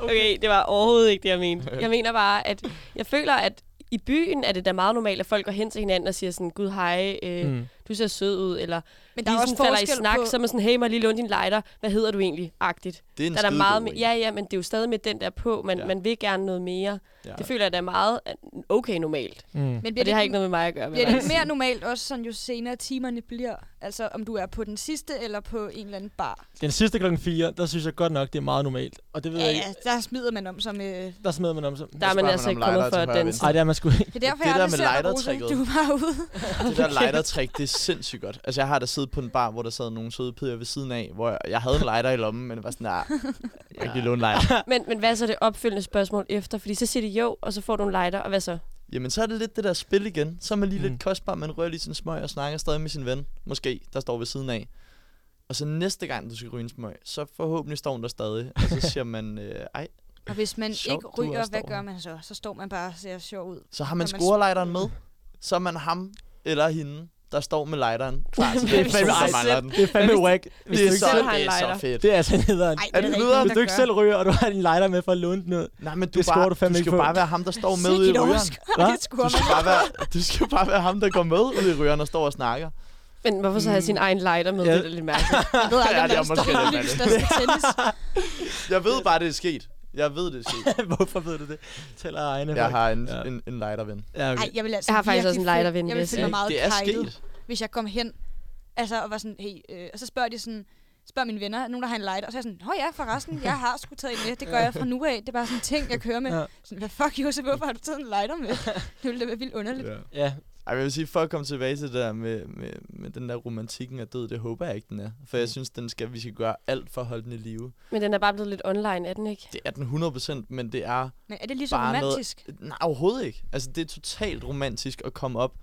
[SPEAKER 4] Okay, det var overhovedet ikke det, jeg mente. Jeg mener bare, at jeg føler, at i byen er det da meget normalt, at folk går hen til hinanden og siger sådan, gud hej, øh,
[SPEAKER 6] Mm.
[SPEAKER 4] du ser sød ud, eller
[SPEAKER 5] Men
[SPEAKER 4] der
[SPEAKER 5] der er
[SPEAKER 4] lige
[SPEAKER 5] også
[SPEAKER 4] sådan falder i
[SPEAKER 5] forskel
[SPEAKER 4] snak,
[SPEAKER 5] på...
[SPEAKER 4] på... så er man sådan, hey, mig lige låne din lighter, hvad hedder du egentlig, agtigt.
[SPEAKER 7] Det er en
[SPEAKER 4] Der er der
[SPEAKER 7] skide
[SPEAKER 4] meget
[SPEAKER 7] god
[SPEAKER 4] med,
[SPEAKER 7] en.
[SPEAKER 4] ja, ja, men det er jo stadig med den der på, man,
[SPEAKER 7] Ja.
[SPEAKER 4] ja. man vil gerne noget mere.
[SPEAKER 7] ja.
[SPEAKER 4] Det føler jeg, der er meget øh, okay normalt.
[SPEAKER 6] Mm.
[SPEAKER 5] Men
[SPEAKER 4] Og det har ikke
[SPEAKER 5] noget,
[SPEAKER 4] noget med mig at gøre. Altså, vil
[SPEAKER 5] bliver
[SPEAKER 4] jeg
[SPEAKER 5] det
[SPEAKER 4] nok
[SPEAKER 5] ikke
[SPEAKER 4] sige.
[SPEAKER 5] mere normalt, også sådan jo senere timerne bliver? Altså om du er på den sidste eller på en eller anden bar?
[SPEAKER 6] Den sidste klokken 4, der synes jeg godt nok, det er meget normalt. Og det ved
[SPEAKER 5] Ja,
[SPEAKER 6] jeg ikke,
[SPEAKER 5] ja, der smider man om som... Øh...
[SPEAKER 6] der smider man om sig.
[SPEAKER 4] Der er
[SPEAKER 7] Så
[SPEAKER 4] man
[SPEAKER 7] spørger
[SPEAKER 4] altså
[SPEAKER 7] man om
[SPEAKER 4] ikke kommet for
[SPEAKER 7] lighter til
[SPEAKER 4] at
[SPEAKER 7] højre og
[SPEAKER 4] danse.
[SPEAKER 6] Ej, det er man sgu ikke.
[SPEAKER 5] Det er derfor,
[SPEAKER 7] Det
[SPEAKER 5] jeg
[SPEAKER 7] der
[SPEAKER 5] aldrig
[SPEAKER 7] med
[SPEAKER 5] ser dig,
[SPEAKER 7] lightertricket.
[SPEAKER 5] Rose. Du var ude.
[SPEAKER 7] Det der lighter-trick, det er sindssygt godt. Altså, jeg har da siddet på en bar, hvor der sad nogle søde piger ved siden af, hvor jeg, jeg havde en lighter i lommen, men det var sådan, nej, jeg kan ikke lige låne en lighter.
[SPEAKER 4] Men, men hvad er så det opfølgende spørgsmål efter? Fordi så siger de jo, og så får du en lighter, og hvad så?
[SPEAKER 7] Jamen, så er det lidt det der spil igen. Så er man lige
[SPEAKER 6] Mm.
[SPEAKER 7] lidt kostbar, man rører lige sin smøg og snakker stadig med sin ven, måske, der står ved siden af. Og så næste gang, du skal ryge en smøg, så forhåbentlig står hun der stadig. Og så siger man, øh, ej,
[SPEAKER 5] Og hvis man
[SPEAKER 7] Sjovt,
[SPEAKER 5] ikke
[SPEAKER 7] du
[SPEAKER 5] ryger,
[SPEAKER 7] også
[SPEAKER 5] hvad
[SPEAKER 7] står
[SPEAKER 5] gør
[SPEAKER 7] her.
[SPEAKER 5] man så? Så står man bare og ser sjov ud.
[SPEAKER 7] så har man
[SPEAKER 5] Så man-
[SPEAKER 7] scorelighteren med. Så er man ham eller hende, der står med lighteren. Klar til
[SPEAKER 4] Det er
[SPEAKER 7] den person,
[SPEAKER 6] fandme
[SPEAKER 7] der
[SPEAKER 6] ej,
[SPEAKER 7] mangler den.
[SPEAKER 6] Det er fandme whack. Hvis du
[SPEAKER 7] Det er
[SPEAKER 6] ikke
[SPEAKER 7] så,
[SPEAKER 6] selv,
[SPEAKER 4] har en
[SPEAKER 7] det er så
[SPEAKER 4] lighter.
[SPEAKER 7] fedt.
[SPEAKER 6] det er altså nederen.
[SPEAKER 5] Ej,
[SPEAKER 7] Er
[SPEAKER 5] det
[SPEAKER 7] det
[SPEAKER 5] er der
[SPEAKER 7] videre?
[SPEAKER 5] ikke
[SPEAKER 6] Hvis du ikke selv ryger, og du har din lighter med for at låne den ned.
[SPEAKER 7] Nej, men du,
[SPEAKER 6] Det scorer
[SPEAKER 7] bare,
[SPEAKER 6] du fandme
[SPEAKER 7] skal
[SPEAKER 6] ikke på.
[SPEAKER 7] bare være ham, der står med
[SPEAKER 5] Sikke
[SPEAKER 7] ude i
[SPEAKER 5] et
[SPEAKER 7] rygeren.
[SPEAKER 5] overskud.
[SPEAKER 6] Hva?
[SPEAKER 5] Det
[SPEAKER 7] Du
[SPEAKER 5] skulle
[SPEAKER 7] skal, bare være, du skal bare være ham, der går med ud i rygeren og står og snakker.
[SPEAKER 4] Men hvorfor så have
[SPEAKER 7] Mm.
[SPEAKER 4] sin egen lighter med?
[SPEAKER 6] Ja.
[SPEAKER 4] Ja. Det er da lidt mærkeligt.
[SPEAKER 5] Jeg ved aldrig,
[SPEAKER 7] Ja,
[SPEAKER 5] om
[SPEAKER 7] det
[SPEAKER 5] der
[SPEAKER 7] er
[SPEAKER 5] står
[SPEAKER 7] måske lidt
[SPEAKER 5] lys,
[SPEAKER 7] mærkeligt.
[SPEAKER 5] der skal tændes.
[SPEAKER 7] Jeg ved bare, det er sket. Jeg ved, det er sket.
[SPEAKER 6] Hvorfor ved du det? Tæller egne.
[SPEAKER 7] Jeg har en,
[SPEAKER 6] Ja.
[SPEAKER 7] en, en lighterven.
[SPEAKER 6] Ja,
[SPEAKER 5] Ej,
[SPEAKER 6] okay.
[SPEAKER 5] jeg vil altså
[SPEAKER 4] Jeg har faktisk
[SPEAKER 5] virkelig
[SPEAKER 4] også en lighter
[SPEAKER 5] føle-
[SPEAKER 4] ved en
[SPEAKER 5] Jeg vil
[SPEAKER 4] næse.
[SPEAKER 5] føle mig meget
[SPEAKER 7] Det er
[SPEAKER 5] kejlet,
[SPEAKER 7] sket.
[SPEAKER 5] hvis jeg kom hen. Altså, og var sådan, hey, øh, og så spørger de sådan, spørger mine venner, nogen der har en lighter, og så er jeg sådan, hå ja, forresten, jeg har sgu taget en med, det gør jeg fra nu af, det er bare sådan en ting, jeg kører med.
[SPEAKER 6] Ja.
[SPEAKER 5] Ja. Sådan, hvad fuck, Josef, hvorfor har du taget en lighter med? Det ville da være vildt underligt.
[SPEAKER 7] Ja.
[SPEAKER 6] Ja,
[SPEAKER 7] Ej, men jeg vil sige, for at komme tilbage til det der med, med, med den der romantikken af død, det håber jeg ikke, den er. For
[SPEAKER 6] Mm.
[SPEAKER 7] jeg synes, den skal, vi skal gøre alt for at holde den i live.
[SPEAKER 4] Men den er bare blevet lidt online, er den ikke?
[SPEAKER 7] Det er den 100%, men det er
[SPEAKER 5] Men er det lige så
[SPEAKER 7] Bare noget-
[SPEAKER 5] romantisk?
[SPEAKER 7] Nej, overhovedet ikke. Altså, det er totalt romantisk at komme op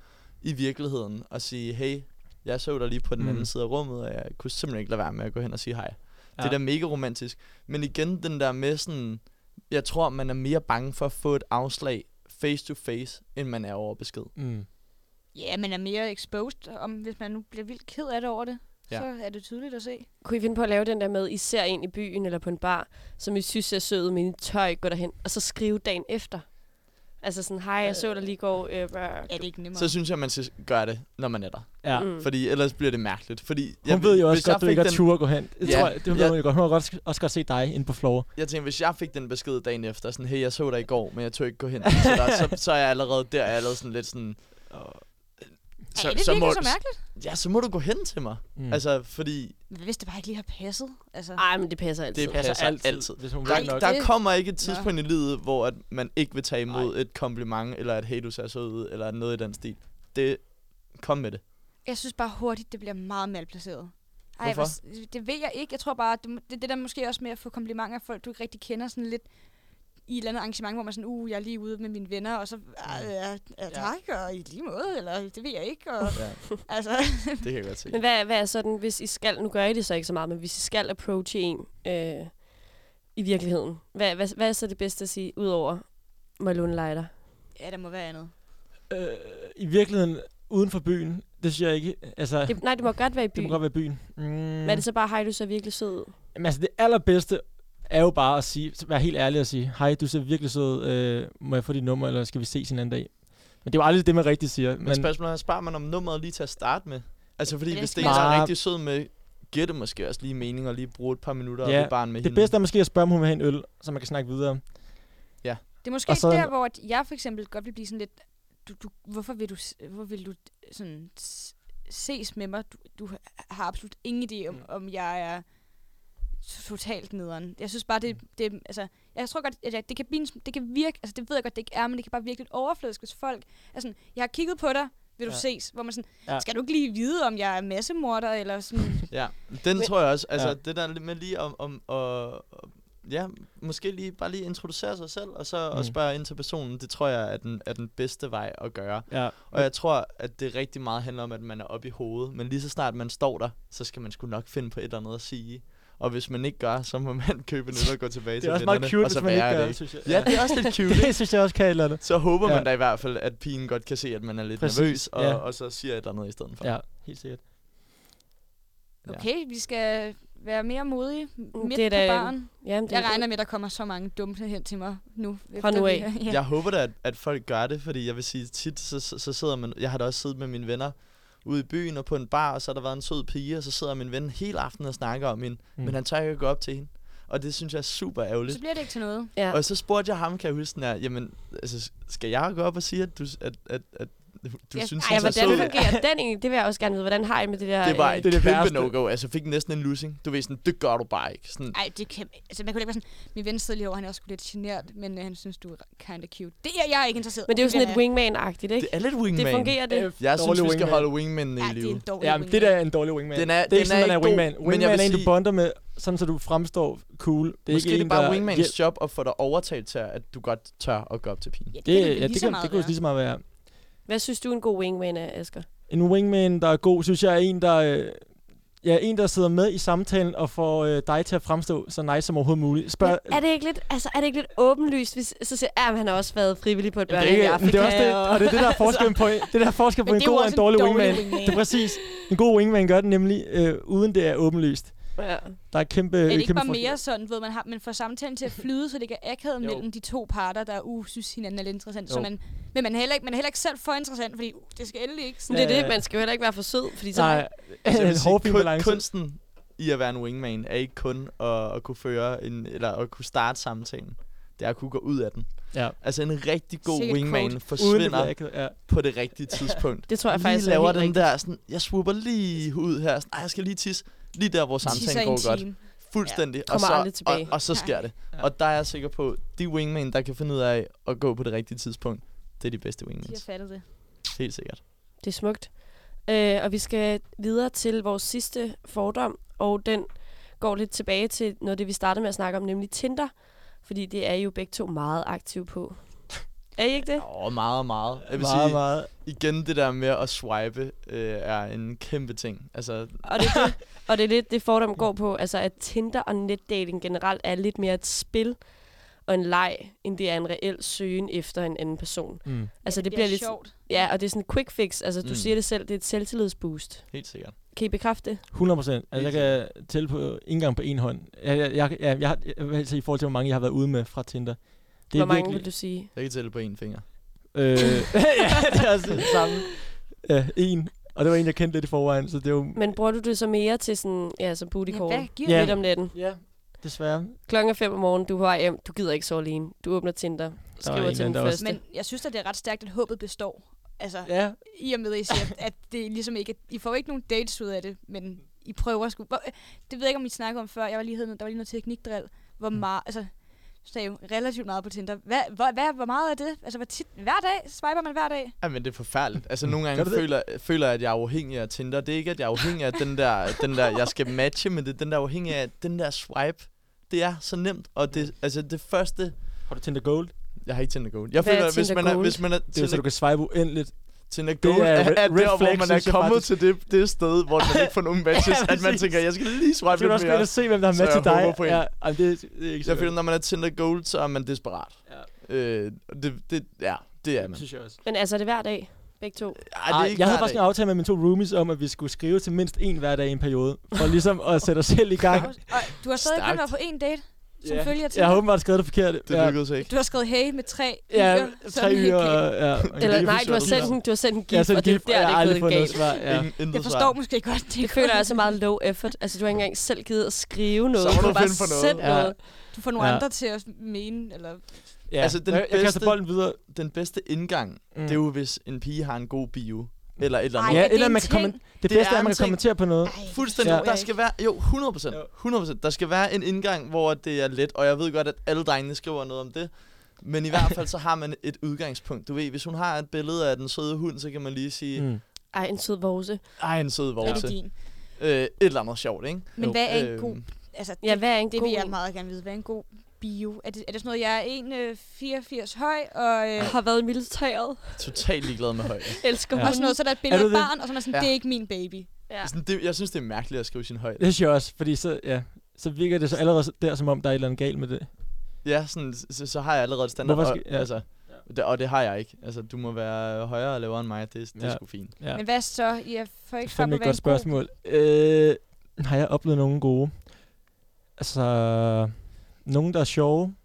[SPEAKER 7] i virkeligheden og sige, hey, jeg så dig lige på den
[SPEAKER 6] Mm.
[SPEAKER 7] mm. anden side af rummet, og jeg kunne simpelthen ikke lade være med at gå hen og sige hej. Ja.
[SPEAKER 6] Ja.
[SPEAKER 7] Det er da mega romantisk. Men igen, den der med sådan, jeg tror, man er mere bange for at få et afslag face to face, end man er over besked.
[SPEAKER 6] mm.
[SPEAKER 5] Ja, man er mere exposed, om hvis man nu bliver vildt ked af det over det,
[SPEAKER 7] Ja.
[SPEAKER 5] så er det tydeligt at se.
[SPEAKER 4] Kunne I finde på at lave den der med, I ser en i byen eller på en bar, som I synes er sød, men I tør ikke gå derhen, og så skrive dagen efter? Altså sådan, hej, jeg så dig lige i går. Øh, ja,
[SPEAKER 5] Er det ikke nemmere?
[SPEAKER 7] Så synes jeg, man skal gøre det, når man er der.
[SPEAKER 6] ja.
[SPEAKER 4] mm.
[SPEAKER 7] Fordi ellers bliver det mærkeligt. Fordi
[SPEAKER 6] Hun ved jo
[SPEAKER 7] hvis
[SPEAKER 6] også godt,
[SPEAKER 7] jeg
[SPEAKER 6] du
[SPEAKER 7] fik
[SPEAKER 6] ikke har
[SPEAKER 7] den-
[SPEAKER 6] tur at gå hen. Det
[SPEAKER 7] Ja.
[SPEAKER 6] tror jeg, det ved
[SPEAKER 7] Ja.
[SPEAKER 6] hun jo godt. Hun har godt, også godt set dig inde på floor.
[SPEAKER 7] Jeg tænkte, hvis jeg fik den besked dagen efter, sådan, hey, jeg så dig i går, men jeg tog ikke gå hen. Så, der, så, så er jeg allerede der, jeg er allerede sådan lidt sådan... Øh,
[SPEAKER 5] så, er det så virkelig så mærkeligt?
[SPEAKER 7] Ja, så må du gå hen til mig.
[SPEAKER 6] Mm.
[SPEAKER 7] Mm. Altså, fordi
[SPEAKER 5] Men Hvis det bare ikke lige har passet. Altså,
[SPEAKER 4] Ej, men det passer altid.
[SPEAKER 7] det
[SPEAKER 6] altså,
[SPEAKER 7] passer altid. altid.
[SPEAKER 6] Hvis hun
[SPEAKER 5] Ej,
[SPEAKER 6] vil
[SPEAKER 7] Der,
[SPEAKER 6] nok.
[SPEAKER 5] der-
[SPEAKER 7] der kommer ikke et tidspunkt i livet, hvor at man ikke vil tage imod
[SPEAKER 6] Nej.
[SPEAKER 7] et kompliment, eller at hey, du ser så ud, eller noget i den stil. Det, kom med det.
[SPEAKER 5] Jeg synes bare hurtigt, det bliver meget malplaceret. Ej,
[SPEAKER 7] Hvorfor?
[SPEAKER 5] hvor- det ved jeg ikke. Jeg tror bare, det, må- det, det der måske også med at få komplimenter af folk, du ikke rigtig kender sådan lidt i et eller andet arrangement, hvor man sådan, uh, jeg er lige ude med mine venner, og så, "Ah, ja, ja, tak, og i lige måde, eller det ved jeg ikke. Og,
[SPEAKER 7] Ja,
[SPEAKER 5] altså,
[SPEAKER 7] det kan jeg godt se.
[SPEAKER 4] Men hvad, hvad er sådan, hvis I skal, nu gør I det så ikke så meget, men hvis I skal approache en øh, i virkeligheden, hvad, hvad, hvad er så det bedste at sige, udover må jeg låne en lighter?
[SPEAKER 5] ja, der må være andet.
[SPEAKER 6] Øh, I virkeligheden, uden for byen, det synes jeg ikke. Altså, det,
[SPEAKER 4] Det, nej, det må godt være i
[SPEAKER 6] det må
[SPEAKER 4] byen.
[SPEAKER 6] godt være byen. Mm.
[SPEAKER 4] Men er det så bare, hej, du ser virkelig sød ud?
[SPEAKER 6] Jamen, altså, det allerbedste er jo bare at sige, være helt ærlig og sige, hej, du ser virkelig sød, ud. øh, må jeg få dit nummer, eller skal vi ses en anden dag? Men det er jo aldrig det, man rigtig siger.
[SPEAKER 7] Men
[SPEAKER 6] Men,
[SPEAKER 7] spørgsmålet er, sparer man om nummeret lige til at starte med? Altså, fordi
[SPEAKER 5] Men det
[SPEAKER 7] hvis
[SPEAKER 5] skal
[SPEAKER 7] det ikke
[SPEAKER 6] man-
[SPEAKER 7] er rigtig sød med, giver det måske også lige mening at lige bruge et par minutter
[SPEAKER 6] Ja,
[SPEAKER 7] ja, barn med
[SPEAKER 6] det
[SPEAKER 7] hende.
[SPEAKER 6] bedste er måske at spørge, om hun vil have en øl, så man kan snakke videre.
[SPEAKER 5] Det er måske
[SPEAKER 6] Og så-
[SPEAKER 5] så, der, hvor at jeg for eksempel godt vil blive sådan lidt, du, du, hvorfor vil du, s- hvor vil du sådan s- ses med mig? Du, du har absolut ingen idé om,
[SPEAKER 6] Mm.
[SPEAKER 5] mm. om jeg er t- totalt nederen. Jeg synes bare,
[SPEAKER 6] Mm.
[SPEAKER 5] det, det altså, jeg tror godt, at jeg, det, kan blive, en sm- det kan virke, altså det ved jeg godt, det ikke er, men det kan bare virke lidt overfladisk, hvis folk er sådan, jeg har kigget på dig, vil du
[SPEAKER 6] Ja.
[SPEAKER 5] ja. ses? Hvor man sådan,
[SPEAKER 6] Ja.
[SPEAKER 5] ja. skal du ikke lige vide, om jeg er massemorder, eller sådan,
[SPEAKER 7] Ja, den
[SPEAKER 4] Men-
[SPEAKER 7] tror jeg også. Altså,
[SPEAKER 6] Ja.
[SPEAKER 7] ja. det der lidt med lige om... om og, og- ja, måske lige, bare lige introducere sig selv, og så mm.
[SPEAKER 6] Mm.
[SPEAKER 7] og spørge ind til personen. Det tror jeg er den, er den bedste vej at gøre.
[SPEAKER 6] Ja.
[SPEAKER 7] Og jeg tror, at det rigtig meget handler om, at man er oppe i hovedet. Men lige så snart man står der, så skal man sgu nok finde på et eller andet at sige. Og hvis man ikke gør, så må man købe en øl og gå tilbage
[SPEAKER 6] Det
[SPEAKER 7] til
[SPEAKER 6] er også meget
[SPEAKER 7] vennerne,
[SPEAKER 6] cute,
[SPEAKER 7] og så
[SPEAKER 6] hvis man
[SPEAKER 7] være
[SPEAKER 6] ikke gør,
[SPEAKER 7] i det.
[SPEAKER 6] det, synes jeg.
[SPEAKER 7] Ja, det er også lidt cute, ikke?
[SPEAKER 6] det synes jeg også kan et eller andet.
[SPEAKER 7] Så håber
[SPEAKER 6] Ja.
[SPEAKER 7] man da i hvert fald, at pigen godt kan se, at man er lidt
[SPEAKER 6] Præcis,
[SPEAKER 7] Præcis, nervøs,
[SPEAKER 6] ja.
[SPEAKER 7] og, og så siger et eller andet i stedet for.
[SPEAKER 6] Ja, helt sikkert.
[SPEAKER 7] Ja.
[SPEAKER 5] okay, vi skal være mere modige midt
[SPEAKER 4] Uh, det er
[SPEAKER 5] det
[SPEAKER 4] da-
[SPEAKER 5] på baren.
[SPEAKER 4] Jamen, det
[SPEAKER 5] Jeg
[SPEAKER 4] er-
[SPEAKER 5] regner med, at der kommer så mange dumme hen til mig nu.
[SPEAKER 4] Fra nu
[SPEAKER 5] efter vi-
[SPEAKER 4] af.
[SPEAKER 5] ja.
[SPEAKER 7] Jeg håber da, at, at folk gør det, fordi jeg vil sige, tit så, så, så sidder man... Jeg har da også siddet med mine venner, ude i byen og på en bar, og så har der været en sød pige, og så sidder min ven hele aftenen og snakker om hende, mm. men han tør ikke at gå op til hende. Og det synes jeg er super ærgerligt.
[SPEAKER 5] Så bliver det ikke til noget.
[SPEAKER 4] Ja.
[SPEAKER 7] Og så spurgte jeg ham, kan jeg huske den her, jamen, altså, skal jeg gå op og sige, at du, at, at, at du
[SPEAKER 4] Ja,
[SPEAKER 7] synes,
[SPEAKER 4] ej,
[SPEAKER 7] han er
[SPEAKER 4] hvordan
[SPEAKER 7] sød?
[SPEAKER 4] fungerer den egentlig? Det vil jeg også gerne vide. Hvordan har I med det der?
[SPEAKER 7] Det var
[SPEAKER 4] øh,
[SPEAKER 7] et
[SPEAKER 6] det er det
[SPEAKER 7] kæmpe
[SPEAKER 6] værste.
[SPEAKER 7] no-go. Altså, jeg fik næsten en losing. Du ved sådan, det gør du bare ikke. Sådan,
[SPEAKER 5] Ej, det kan... Altså, man kunne ikke være sådan... Min ven sidder lige over, han er også lidt genert, men øh, han synes, du er kinda cute. Det er jeg ikke interesseret.
[SPEAKER 4] Men det er jo sådan
[SPEAKER 5] vil
[SPEAKER 4] lidt
[SPEAKER 5] jeg
[SPEAKER 4] wingman-agtigt,
[SPEAKER 7] det
[SPEAKER 4] ikke?
[SPEAKER 7] er lidt wingman.
[SPEAKER 4] Det fungerer det.
[SPEAKER 6] Øh.
[SPEAKER 7] Jeg synes, vi skal
[SPEAKER 6] wingman.
[SPEAKER 7] holde wingmændene
[SPEAKER 5] have.
[SPEAKER 7] i
[SPEAKER 5] Ej, det er
[SPEAKER 7] live.
[SPEAKER 5] en dårlig
[SPEAKER 6] Ja, men det der er en dårlig wingman.
[SPEAKER 7] Den er-
[SPEAKER 6] det er
[SPEAKER 7] den
[SPEAKER 6] ikke sådan,
[SPEAKER 7] er
[SPEAKER 6] man er
[SPEAKER 7] ikke god,
[SPEAKER 6] wingman.
[SPEAKER 7] men
[SPEAKER 6] Wingman
[SPEAKER 7] jeg
[SPEAKER 6] er
[SPEAKER 7] vil
[SPEAKER 6] en, du
[SPEAKER 7] sige-
[SPEAKER 6] bonder med, sådan så du fremstår cool. Det er
[SPEAKER 7] Måske
[SPEAKER 6] ikke
[SPEAKER 7] det er
[SPEAKER 6] en,
[SPEAKER 7] bare
[SPEAKER 6] der-
[SPEAKER 7] wingmans
[SPEAKER 6] Ja,
[SPEAKER 7] job at få dig overtalt til, at du godt tør at gå op til pigen.
[SPEAKER 5] Ja, det,
[SPEAKER 6] Det,
[SPEAKER 5] kan det,
[SPEAKER 6] ja,
[SPEAKER 5] ja,
[SPEAKER 6] det, kan, det kunne lige så meget være.
[SPEAKER 4] Hvad synes du en god wingman er, Asger?
[SPEAKER 6] En wingman, der er god, synes jeg er en, der... øh, Ja, en, der sidder med i samtalen og får øh, dig til at fremstå så nice som overhovedet muligt. Spørg,
[SPEAKER 4] Men er det ikke lidt, altså, er det ikke lidt åbenlyst, hvis så siger, at han har også været frivillig på et
[SPEAKER 6] Jamen,
[SPEAKER 4] børn
[SPEAKER 6] det, er
[SPEAKER 4] i
[SPEAKER 6] ikke,
[SPEAKER 4] Afrika?
[SPEAKER 6] men det er også det,
[SPEAKER 4] og-
[SPEAKER 6] og det er det, der er forskellen på, det er der er forskel på
[SPEAKER 5] Men
[SPEAKER 6] en
[SPEAKER 5] det er jo
[SPEAKER 6] god og en
[SPEAKER 5] også
[SPEAKER 6] dårlig,
[SPEAKER 5] en dårlig
[SPEAKER 6] wingman.
[SPEAKER 5] wingman.
[SPEAKER 6] Det er præcis. En god wingman gør det nemlig, øh, uden det er åbenlyst.
[SPEAKER 4] Ja.
[SPEAKER 6] Der er kæmpe
[SPEAKER 5] Er det ikke
[SPEAKER 6] kæmpe
[SPEAKER 5] bare
[SPEAKER 6] forskel.
[SPEAKER 5] mere sådan, ved man har, man får samtalen til at flyde, så det ikke er akavet
[SPEAKER 6] Jo.
[SPEAKER 5] mellem de to parter, der uh, synes hinanden er lidt interessant. Så
[SPEAKER 6] Jo.
[SPEAKER 5] man, men man er, heller ikke, man er heller ikke selv for interessant, fordi uh, det skal endelig ikke.
[SPEAKER 4] Men
[SPEAKER 5] Sådan.
[SPEAKER 4] det er
[SPEAKER 6] Ja.
[SPEAKER 4] det, man skal jo heller ikke være for sød, fordi så
[SPEAKER 6] Nej,
[SPEAKER 7] Så jeg vil
[SPEAKER 6] en
[SPEAKER 7] sige,
[SPEAKER 6] hårfin
[SPEAKER 7] kun-
[SPEAKER 6] balance.
[SPEAKER 7] kunsten i at være en wingman er ikke kun at, at kunne føre en, eller at kunne starte samtalen. Det er at kunne gå ud af den.
[SPEAKER 6] Ja.
[SPEAKER 7] Altså en rigtig god
[SPEAKER 5] Sikke et
[SPEAKER 7] wingman
[SPEAKER 6] Uden det
[SPEAKER 7] forsvinder
[SPEAKER 6] bliver akavet, ja.
[SPEAKER 7] på det rigtige tidspunkt.
[SPEAKER 4] det tror jeg
[SPEAKER 7] lige
[SPEAKER 4] faktisk er
[SPEAKER 7] laver
[SPEAKER 4] helt
[SPEAKER 7] den
[SPEAKER 4] rigtigt.
[SPEAKER 7] der, sådan, jeg swooper lige ud her, sådan, Ej, jeg skal lige tisse, lige der, hvor samtalen går godt. Fuldstændig.
[SPEAKER 4] kommer aldrig
[SPEAKER 7] og,
[SPEAKER 4] tilbage.
[SPEAKER 7] og, og så sker det.
[SPEAKER 6] Ja.
[SPEAKER 7] Og der er jeg sikker på, de wingmen, der kan finde ud af at gå på det rigtige tidspunkt, det er de bedste
[SPEAKER 5] De har
[SPEAKER 7] wingmans.
[SPEAKER 5] fattet det.
[SPEAKER 7] Helt sikkert.
[SPEAKER 4] Det er smukt. Øh, og vi skal videre til vores sidste fordom, og den går lidt tilbage til noget af det, vi startede med at snakke om, nemlig Tinder. Fordi det er I jo begge to meget aktive på. Er I ikke det?
[SPEAKER 7] Åh, meget, meget. Jeg vil
[SPEAKER 6] Meget,
[SPEAKER 7] sige,
[SPEAKER 6] meget.
[SPEAKER 7] igen det der med at swipe øh, er en kæmpe ting. Altså,
[SPEAKER 4] Og det, er det, og det er lidt det fordom går på, altså at Tinder og netdating generelt er lidt mere et spil og en leg, end det er en reel søgen efter en anden person.
[SPEAKER 6] Mm.
[SPEAKER 4] Altså det, bliver lidt...
[SPEAKER 5] sjovt.
[SPEAKER 4] Ja, og det er sådan en quick fix. Altså du
[SPEAKER 7] Mm.
[SPEAKER 4] siger det selv, det er et selvtillidsboost.
[SPEAKER 7] helt sikkert.
[SPEAKER 4] Kan I bekræfte det?
[SPEAKER 6] 100 procent. Altså, jeg kan tælle på ikke engang på en hånd. Jeg, jeg, jeg, jeg, jeg, har- jeg vil sige, i forhold til, hvor mange jeg har været ude med fra Tinder. Det
[SPEAKER 4] Hvor mange vil du sige?
[SPEAKER 7] Jeg kan tælle på én finger.
[SPEAKER 6] Øh, ja, det er også det samme. Ja, en. Og det var en, jeg kendte lidt i forvejen, så det er jo...
[SPEAKER 4] Men bruger du det så mere til sådan, ja, som booty
[SPEAKER 5] Ja,
[SPEAKER 4] call?
[SPEAKER 5] hvad giver
[SPEAKER 6] Ja.
[SPEAKER 4] Lidt om natten.
[SPEAKER 6] Ja, desværre.
[SPEAKER 4] Klokken er fem om morgenen, du er på vej hjem, du gider ikke sove alene. Du åbner Tinder, skriver
[SPEAKER 6] en
[SPEAKER 4] til
[SPEAKER 6] anden,
[SPEAKER 4] den
[SPEAKER 6] der også-
[SPEAKER 4] første.
[SPEAKER 5] Men jeg synes at det er ret stærkt, at håbet består. Altså, ja.
[SPEAKER 6] Ja,
[SPEAKER 5] i og med, at I siger, at det ligesom ikke... I får ikke nogen dates ud af det, men I prøver sgu... Hvor, det ved jeg ikke, om I snakkede om før. Jeg var lige, hed- der var lige noget teknikdrill.
[SPEAKER 6] Mm.
[SPEAKER 5] Hvor meget... Altså, så er jeg jo relativt meget på Tinder. Hvad, hvor, hvad, hvor meget er det? Altså, hvor tit, hver dag? Swiper man hver dag?
[SPEAKER 7] Ja, men det er forfærdeligt. Altså, nogle
[SPEAKER 6] Gør
[SPEAKER 7] gange
[SPEAKER 6] du det?
[SPEAKER 7] føler, føler jeg, at jeg er afhængig af Tinder. Det er ikke, at jeg er afhængig af den der, den der jeg skal matche, men det er den der afhængig af den der swipe. Det er så nemt, og det, altså, det første...
[SPEAKER 6] har du Tinder Gold?
[SPEAKER 7] Jeg har ikke Tinder Gold. Jeg
[SPEAKER 4] Hvad er
[SPEAKER 7] føler, at hvis
[SPEAKER 4] Tinder
[SPEAKER 7] man er,
[SPEAKER 4] Gold?
[SPEAKER 7] hvis man er
[SPEAKER 6] Det er jo så, du
[SPEAKER 7] Tinder,
[SPEAKER 6] kan swipe uendeligt.
[SPEAKER 7] Tinder Gold,
[SPEAKER 6] er
[SPEAKER 7] er,
[SPEAKER 6] red-
[SPEAKER 7] er
[SPEAKER 6] red flag,
[SPEAKER 7] der, hvor man
[SPEAKER 6] synes
[SPEAKER 7] er
[SPEAKER 6] jeg
[SPEAKER 7] kommet
[SPEAKER 6] faktisk.
[SPEAKER 7] til det, det sted, hvor man ikke får nogen matches,
[SPEAKER 6] Ja,
[SPEAKER 7] at man
[SPEAKER 6] præcis.
[SPEAKER 7] tænker, jeg skal lige
[SPEAKER 6] Så
[SPEAKER 7] swipe
[SPEAKER 6] skal du
[SPEAKER 7] lidt
[SPEAKER 6] også gå ind
[SPEAKER 7] mere.
[SPEAKER 6] og se, hvem der har
[SPEAKER 7] Så jeg
[SPEAKER 6] matchet dig.
[SPEAKER 7] håber på en.
[SPEAKER 6] Ja, ej, det, er- det er ikke så
[SPEAKER 7] Jeg føler,
[SPEAKER 6] godt.
[SPEAKER 7] når man er Tinder Gold, så er man desperat. Øh, og det, det, ja, det er man.
[SPEAKER 6] synes jeg også.
[SPEAKER 4] Men altså, er det hver dag? Begge to?
[SPEAKER 7] Ej,
[SPEAKER 6] Ej, jeg havde
[SPEAKER 7] hver
[SPEAKER 6] faktisk en
[SPEAKER 7] dag.
[SPEAKER 6] aftale med mine to roomies om, at vi skulle skrive til mindst en hver dag i en periode. For ligesom at sætte os selv i gang.
[SPEAKER 5] Og du har stadig kun
[SPEAKER 7] Stærkt.
[SPEAKER 5] været på én date, som
[SPEAKER 6] Ja.
[SPEAKER 5] yeah. følger til.
[SPEAKER 6] Jeg håber, at skrevet det forkert.
[SPEAKER 7] Det lykkedes ikke.
[SPEAKER 5] Du har skrevet hey med tre
[SPEAKER 6] Ja,
[SPEAKER 5] yre,
[SPEAKER 6] ja
[SPEAKER 5] sådan
[SPEAKER 6] tre
[SPEAKER 5] helt
[SPEAKER 6] uger.
[SPEAKER 5] galt.
[SPEAKER 6] Ja, okay.
[SPEAKER 4] Eller
[SPEAKER 7] det er
[SPEAKER 4] nej, du har
[SPEAKER 7] fuldstændig
[SPEAKER 4] sendt en, du har sendt en
[SPEAKER 6] jeg har
[SPEAKER 4] gif,
[SPEAKER 6] sendt
[SPEAKER 4] og det er
[SPEAKER 6] gift, og
[SPEAKER 4] der,
[SPEAKER 6] jeg
[SPEAKER 4] det
[SPEAKER 6] har
[SPEAKER 4] er
[SPEAKER 6] aldrig
[SPEAKER 4] blevet
[SPEAKER 6] fået noget
[SPEAKER 4] galt.
[SPEAKER 6] svar. Ja.
[SPEAKER 7] Ingen, intet
[SPEAKER 5] Jeg
[SPEAKER 7] svar.
[SPEAKER 5] forstår måske godt, det er
[SPEAKER 4] Det føler
[SPEAKER 5] godt.
[SPEAKER 4] jeg altså meget low effort. Altså, du har ikke engang selv givet at skrive noget.
[SPEAKER 7] må
[SPEAKER 4] du
[SPEAKER 7] du
[SPEAKER 4] har bare
[SPEAKER 7] finde på noget.
[SPEAKER 4] sendt
[SPEAKER 6] Ja.
[SPEAKER 4] noget.
[SPEAKER 5] Du får nogle
[SPEAKER 6] Ja.
[SPEAKER 5] andre til at mene, eller...
[SPEAKER 6] Ja.
[SPEAKER 7] Altså, den
[SPEAKER 6] jeg, jeg kaster
[SPEAKER 7] bedste-
[SPEAKER 6] bolden videre.
[SPEAKER 7] Den bedste indgang, mm.
[SPEAKER 6] Mm.
[SPEAKER 7] det er jo, hvis en pige har en god bio. Eller et eller
[SPEAKER 5] Ej,
[SPEAKER 7] andet.
[SPEAKER 6] ja,
[SPEAKER 5] er det
[SPEAKER 6] eller
[SPEAKER 5] en
[SPEAKER 6] man kan
[SPEAKER 5] ting?
[SPEAKER 6] kommen, det,
[SPEAKER 7] Det
[SPEAKER 6] bedste
[SPEAKER 7] er
[SPEAKER 6] er, at man
[SPEAKER 7] en
[SPEAKER 6] kan
[SPEAKER 7] ting.
[SPEAKER 6] kommentere på noget.
[SPEAKER 5] Ej,
[SPEAKER 7] Fuldstændig.
[SPEAKER 6] Ja.
[SPEAKER 7] Ja. Der skal være, jo, 100%,
[SPEAKER 6] Jo.
[SPEAKER 7] 100%. Der skal være en indgang, hvor det er let, og jeg ved godt, at alle drengene skriver noget om det. Men i hvert fald, så har man et udgangspunkt. Du ved, hvis hun har et billede af den søde hund, så kan man lige sige,
[SPEAKER 6] Mm.
[SPEAKER 4] Ej, en sød vose.
[SPEAKER 7] ej, en sød
[SPEAKER 5] Er
[SPEAKER 7] vorse.
[SPEAKER 5] det
[SPEAKER 7] Ja.
[SPEAKER 5] din?
[SPEAKER 7] Øh, et eller andet sjovt, ikke?
[SPEAKER 5] Men
[SPEAKER 6] Jo.
[SPEAKER 5] hvad er en
[SPEAKER 7] Øhm,
[SPEAKER 5] god... Altså,
[SPEAKER 4] Ja, hvad er en
[SPEAKER 5] Det
[SPEAKER 4] god
[SPEAKER 5] vil jeg meget gerne vide. Hvad er en god bio? Er det, er det sådan noget, jeg er 1,84 høj, og, øh,
[SPEAKER 4] Har været i militæret.
[SPEAKER 7] Totalt ligeglad med højde.
[SPEAKER 4] Elsker
[SPEAKER 6] Ja.
[SPEAKER 4] ja.
[SPEAKER 5] og sådan noget, så er der et billede
[SPEAKER 6] Er
[SPEAKER 5] af
[SPEAKER 6] det
[SPEAKER 5] et
[SPEAKER 6] det?
[SPEAKER 5] barn, og så er man sådan,
[SPEAKER 7] Ja.
[SPEAKER 5] ja. det er ikke min baby.
[SPEAKER 4] Ja.
[SPEAKER 7] Sådan, det, jeg synes, det er mærkeligt at skrive sin højde.
[SPEAKER 6] Det synes jeg også, fordi så, ja, så virker det så allerede så- der, som om der er et eller andet galt med det.
[SPEAKER 7] Ja, sådan, så, så har jeg allerede et standard.
[SPEAKER 6] Hvorfor
[SPEAKER 7] Skal,
[SPEAKER 6] skal-
[SPEAKER 7] ja.
[SPEAKER 6] ja.
[SPEAKER 7] altså, det, og det har jeg ikke. Altså, du må være højere og lavere end mig. Det, det ja.
[SPEAKER 6] Ja.
[SPEAKER 7] er sgu fint.
[SPEAKER 6] Ja.
[SPEAKER 5] Ja. Men hvad så? Jeg får
[SPEAKER 6] Det er
[SPEAKER 5] ikke svar på,
[SPEAKER 6] fandme
[SPEAKER 5] hvad
[SPEAKER 6] et
[SPEAKER 5] en god
[SPEAKER 6] godt spørgsmål. Øh, har jeg oplevet nogen gode? Altså, nogen, der er sjove.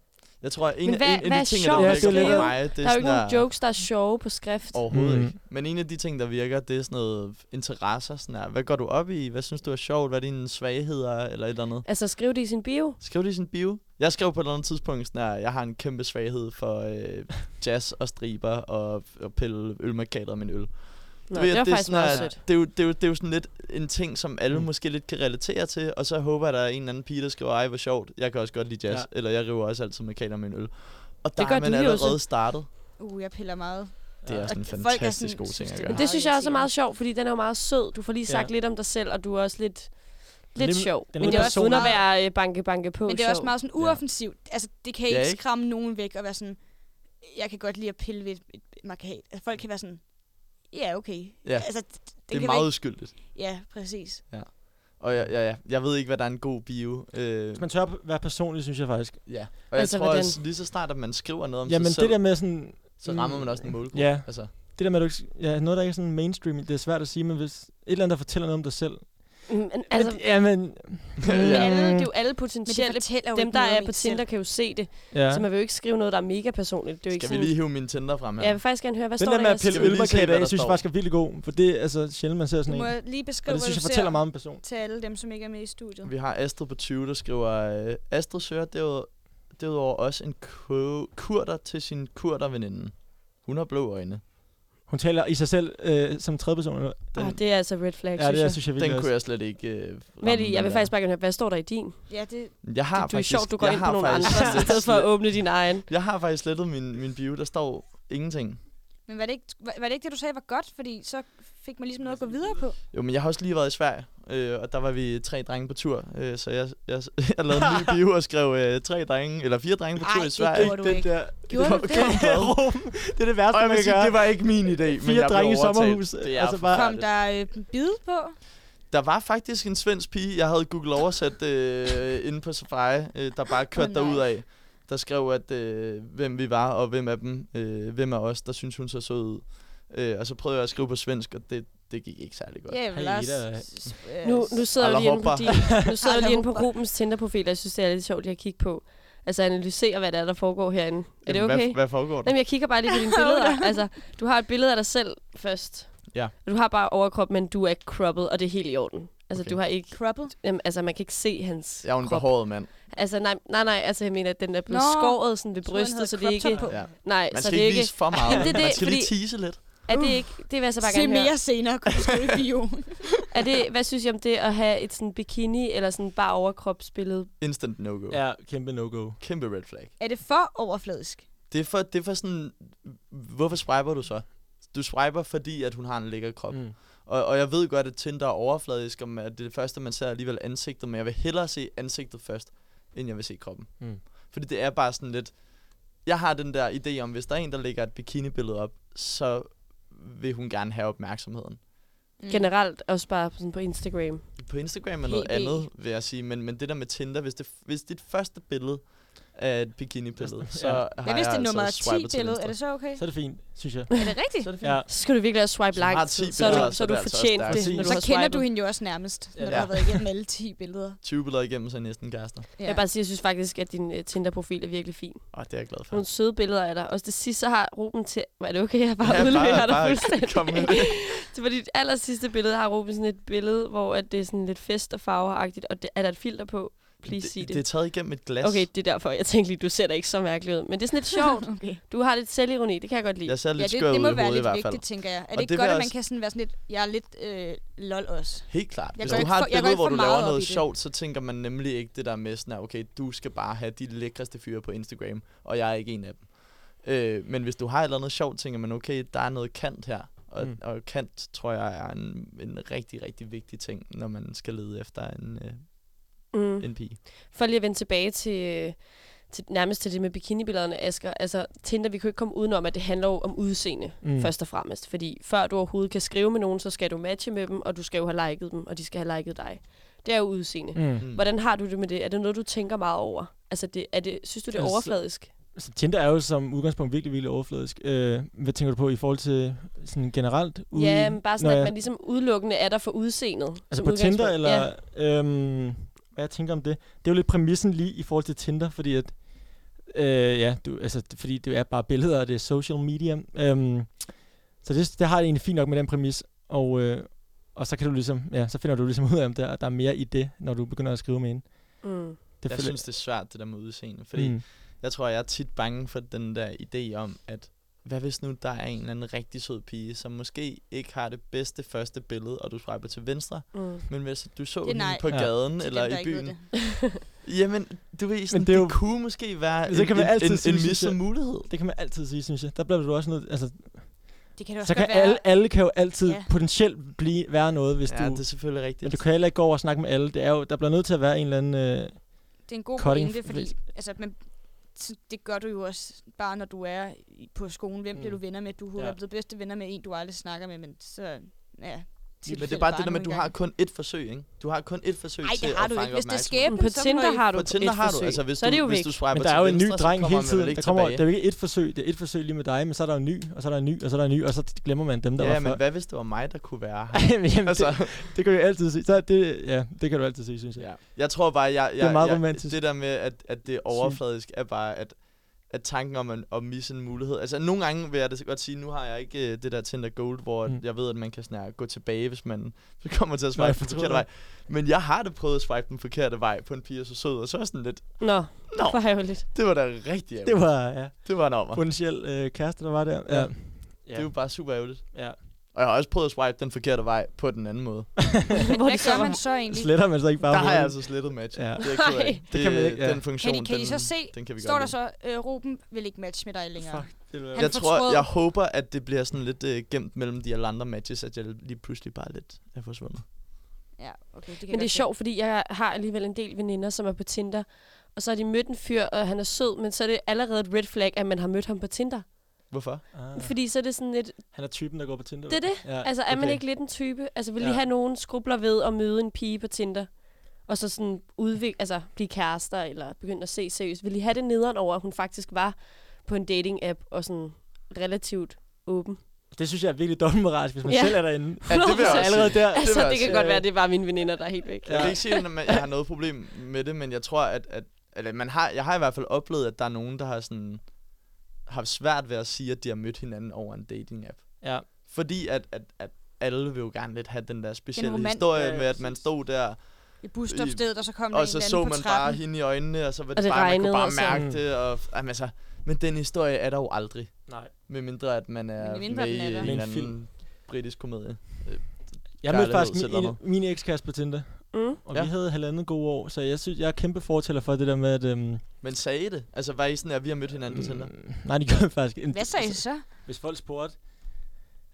[SPEAKER 7] Jeg tror, at en,
[SPEAKER 4] Men
[SPEAKER 7] af-
[SPEAKER 4] hvad-
[SPEAKER 7] en, en
[SPEAKER 4] hvad
[SPEAKER 7] af
[SPEAKER 4] er
[SPEAKER 7] de ting, der
[SPEAKER 6] sjovt
[SPEAKER 7] virker
[SPEAKER 6] at
[SPEAKER 7] for
[SPEAKER 6] skrive?
[SPEAKER 7] mig, det
[SPEAKER 4] Der er jo ikke nogen
[SPEAKER 7] sådan
[SPEAKER 4] jokes, der er sjove på skrift.
[SPEAKER 7] Overhovedet
[SPEAKER 6] Mm.
[SPEAKER 7] mm. ikke. Men en af de ting, der virker, det er sådan noget interesser. Sådan her. Hvad går du op i? Hvad synes du er sjovt? Hvad er dine svagheder? Eller et eller andet.
[SPEAKER 4] Altså, skriv det i sin bio.
[SPEAKER 7] Skriv det i sin bio. Jeg skrev på et eller andet tidspunkt, sådan her, jeg har en kæmpe svaghed for øh, jazz og striber og, og pille ølmarkader af min øl.
[SPEAKER 4] Nå,
[SPEAKER 7] Du
[SPEAKER 4] det,
[SPEAKER 7] at
[SPEAKER 4] var
[SPEAKER 7] er
[SPEAKER 4] faktisk
[SPEAKER 7] sådan
[SPEAKER 4] meget
[SPEAKER 7] her-
[SPEAKER 4] sødt.
[SPEAKER 7] Det er, jo, det, er jo, det er jo sådan lidt en ting, som alle
[SPEAKER 6] Mm.
[SPEAKER 7] mm. måske lidt kan relatere til, og så håber jeg, at der er en eller anden pige, der skriver, ej, hvor sjovt, jeg kan også godt lide jazz,
[SPEAKER 6] Ja.
[SPEAKER 7] ja. eller jeg river også altid markader med en øl. Og der
[SPEAKER 4] gør
[SPEAKER 7] er man
[SPEAKER 4] du jo
[SPEAKER 7] allerede
[SPEAKER 4] så.
[SPEAKER 7] startet.
[SPEAKER 5] Uh, jeg piller meget.
[SPEAKER 7] Det er
[SPEAKER 6] Ja.
[SPEAKER 7] også en
[SPEAKER 5] Og folk er
[SPEAKER 7] fantastisk
[SPEAKER 5] sådan-
[SPEAKER 7] god ting
[SPEAKER 5] synes,
[SPEAKER 7] at
[SPEAKER 5] det er
[SPEAKER 7] gøre.
[SPEAKER 4] Men det synes jeg også er
[SPEAKER 5] irriterende.
[SPEAKER 4] meget sjovt, fordi den er jo meget sød. Du får lige sagt
[SPEAKER 6] Ja.
[SPEAKER 4] lidt om dig selv, og du er også lidt, lidt
[SPEAKER 6] lidt-
[SPEAKER 4] sjov.
[SPEAKER 6] den er
[SPEAKER 4] Men
[SPEAKER 6] lidt
[SPEAKER 4] det er også uden at
[SPEAKER 5] personlig.
[SPEAKER 4] være øh, banke-banke på
[SPEAKER 5] Men det er
[SPEAKER 4] sjov.
[SPEAKER 5] også meget sådan
[SPEAKER 6] Ja.
[SPEAKER 5] uoffensivt. Altså, det kan
[SPEAKER 7] Ja,
[SPEAKER 5] ikke,
[SPEAKER 7] ikke?
[SPEAKER 5] skræmme nogen væk og være sådan, jeg kan godt lide at pille ved et, et markat. Altså, folk kan være sådan, ja, okay.
[SPEAKER 7] Ja.
[SPEAKER 5] Altså, det,
[SPEAKER 7] Det er
[SPEAKER 5] kan
[SPEAKER 7] meget
[SPEAKER 5] være
[SPEAKER 7] uskyldigt.
[SPEAKER 5] ikke... Ja, præcis.
[SPEAKER 7] Og ja, ja, ja, jeg ved ikke, hvad der er en god bio. Øh,
[SPEAKER 6] Hvis man tør p- være personlig, synes jeg faktisk.
[SPEAKER 7] ja. Og jeg
[SPEAKER 4] Altså,
[SPEAKER 7] altså, tror
[SPEAKER 4] hvordan?
[SPEAKER 7] også, lige så snart, at man skriver noget om
[SPEAKER 6] Jamen
[SPEAKER 7] sig selv,
[SPEAKER 6] det der med sådan...
[SPEAKER 7] så rammer man også en målgruppe.
[SPEAKER 6] Ja,
[SPEAKER 7] Altså,
[SPEAKER 6] det der med, at du ikke, s- ja, noget, der ikke er sådan mainstream, det er svært at sige, men hvis et eller andet, der fortæller noget om dig selv.
[SPEAKER 4] Men, altså,
[SPEAKER 6] Men- ja, men...
[SPEAKER 4] men
[SPEAKER 7] ja.
[SPEAKER 4] alle, det er jo alle
[SPEAKER 5] Men det
[SPEAKER 4] potentielle.
[SPEAKER 5] fortæller jo
[SPEAKER 4] Dem,
[SPEAKER 5] ikke
[SPEAKER 4] der
[SPEAKER 5] noget om
[SPEAKER 4] er på
[SPEAKER 5] en selv.
[SPEAKER 4] Tinder, kan jo se det.
[SPEAKER 6] Ja.
[SPEAKER 4] Så man vil jo ikke skrive noget, der er mega personligt. Det er jo ikke
[SPEAKER 7] Skal vi
[SPEAKER 4] sådan...
[SPEAKER 7] lige hive min Tinder frem
[SPEAKER 4] Ja, jeg
[SPEAKER 7] her?
[SPEAKER 4] vil faktisk gerne høre, hvad
[SPEAKER 6] Den
[SPEAKER 4] står
[SPEAKER 6] der med
[SPEAKER 4] der
[SPEAKER 6] at pille
[SPEAKER 7] Skal vi lige se,
[SPEAKER 6] ølmarkader
[SPEAKER 7] hvad
[SPEAKER 6] af,
[SPEAKER 7] der
[SPEAKER 6] synes jeg
[SPEAKER 7] står?
[SPEAKER 6] faktisk er vildt god, for det er altså sjældent, man ser
[SPEAKER 5] Du
[SPEAKER 6] sådan en.
[SPEAKER 5] må
[SPEAKER 6] Og
[SPEAKER 5] lige beskrive,
[SPEAKER 6] det
[SPEAKER 5] hvad
[SPEAKER 6] synes jeg
[SPEAKER 5] du
[SPEAKER 6] fortæller
[SPEAKER 5] ser
[SPEAKER 6] meget om en person.
[SPEAKER 5] til alle dem, som ikke er med i studiet.
[SPEAKER 7] Vi har Astrid på 20, der skriver, øh, Astrid søger derud, derudover også en ku- kurder til sin kurderveninde. Hun har blå øjne.
[SPEAKER 6] Hun taler i sig selv øh, som tredje person. Eller?
[SPEAKER 4] Ah, det er altså red flag, synes
[SPEAKER 6] ja, det er, altså-
[SPEAKER 4] jeg.
[SPEAKER 6] synes jeg virkelig
[SPEAKER 7] Den kunne
[SPEAKER 6] også.
[SPEAKER 7] jeg slet ikke øh, ramme,
[SPEAKER 4] Men jeg
[SPEAKER 7] den
[SPEAKER 4] vil
[SPEAKER 7] der.
[SPEAKER 4] faktisk bare gerne høre, hvad står der i din?
[SPEAKER 5] Ja, det,
[SPEAKER 7] Jeg har
[SPEAKER 4] Det det er jo
[SPEAKER 7] faktisk,
[SPEAKER 4] sjovt, du går
[SPEAKER 7] jeg
[SPEAKER 4] ind på
[SPEAKER 7] har
[SPEAKER 4] nogle andre,
[SPEAKER 7] faktisk
[SPEAKER 4] i
[SPEAKER 7] slet
[SPEAKER 4] stedet for at
[SPEAKER 7] slet-
[SPEAKER 4] åbne din egen.
[SPEAKER 7] Jeg har faktisk slettet min, min bio, der står ingenting.
[SPEAKER 5] men var det, ikke, var, var det ikke det, du sagde var godt? Fordi så fik man ligesom noget at gå videre på.
[SPEAKER 7] Jo, men jeg har også lige været i Sverige, øh, og der var vi tre drenge på tur, øh, så jeg, jeg, jeg lavede en ny bio og skrev øh, tre drenge, eller fire drenge på tur
[SPEAKER 5] Ej,
[SPEAKER 7] i
[SPEAKER 5] det
[SPEAKER 7] Sverige.
[SPEAKER 5] gjorde du ikke.
[SPEAKER 7] der,
[SPEAKER 5] Gjorde
[SPEAKER 7] var
[SPEAKER 5] du det?
[SPEAKER 7] kæmpe glad.
[SPEAKER 6] det er det værste,
[SPEAKER 7] Og jeg
[SPEAKER 6] man
[SPEAKER 7] vil
[SPEAKER 6] kan
[SPEAKER 7] sige,
[SPEAKER 6] gøre.
[SPEAKER 7] det var ikke min idé, men
[SPEAKER 6] Fire
[SPEAKER 7] jeg
[SPEAKER 6] drenge i
[SPEAKER 7] blev overtalt.
[SPEAKER 6] sommerhus,
[SPEAKER 7] Det er
[SPEAKER 6] altså bare-
[SPEAKER 5] Kom
[SPEAKER 7] forfærdeligt.
[SPEAKER 5] der øh, bid på?
[SPEAKER 7] Der var faktisk en svensk pige, jeg havde Google oversat øh, inde på Safari, øh, der bare kørte
[SPEAKER 5] nej.
[SPEAKER 7] oh, derud af. Der skrev, at øh, hvem vi var, og hvem af dem, øh, hvem af os, der synes hun så sød ud. Øh, og så prøvede jeg at skrive på svensk, og det, det gik ikke særlig godt.
[SPEAKER 5] Ja, jeg vil
[SPEAKER 6] Hej,
[SPEAKER 5] også...
[SPEAKER 6] Ida.
[SPEAKER 5] s- øh,
[SPEAKER 4] Nu, nu sidder jeg
[SPEAKER 7] Alla
[SPEAKER 4] lige inde på,
[SPEAKER 7] hopper.
[SPEAKER 4] din, nu sidder jeg
[SPEAKER 5] Alla
[SPEAKER 4] lige inde på
[SPEAKER 5] hopper.
[SPEAKER 4] Rubens Tinder-profil, og jeg synes, det er lidt sjovt lige at kigge på. Altså analysere, hvad der er, der foregår herinde. Er det
[SPEAKER 7] Jamen,
[SPEAKER 4] okay?
[SPEAKER 7] Hvad, hvad foregår der?
[SPEAKER 4] Jamen, jeg kigger bare lige på dine billeder. Altså, du har et billede af dig selv først.
[SPEAKER 7] Ja.
[SPEAKER 4] Du har bare overkrop, men du er cropped, og det er helt i orden. Altså,
[SPEAKER 7] Okay.
[SPEAKER 4] du har ikke...
[SPEAKER 5] Crubble?
[SPEAKER 4] Jamen, altså, man kan ikke se hans
[SPEAKER 7] Jeg er jo en
[SPEAKER 4] krop.
[SPEAKER 7] behåret mand.
[SPEAKER 4] Altså, nej, nej, nej, altså, jeg mener, at den er blevet
[SPEAKER 5] Nå.
[SPEAKER 4] skåret sådan ved
[SPEAKER 5] troede, han havde
[SPEAKER 4] brystet, så det
[SPEAKER 5] crop
[SPEAKER 4] er
[SPEAKER 5] top
[SPEAKER 4] ikke...
[SPEAKER 5] på.
[SPEAKER 7] Ja.
[SPEAKER 4] Nej,
[SPEAKER 7] Man
[SPEAKER 4] så
[SPEAKER 7] skal
[SPEAKER 4] det er
[SPEAKER 7] ikke
[SPEAKER 4] ikke...
[SPEAKER 7] vise for meget.
[SPEAKER 4] Det er
[SPEAKER 7] Man
[SPEAKER 4] det,
[SPEAKER 7] skal lige
[SPEAKER 4] fordi-
[SPEAKER 7] tease lidt.
[SPEAKER 4] Er det ikke... Det vil jeg så bare
[SPEAKER 5] Se
[SPEAKER 4] gerne høre.
[SPEAKER 5] mere senere, kunne du skrive i bioen.
[SPEAKER 4] Er det, hvad synes I om det at have et sådan bikini eller sådan bare overkropsbillede?
[SPEAKER 7] Instant no-go.
[SPEAKER 6] Ja, kæmpe no-go.
[SPEAKER 7] Kæmpe red flag.
[SPEAKER 5] Er det for overfladisk?
[SPEAKER 7] Det er for, det er for sådan... Hvorfor swiper du så? Du swiper, fordi at hun har en lækker krop.
[SPEAKER 6] Mm.
[SPEAKER 7] Og, og jeg ved godt, at Tinder er overfladisk, og at det, er det første, man ser er alligevel ansigtet, men jeg vil hellere se ansigtet først, end jeg vil se kroppen.
[SPEAKER 6] Mm.
[SPEAKER 7] Fordi det er bare sådan lidt... Jeg har den der idé om, hvis der er en, der lægger et bikinibillede op, så vil hun gerne have opmærksomheden.
[SPEAKER 5] Mm.
[SPEAKER 4] Generelt også bare sådan på Instagram.
[SPEAKER 7] På Instagram er noget
[SPEAKER 5] PB.
[SPEAKER 7] andet, vil jeg sige, men, men det der med Tinder, hvis det, hvis dit første billede er et bikinibillede, så
[SPEAKER 6] Ja.
[SPEAKER 7] har
[SPEAKER 5] Men hvis det er
[SPEAKER 7] altså
[SPEAKER 5] nummer 10
[SPEAKER 7] swipet til
[SPEAKER 5] billede,
[SPEAKER 7] venstre.
[SPEAKER 5] er det så okay?
[SPEAKER 6] Så er det fint, synes jeg.
[SPEAKER 5] Er det rigtigt?
[SPEAKER 7] Så er det fint.
[SPEAKER 6] Ja.
[SPEAKER 4] Så skal du virkelig også swipe
[SPEAKER 7] Hvis man har
[SPEAKER 4] langt,
[SPEAKER 7] 10
[SPEAKER 4] tid, så, er
[SPEAKER 7] billeder,
[SPEAKER 4] du,
[SPEAKER 7] så
[SPEAKER 4] så er
[SPEAKER 7] er
[SPEAKER 4] du
[SPEAKER 7] det altså også
[SPEAKER 4] fortjent
[SPEAKER 7] stærkt.
[SPEAKER 4] det, når du
[SPEAKER 5] Så
[SPEAKER 4] har
[SPEAKER 5] kender
[SPEAKER 4] swipet.
[SPEAKER 5] du hende jo også nærmest, når du
[SPEAKER 7] Ja.
[SPEAKER 5] har været igennem alle 10 billeder.
[SPEAKER 7] 20 billeder igennem, så er jeg næsten kærester.
[SPEAKER 4] Jeg vil bare sige, jeg synes faktisk, at din øh, Tinder-profil er virkelig fin.
[SPEAKER 7] Åh, det er jeg glad for.
[SPEAKER 4] Nogle søde billeder af dig. Også det sidste, så har Ruben til... Var det okay, jeg bare
[SPEAKER 7] Ja,
[SPEAKER 4] ja,
[SPEAKER 7] bare-
[SPEAKER 4] udleverer dig
[SPEAKER 7] bare kom med
[SPEAKER 4] fuldstændig?
[SPEAKER 7] det.
[SPEAKER 4] det var dit aller sidste billede, har Ruben sådan et billede, hvor at det er sådan lidt fest og farveragtigt, og det, er der et filter på? Please sig det.
[SPEAKER 7] det. Det er taget igennem et glas.
[SPEAKER 4] Okay, det er derfor, jeg tænkte lige, du ser dig ikke så mærkelig ud. Men det er sådan lidt sjovt.
[SPEAKER 5] okay.
[SPEAKER 4] Du har lidt selvironi, det kan jeg godt lide.
[SPEAKER 7] Jeg ser lidt
[SPEAKER 5] Ja, det,
[SPEAKER 7] ja, skør ud i
[SPEAKER 5] det må
[SPEAKER 7] hovedet
[SPEAKER 5] være
[SPEAKER 7] i
[SPEAKER 5] lidt
[SPEAKER 7] hvert fald.
[SPEAKER 5] vigtigt, tænker jeg. Er
[SPEAKER 7] Og
[SPEAKER 5] det ikke
[SPEAKER 7] det
[SPEAKER 5] godt,
[SPEAKER 7] vil
[SPEAKER 5] at
[SPEAKER 7] jeg
[SPEAKER 5] man kan sådan være sådan lidt, jeg er lidt øh, lol også?
[SPEAKER 7] Helt klart.
[SPEAKER 5] Jeg
[SPEAKER 7] Hvis
[SPEAKER 5] går
[SPEAKER 7] du
[SPEAKER 5] ikke
[SPEAKER 7] har
[SPEAKER 5] for-
[SPEAKER 7] et
[SPEAKER 5] jeg går
[SPEAKER 7] billede,
[SPEAKER 5] ikke
[SPEAKER 7] hvor
[SPEAKER 5] for
[SPEAKER 7] du
[SPEAKER 5] meget
[SPEAKER 7] laver
[SPEAKER 5] op i
[SPEAKER 7] noget
[SPEAKER 5] det.
[SPEAKER 7] sjovt, så tænker man nemlig ikke det der med sådan, at okay, du skal bare have de lækreste fyre på Instagram, og jeg er ikke en af dem. Øh, men hvis du har et eller andet sjovt, tænker man, okay, der er noget kant her. Og,
[SPEAKER 6] Mm.
[SPEAKER 7] mm. og kant, tror jeg, er en, en rigtig, rigtig vigtig ting, når man skal lede efter en, øh,
[SPEAKER 4] Mm.
[SPEAKER 7] en pige.
[SPEAKER 4] For lige at vende tilbage til, øh, til nærmest til det med bikinibillederne, Asger. Altså, Tinder, vi kan jo ikke komme udenom, at det handler jo om udseende,
[SPEAKER 6] Mm.
[SPEAKER 4] mm. først og fremmest. Fordi før du overhovedet kan skrive med nogen, så skal du matche med dem, og du skal jo have liket dem, og de skal have liket dig. Det er jo udseende. Mm.
[SPEAKER 6] Mm.
[SPEAKER 7] Mm.
[SPEAKER 4] Hvordan har du det med det? Er det noget, du tænker meget over? Altså, det, er det, synes du, det er
[SPEAKER 6] Altså-
[SPEAKER 4] overfladisk?
[SPEAKER 6] Så Tinder er jo som udgangspunkt virkelig, virkelig overfladisk. Øh, hvad tænker du på i forhold til sådan generelt? ude i-
[SPEAKER 4] Ja, men bare sådan,
[SPEAKER 6] Nå,
[SPEAKER 4] at
[SPEAKER 6] ja.
[SPEAKER 4] man ligesom udelukkende er der for udseendet.
[SPEAKER 6] Altså
[SPEAKER 4] som
[SPEAKER 6] på Tinder,
[SPEAKER 4] udgangspunkt. Ja.
[SPEAKER 6] eller øhm, hvad jeg tænker om det. Det er jo lidt præmissen lige i forhold til Tinder, fordi at Øh, ja, du, altså, det- fordi det er bare billeder, og det er social media. Øhm, så det, det har det egentlig fint nok med den præmis. Og, øh, og så kan du ligesom, ja, så finder du ligesom ud af, om der, der er mere i det, når du begynder at skrive med en.
[SPEAKER 4] Mm.
[SPEAKER 6] Det
[SPEAKER 7] Jeg
[SPEAKER 6] føler-
[SPEAKER 7] synes, det er svært, det der med udseende. Fordi mm. jeg tror, jeg er tit bange for den der idé om, at hvad hvis nu der er en eller anden rigtig sød pige, som måske ikke har det bedste første billede, og du swiper til venstre,
[SPEAKER 4] Mm.
[SPEAKER 7] men hvis du så
[SPEAKER 5] Det er
[SPEAKER 7] hende
[SPEAKER 5] nej.
[SPEAKER 7] på
[SPEAKER 6] Ja.
[SPEAKER 7] gaden
[SPEAKER 5] Til
[SPEAKER 7] eller
[SPEAKER 5] dem, der
[SPEAKER 7] i
[SPEAKER 5] ikke ved det.
[SPEAKER 7] byen, jamen, du ved, sådan,
[SPEAKER 6] det
[SPEAKER 7] det,
[SPEAKER 6] er
[SPEAKER 7] det
[SPEAKER 6] jo-
[SPEAKER 7] kunne måske være
[SPEAKER 6] Det
[SPEAKER 7] en,
[SPEAKER 6] kan man
[SPEAKER 7] en,
[SPEAKER 6] altid
[SPEAKER 7] en,
[SPEAKER 6] sige,
[SPEAKER 7] en
[SPEAKER 6] synes
[SPEAKER 7] misset
[SPEAKER 6] jeg.
[SPEAKER 7] mulighed.
[SPEAKER 6] Det kan man altid sige, synes jeg. Der bliver du også nødt, altså,
[SPEAKER 5] Det kan det også
[SPEAKER 6] så kan
[SPEAKER 5] godt være.
[SPEAKER 6] alle, alle kan jo altid ja.
[SPEAKER 5] Ja.
[SPEAKER 6] potentielt blive, være noget, hvis
[SPEAKER 7] Ja,
[SPEAKER 6] du...
[SPEAKER 7] det er selvfølgelig
[SPEAKER 6] Men
[SPEAKER 7] rigtigt.
[SPEAKER 6] du kan heller ikke gå over og snakke med alle. Det er jo, der bliver nødt til at være en eller anden... Øh,
[SPEAKER 5] Det er en god
[SPEAKER 6] Cutting
[SPEAKER 5] pointe, fordi
[SPEAKER 6] hvis-
[SPEAKER 5] altså, men, så det gør du jo også bare, når du er i- på skolen. Hvem bliver
[SPEAKER 6] Mm.
[SPEAKER 5] du venner med? Du er
[SPEAKER 6] Ja.
[SPEAKER 5] ja. blevet bedste venner med en, du aldrig snakker med, men så... Ja,
[SPEAKER 7] Men det er bare det der med, at du har kun et forsøg, ikke? Du har kun et forsøg
[SPEAKER 5] Nej,
[SPEAKER 7] til
[SPEAKER 5] det har
[SPEAKER 7] at
[SPEAKER 5] du
[SPEAKER 7] fange
[SPEAKER 5] ikke. Hvis det er skæbnen,
[SPEAKER 7] opmærksomheden.
[SPEAKER 4] På
[SPEAKER 5] så må
[SPEAKER 4] Tinder
[SPEAKER 5] I-
[SPEAKER 4] har du
[SPEAKER 7] På Tinder
[SPEAKER 4] et
[SPEAKER 7] har
[SPEAKER 4] forsøg.
[SPEAKER 7] du, altså hvis
[SPEAKER 4] så er det
[SPEAKER 7] du,
[SPEAKER 4] jo
[SPEAKER 7] hvis
[SPEAKER 4] væk.
[SPEAKER 7] du swiper
[SPEAKER 6] men der
[SPEAKER 7] til
[SPEAKER 6] er jo en ny
[SPEAKER 7] venstre, så
[SPEAKER 6] dreng
[SPEAKER 7] kommer
[SPEAKER 6] hele
[SPEAKER 7] man
[SPEAKER 6] tiden.
[SPEAKER 7] vel ikke
[SPEAKER 6] Der, kommer, der
[SPEAKER 7] tilbage.
[SPEAKER 6] er jo ikke et forsøg. Det er et forsøg lige med dig, men så er der jo en ny, og så er der en ny, og så er der en ny, og så glemmer man dem, der
[SPEAKER 7] Ja,
[SPEAKER 6] var
[SPEAKER 7] men
[SPEAKER 6] før.
[SPEAKER 7] hvad hvis det var mig, der kunne være her?
[SPEAKER 6] Jamen, Jamen, altså.
[SPEAKER 7] altså,
[SPEAKER 6] det, det, kan du jo altid sige. Så er det, ja, det kan du altid sige, synes jeg.
[SPEAKER 7] ja. Jeg tror bare, jeg, jeg,
[SPEAKER 6] er meget
[SPEAKER 7] jeg,
[SPEAKER 6] romantisk.
[SPEAKER 7] det der med, at, at det er overfladisk, er bare, at, at tanken om at, at misse en mulighed. Altså, nogle gange vil jeg da godt sige, nu har jeg ikke øh, det der Tinder Gold, hvor
[SPEAKER 6] Mm.
[SPEAKER 7] mm. jeg ved, at man kan sådan her, gå tilbage, hvis man så kommer til at
[SPEAKER 6] Nej,
[SPEAKER 7] swipe den
[SPEAKER 6] fortryder.
[SPEAKER 7] forkerte vej. Men jeg har da prøvet at swipe den forkerte vej på en pige, så sød, og så er jeg sådan lidt,
[SPEAKER 4] Nå,
[SPEAKER 7] Nå.
[SPEAKER 4] for ærgerligt.
[SPEAKER 7] det var da rigtig
[SPEAKER 6] Det
[SPEAKER 7] ærgerligt.
[SPEAKER 6] var ja,
[SPEAKER 7] Det var en ommer.
[SPEAKER 6] potentiel øh, kæreste, der var der. Ja.
[SPEAKER 7] Ja.
[SPEAKER 6] ja.
[SPEAKER 7] Det er jo bare super ærgerligt.
[SPEAKER 6] Ja.
[SPEAKER 7] Og jeg har også prøvet at swipe den forkerte vej på den anden måde.
[SPEAKER 5] Men
[SPEAKER 4] Hvor
[SPEAKER 5] hvad
[SPEAKER 4] de så
[SPEAKER 5] gør
[SPEAKER 4] var-
[SPEAKER 5] man så egentlig?
[SPEAKER 6] Sletter man så ikke bare
[SPEAKER 7] Der har jeg
[SPEAKER 6] hurtigt?
[SPEAKER 7] altså slettet matchen.
[SPEAKER 6] Ja.
[SPEAKER 7] Ja. Det er jeg ked af.
[SPEAKER 4] Nej.
[SPEAKER 7] Det,
[SPEAKER 6] kan man ikke, ja.
[SPEAKER 7] Den funktion,
[SPEAKER 5] Kan de, kan
[SPEAKER 7] den,
[SPEAKER 5] de så se?
[SPEAKER 7] den kan vi
[SPEAKER 5] Står der
[SPEAKER 7] godt lide.
[SPEAKER 5] så, øh, Ruben vil ikke matche med dig længere.
[SPEAKER 6] Fuck, det ville være-
[SPEAKER 5] Han
[SPEAKER 7] Jeg tror,
[SPEAKER 5] fortrød.
[SPEAKER 7] jeg håber, at det bliver sådan lidt øh, gemt mellem de alle andre matches, at jeg lige pludselig bare lidt er forsvundet.
[SPEAKER 5] Ja, okay, det kan jeg
[SPEAKER 4] Men det
[SPEAKER 5] godt
[SPEAKER 4] er
[SPEAKER 5] se.
[SPEAKER 4] sjovt, fordi jeg har alligevel en del veninder, som er på Tinder. Og så har de mødt en fyr, og han er sød, men så er det allerede et red flag, at man har mødt ham på Tinder.
[SPEAKER 7] Hvorfor?
[SPEAKER 6] Ah,
[SPEAKER 4] Fordi så er det sådan lidt,
[SPEAKER 6] han er typen, der går på Tinder.
[SPEAKER 4] Det er det.
[SPEAKER 6] Ja,
[SPEAKER 4] Altså, er okay. man
[SPEAKER 6] okay.
[SPEAKER 4] ikke lidt en type? Altså, vil ja. I
[SPEAKER 6] Ja.
[SPEAKER 4] have nogen skrubler ved at møde en pige på Tinder? Og så sådan udvik altså, blive kærester, eller begynde at se seriøst. Vil I have det nederen over, at hun faktisk var på en dating-app, og sådan relativt åben?
[SPEAKER 6] Det synes jeg er virkelig dobbeltmoralsk, hvis man
[SPEAKER 4] Ja.
[SPEAKER 6] selv er derinde.
[SPEAKER 7] Ja, det vil jeg
[SPEAKER 6] Så
[SPEAKER 7] også
[SPEAKER 6] allerede
[SPEAKER 7] sige.
[SPEAKER 6] der,
[SPEAKER 4] Altså,
[SPEAKER 7] vil
[SPEAKER 4] det,
[SPEAKER 7] jeg
[SPEAKER 4] det kan
[SPEAKER 7] sige.
[SPEAKER 4] godt være, at det er bare mine veninder, der er helt væk.
[SPEAKER 7] Jeg kan ikke sige, at man- jeg har noget problem med det, men jeg tror, at, at eller man har, jeg har i hvert fald oplevet, at der er nogen, der har sådan haft svært ved at sige, at de har mødt hinanden over en dating-app.
[SPEAKER 6] Ja.
[SPEAKER 7] Fordi at, at, at alle vil jo gerne lidt have den der specielle
[SPEAKER 5] roman-
[SPEAKER 7] historie
[SPEAKER 6] Ja, ja,
[SPEAKER 7] med, at man
[SPEAKER 6] præcis.
[SPEAKER 7] stod der
[SPEAKER 5] I busstopstedet, og så kom der en
[SPEAKER 7] Og så
[SPEAKER 5] eller
[SPEAKER 7] så
[SPEAKER 5] anden på
[SPEAKER 7] man bare
[SPEAKER 5] trappen.
[SPEAKER 7] hende i øjnene, og så var det,
[SPEAKER 4] det
[SPEAKER 7] bare, man
[SPEAKER 4] regnede,
[SPEAKER 7] kunne bare
[SPEAKER 4] og så-
[SPEAKER 7] mærke
[SPEAKER 6] Mm.
[SPEAKER 7] det. Og, jamen, altså, men den historie er der jo aldrig,
[SPEAKER 6] Nej.
[SPEAKER 7] medmindre at man er
[SPEAKER 5] Medmindre
[SPEAKER 7] med
[SPEAKER 5] den er
[SPEAKER 7] i
[SPEAKER 5] der.
[SPEAKER 6] Med
[SPEAKER 7] en
[SPEAKER 6] en
[SPEAKER 7] eller anden
[SPEAKER 6] film.
[SPEAKER 7] britisk komedie.
[SPEAKER 6] Jeg mødte
[SPEAKER 7] Kærlighed
[SPEAKER 6] faktisk
[SPEAKER 7] til
[SPEAKER 6] min,
[SPEAKER 7] eller
[SPEAKER 6] en, min ekskæreste på Tinder,
[SPEAKER 4] Mm.
[SPEAKER 6] og ja.
[SPEAKER 7] Ja.
[SPEAKER 6] vi havde halvandet gode år, så jeg synes, jeg er kæmpe fortæller for det der med, at... Øhm,
[SPEAKER 7] Men sagde I det? Altså, var I sådan, at vi har mødt hinanden på Tinder?
[SPEAKER 6] mm, nej, det gjorde jeg faktisk ikke. Altså,
[SPEAKER 5] Hvad sagde I
[SPEAKER 7] altså-
[SPEAKER 5] så?
[SPEAKER 6] Hvis folk spurgte...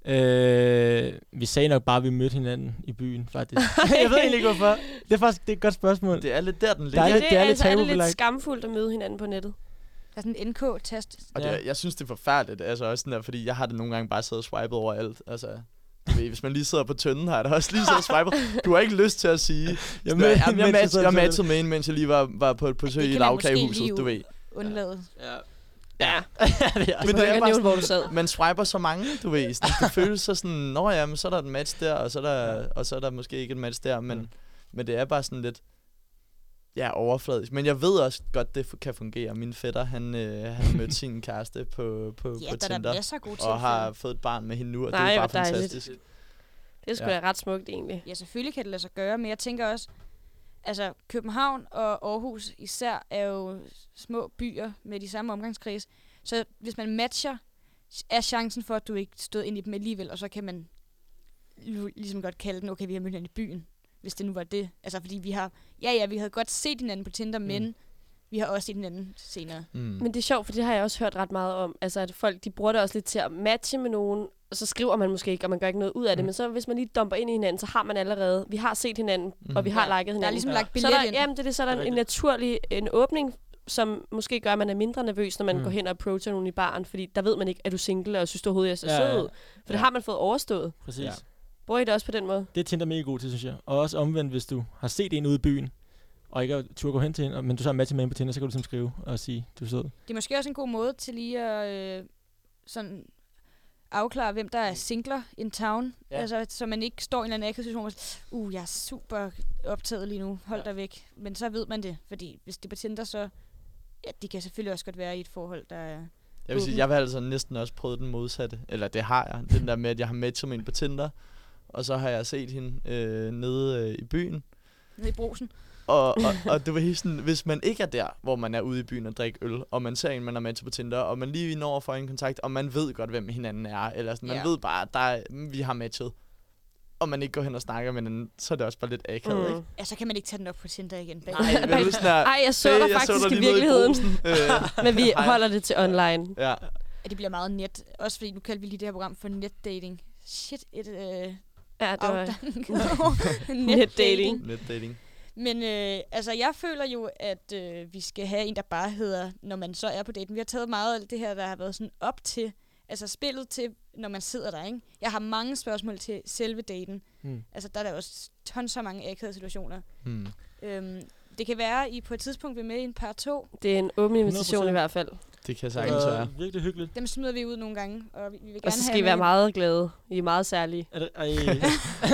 [SPEAKER 6] Øh, vi sagde nok bare, at vi mødte hinanden i byen, faktisk. jeg ved egentlig ikke, hvorfor. Det er faktisk det er et godt spørgsmål. Det,
[SPEAKER 7] Det er lidt der, den
[SPEAKER 6] Der
[SPEAKER 7] ligger.
[SPEAKER 6] er lidt- det er lidt
[SPEAKER 4] altså, er det lidt
[SPEAKER 6] tabubelagt.
[SPEAKER 4] skamfuldt at møde hinanden på nettet.
[SPEAKER 5] Der er sådan en NK-test.
[SPEAKER 7] Og det,
[SPEAKER 6] Ja.
[SPEAKER 7] er- jeg synes, det er forfærdeligt, altså også sådan der, fordi jeg har det nogle gange bare siddet og swipet over alt. Altså, du ved, hvis man lige sidder på tønden, har jeg da også lige siddet og swipet. Du har ikke lyst til at sige,
[SPEAKER 6] jeg
[SPEAKER 7] Jamen, jeg,
[SPEAKER 6] mens
[SPEAKER 7] jeg, match,
[SPEAKER 6] sad
[SPEAKER 7] jeg
[SPEAKER 6] til det.
[SPEAKER 7] matchede med en, mens jeg lige var, var på et besøg
[SPEAKER 5] Det
[SPEAKER 7] i
[SPEAKER 5] kan man måske
[SPEAKER 7] lavkagehuset,
[SPEAKER 5] lige
[SPEAKER 7] du ved.
[SPEAKER 5] Undlade.
[SPEAKER 4] Ja.
[SPEAKER 7] Men
[SPEAKER 4] Du
[SPEAKER 7] det
[SPEAKER 4] kan
[SPEAKER 7] er
[SPEAKER 4] ikke
[SPEAKER 7] bare
[SPEAKER 4] nævne,
[SPEAKER 7] sådan-
[SPEAKER 4] hvor du sad.
[SPEAKER 7] man swiper så mange, du ved. Sådan, det føles så sådan, nå ja, men så er der et match der, og så er der, og så er der måske ikke et match der, men,
[SPEAKER 6] Mm.
[SPEAKER 7] mm. men det er bare sådan lidt, ja, overfladisk. Men jeg ved også godt, det fu- kan fungere. Min fætter, han, øh, han mødte sin kæreste på, på,
[SPEAKER 5] Ja,
[SPEAKER 7] på
[SPEAKER 5] der er
[SPEAKER 7] Tinder,
[SPEAKER 5] da masser af gode tilfælde.
[SPEAKER 7] og har fået et barn med hende nu, og
[SPEAKER 4] Nej,
[SPEAKER 7] det er
[SPEAKER 4] hvor
[SPEAKER 7] bare
[SPEAKER 4] dejligt.
[SPEAKER 7] fantastisk.
[SPEAKER 4] Det er sgu
[SPEAKER 7] Ja.
[SPEAKER 4] da ret smukt, egentlig.
[SPEAKER 5] Ja, selvfølgelig kan det lade sig gøre, men jeg tænker også, altså København og Aarhus især er jo små byer med de samme omgangskreds. Så hvis man matcher, er chancen for, at du ikke stod ind i dem alligevel, og så kan man lu- ligesom godt kalde den, okay, vi har mødt hinanden i byen, hvis det nu var det. Altså fordi vi har, ja ja, vi havde godt set hinanden på Tinder, mm. men vi har også set hinanden senere.
[SPEAKER 7] Mm.
[SPEAKER 4] Men det er sjovt, for det har jeg også hørt ret meget om. Altså, at folk, de bruger det også lidt til at matche med nogen, og så skriver man måske ikke, og man gør ikke noget ud af det.
[SPEAKER 6] Mm.
[SPEAKER 4] Men så hvis man lige dumper ind i hinanden, så har man allerede, vi har set hinanden, mm. og vi har
[SPEAKER 5] Ja.
[SPEAKER 4] liket hinanden.
[SPEAKER 5] Der er ligesom
[SPEAKER 6] Ja.
[SPEAKER 5] lagt
[SPEAKER 4] så
[SPEAKER 5] billet
[SPEAKER 4] er der,
[SPEAKER 5] ind.
[SPEAKER 4] jamen, det er det, så er
[SPEAKER 6] Det er
[SPEAKER 4] der en naturlig en åbning, som måske gør, at man er mindre nervøs, når man
[SPEAKER 6] Mm.
[SPEAKER 4] mm. går hen og approacher nogen i baren, fordi der ved man ikke, er du single, og synes du overhovedet, jeg ser
[SPEAKER 6] Ja,
[SPEAKER 4] ja,
[SPEAKER 6] ja,
[SPEAKER 4] sød
[SPEAKER 6] ja.
[SPEAKER 4] ud. For det har man fået overstået.
[SPEAKER 6] Præcis. Ja.
[SPEAKER 7] Ja.
[SPEAKER 4] Bruger I det også på den måde?
[SPEAKER 6] Det er Tinder mega god til, synes jeg. Og også omvendt, hvis du har set en ude i byen, og ikke har tur gå hen til hende, og- men du så har matchet med hende på Tinder, så kan du ligesom skrive og sige, du er sød.
[SPEAKER 5] Det er måske også en god måde til lige at øh, sådan afklare, hvem der er singler in town.
[SPEAKER 6] Ja.
[SPEAKER 5] Ja. Altså, så man ikke står i en eller anden akavet situation, hvor man sådan, uh, jeg er super optaget lige nu, hold ja.
[SPEAKER 6] Ja.
[SPEAKER 5] dig væk. Men så ved man det, fordi hvis det er på Tinder, så Ja, det kan selvfølgelig også godt være i et forhold, der er...
[SPEAKER 7] Jeg vil sige,
[SPEAKER 5] Mhm.
[SPEAKER 7] jeg har altså næsten også prøvet den modsatte. Eller det har jeg. Den der med, at jeg har matchet med en på Tinder. Og så har jeg set hende øh, nede øh, i byen.
[SPEAKER 5] Nede i brusen.
[SPEAKER 7] Og, og, og det var helt sådan, hvis man ikke er der, hvor man er ude i byen og drikker øl, og man ser en, man har matchet på Tinder, og man lige når for en kontakt, og man ved godt, hvem hinanden er, eller sådan, man
[SPEAKER 5] Ja.
[SPEAKER 7] ved bare, at der er, mm, vi har matchet, og man ikke går hen og snakker med hinanden, så er det også bare lidt akavet, mm. ikke?
[SPEAKER 5] Ja, så kan man ikke tage den op på Tinder igen. bag.
[SPEAKER 7] Ej, men du sådan der,
[SPEAKER 4] Ej, jeg så dig
[SPEAKER 7] "Hey,
[SPEAKER 4] faktisk
[SPEAKER 7] dig
[SPEAKER 4] i
[SPEAKER 7] lige nede
[SPEAKER 4] virkeligheden."
[SPEAKER 7] brugsen." øh,
[SPEAKER 4] Men vi
[SPEAKER 7] Hej.
[SPEAKER 4] holder det til online.
[SPEAKER 7] ja.
[SPEAKER 5] Ja, det bliver meget net. Også fordi, nu kaldte vi lige det her program for netdating. Shit, et øh,
[SPEAKER 4] Ja, det var...
[SPEAKER 5] afdanket ord. netdating.
[SPEAKER 7] Netdating.
[SPEAKER 5] Men øh, altså, jeg føler jo, at øh, vi skal have en, der bare hedder, når man så er på daten. Vi har taget meget af alt det her, der har været sådan op til, altså spillet til, når man sidder der, ikke? Jeg har mange spørgsmål til selve daten.
[SPEAKER 6] Mm.
[SPEAKER 5] Altså, der er der også tons så mange akavede situationer.
[SPEAKER 7] Hmm.
[SPEAKER 5] Øhm, det kan være, I på et tidspunkt vil med i en par to.
[SPEAKER 4] Det er en åben invitation
[SPEAKER 6] 100%.
[SPEAKER 4] i hvert fald.
[SPEAKER 7] Det kan jeg
[SPEAKER 6] Det
[SPEAKER 4] Øh.
[SPEAKER 7] sagtens være.
[SPEAKER 6] var virkelig hyggeligt.
[SPEAKER 5] Dem smider vi ud nogle gange, og vi vi vil gerne
[SPEAKER 4] Og så
[SPEAKER 5] have
[SPEAKER 4] skal I
[SPEAKER 5] jer
[SPEAKER 4] være
[SPEAKER 5] med.
[SPEAKER 4] meget glade. I er meget særlige.
[SPEAKER 6] Er det, ej,
[SPEAKER 7] Ej,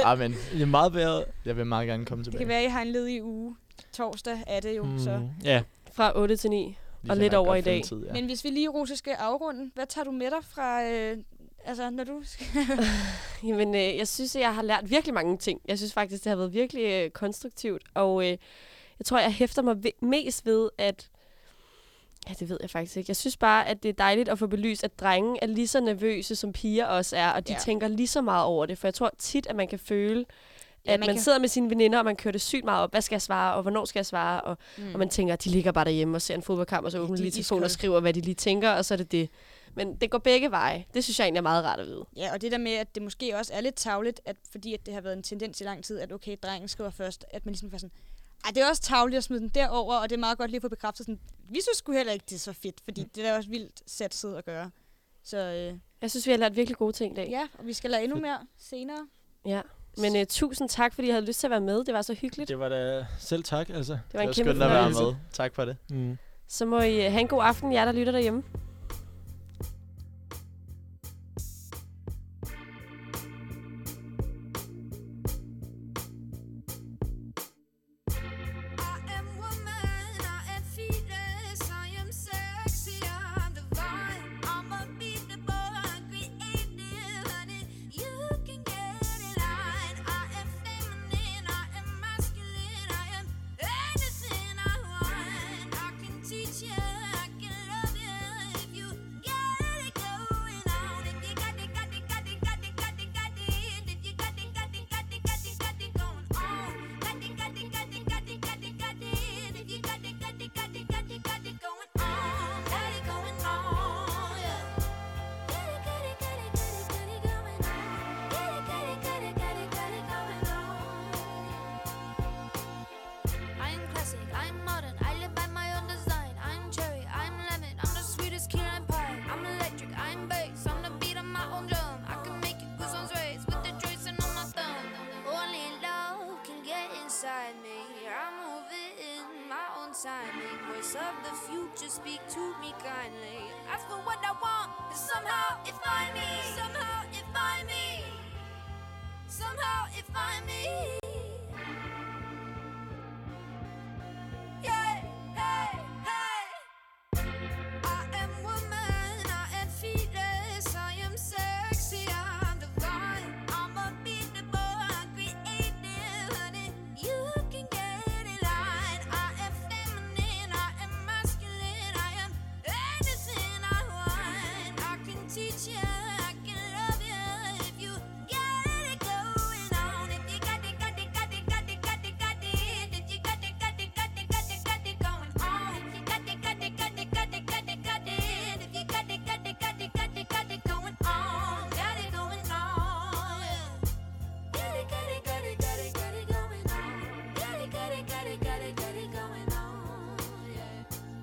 [SPEAKER 7] Ah, men
[SPEAKER 6] det er meget bedre.
[SPEAKER 7] jeg vil meget gerne komme
[SPEAKER 5] Det
[SPEAKER 7] tilbage.
[SPEAKER 5] kan være, I har en ledig uge. Torsdag er det jo, mm. så.
[SPEAKER 6] Ja,
[SPEAKER 4] Fra 8 til 9.
[SPEAKER 7] Vi
[SPEAKER 4] og
[SPEAKER 7] kan
[SPEAKER 4] lidt
[SPEAKER 7] nok
[SPEAKER 4] over
[SPEAKER 7] godt
[SPEAKER 4] i
[SPEAKER 7] finde
[SPEAKER 4] dag.
[SPEAKER 7] Tid, ja.
[SPEAKER 5] Men hvis vi lige, Rose, skal afrunde, hvad tager du med dig fra, øh, altså når du skal...
[SPEAKER 4] Jamen, øh, jeg synes, at jeg har lært virkelig mange ting. Jeg synes faktisk, det har været virkelig øh, konstruktivt. Og øh, jeg tror, jeg hæfter mig ve- mest ved, at... Ja, det ved jeg faktisk ikke. Jeg synes bare, at det er dejligt at få belyst, at drenge er lige så nervøse, som piger også er. Og de
[SPEAKER 5] Ja.
[SPEAKER 4] ja. tænker lige så meget over det. For jeg tror tit, at man kan føle,
[SPEAKER 5] Ja,
[SPEAKER 4] at ja,
[SPEAKER 5] man
[SPEAKER 4] man, man
[SPEAKER 5] kan-
[SPEAKER 4] sidder med sine veninder, og man kører det sygt meget op. Hvad skal jeg svare, og hvornår skal jeg svare? Og,
[SPEAKER 5] Hmm.
[SPEAKER 4] mm. og man tænker, at de ligger bare derhjemme og ser en fodboldkamp, og så åbner
[SPEAKER 5] de er
[SPEAKER 4] de lige telefonen og
[SPEAKER 5] iskolde.
[SPEAKER 4] skriver, hvad de lige tænker, og så er det det. Men det går begge veje. Det synes jeg egentlig er meget rart at vide.
[SPEAKER 5] Ja, og det der med, at det måske også er lidt tavligt, at fordi at det har været en tendens i lang tid, at okay, drengen skriver først, at man ligesom var sådan, ej, det er også tavligt at smide den derover, og det er meget godt lige at få bekræftet sådan, vi synes sgu heller ikke, det er så fedt, fordi det er da også vildt satset at gøre. Så øh,
[SPEAKER 4] Jeg synes, vi har lært virkelig gode ting i dag.
[SPEAKER 5] ja, og vi skal lade endnu mere senere.
[SPEAKER 4] Ja, men øh, tusind tak, fordi I havde lyst til at være med. Det var så hyggeligt.
[SPEAKER 6] det var da selv tak, altså.
[SPEAKER 4] Det var
[SPEAKER 7] Det
[SPEAKER 4] en kæmpe
[SPEAKER 7] var skønt at være
[SPEAKER 4] fornøjelse.
[SPEAKER 7] med. Tak for det.
[SPEAKER 6] Mm.
[SPEAKER 4] Så må I øh, have en god aften, jer der lytter derhjemme.
[SPEAKER 8] I am woman, I am fearless, I am sexy, I'm divine. I'm unbeatable, I'm creative, honey. You can get in line. I am feminine, I am masculine, I am anything I want. I can teach you, I can love you if you get it going on. If you got it, got it, got it, got it, got it, got it. If you got it, got it, got it, got it, got it going on. Got it, got it, got it, got it, got it, got it. If you got it, got it, got it, got it, got it going on. Got it going on, yeah. Got it, got it, got it, got it, got it going on. Got it, got it, got it, got it, got it going on. I'm classic, I'm modern, I live by my own design. I'm cherry, I'm lemon, I'm the sweetest key lime pie. I'm electric, I'm bass, I'm the beat of my own drum. I can make you goosebumps raise with the tracing on my thumb. Only love can get inside me. I'm moving in my own timing. Voice of the future, speak to me kindly. Ask for what I want, and somehow it find me. Somehow it find me. Somehow it find me. Yeah, hey, hey. I am woman, I am fearless, I am sexy, I'm divine, I'm unbeatable, I'm creative, honey. You can get in line. I am feminine, I am masculine, I am anything I want. I can teach you, I can love you if you get it going on. If you got it, got it, got it, got it, got it, got it. If you got it, got it, got it, got it, got it going on. If you got it, got it, got it, got it, got it, got it. If you got it, got it, got it, got it, got it going on. Got it going on. Got it, got it, got it, got it, got it going on. Got it, got it, got it, got it, got it going on. Yeah,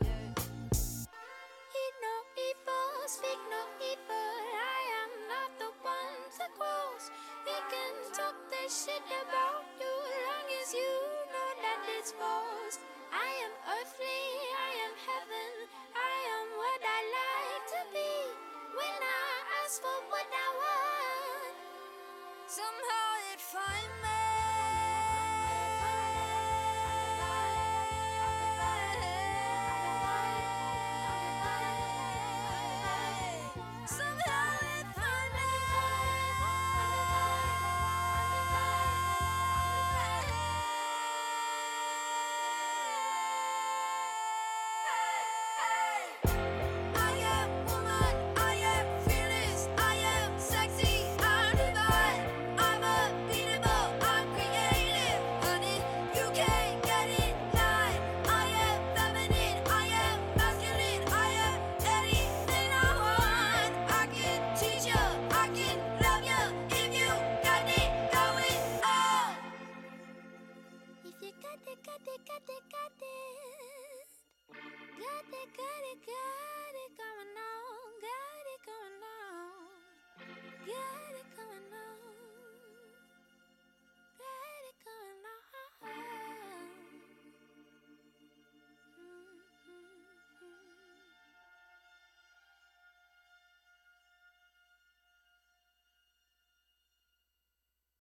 [SPEAKER 8] yeah. Eat no evil, speak no evil. I am not the one that grows. They can talk their shit about you long as you know that it's false. I am earthly, I am heaven, I am what I like to be. When I ask for what I want, somehow it find me. got it, got it, got it. Got it, got it, got it going on. Got it going on. Got it going Mm-hmm, mm-hmm.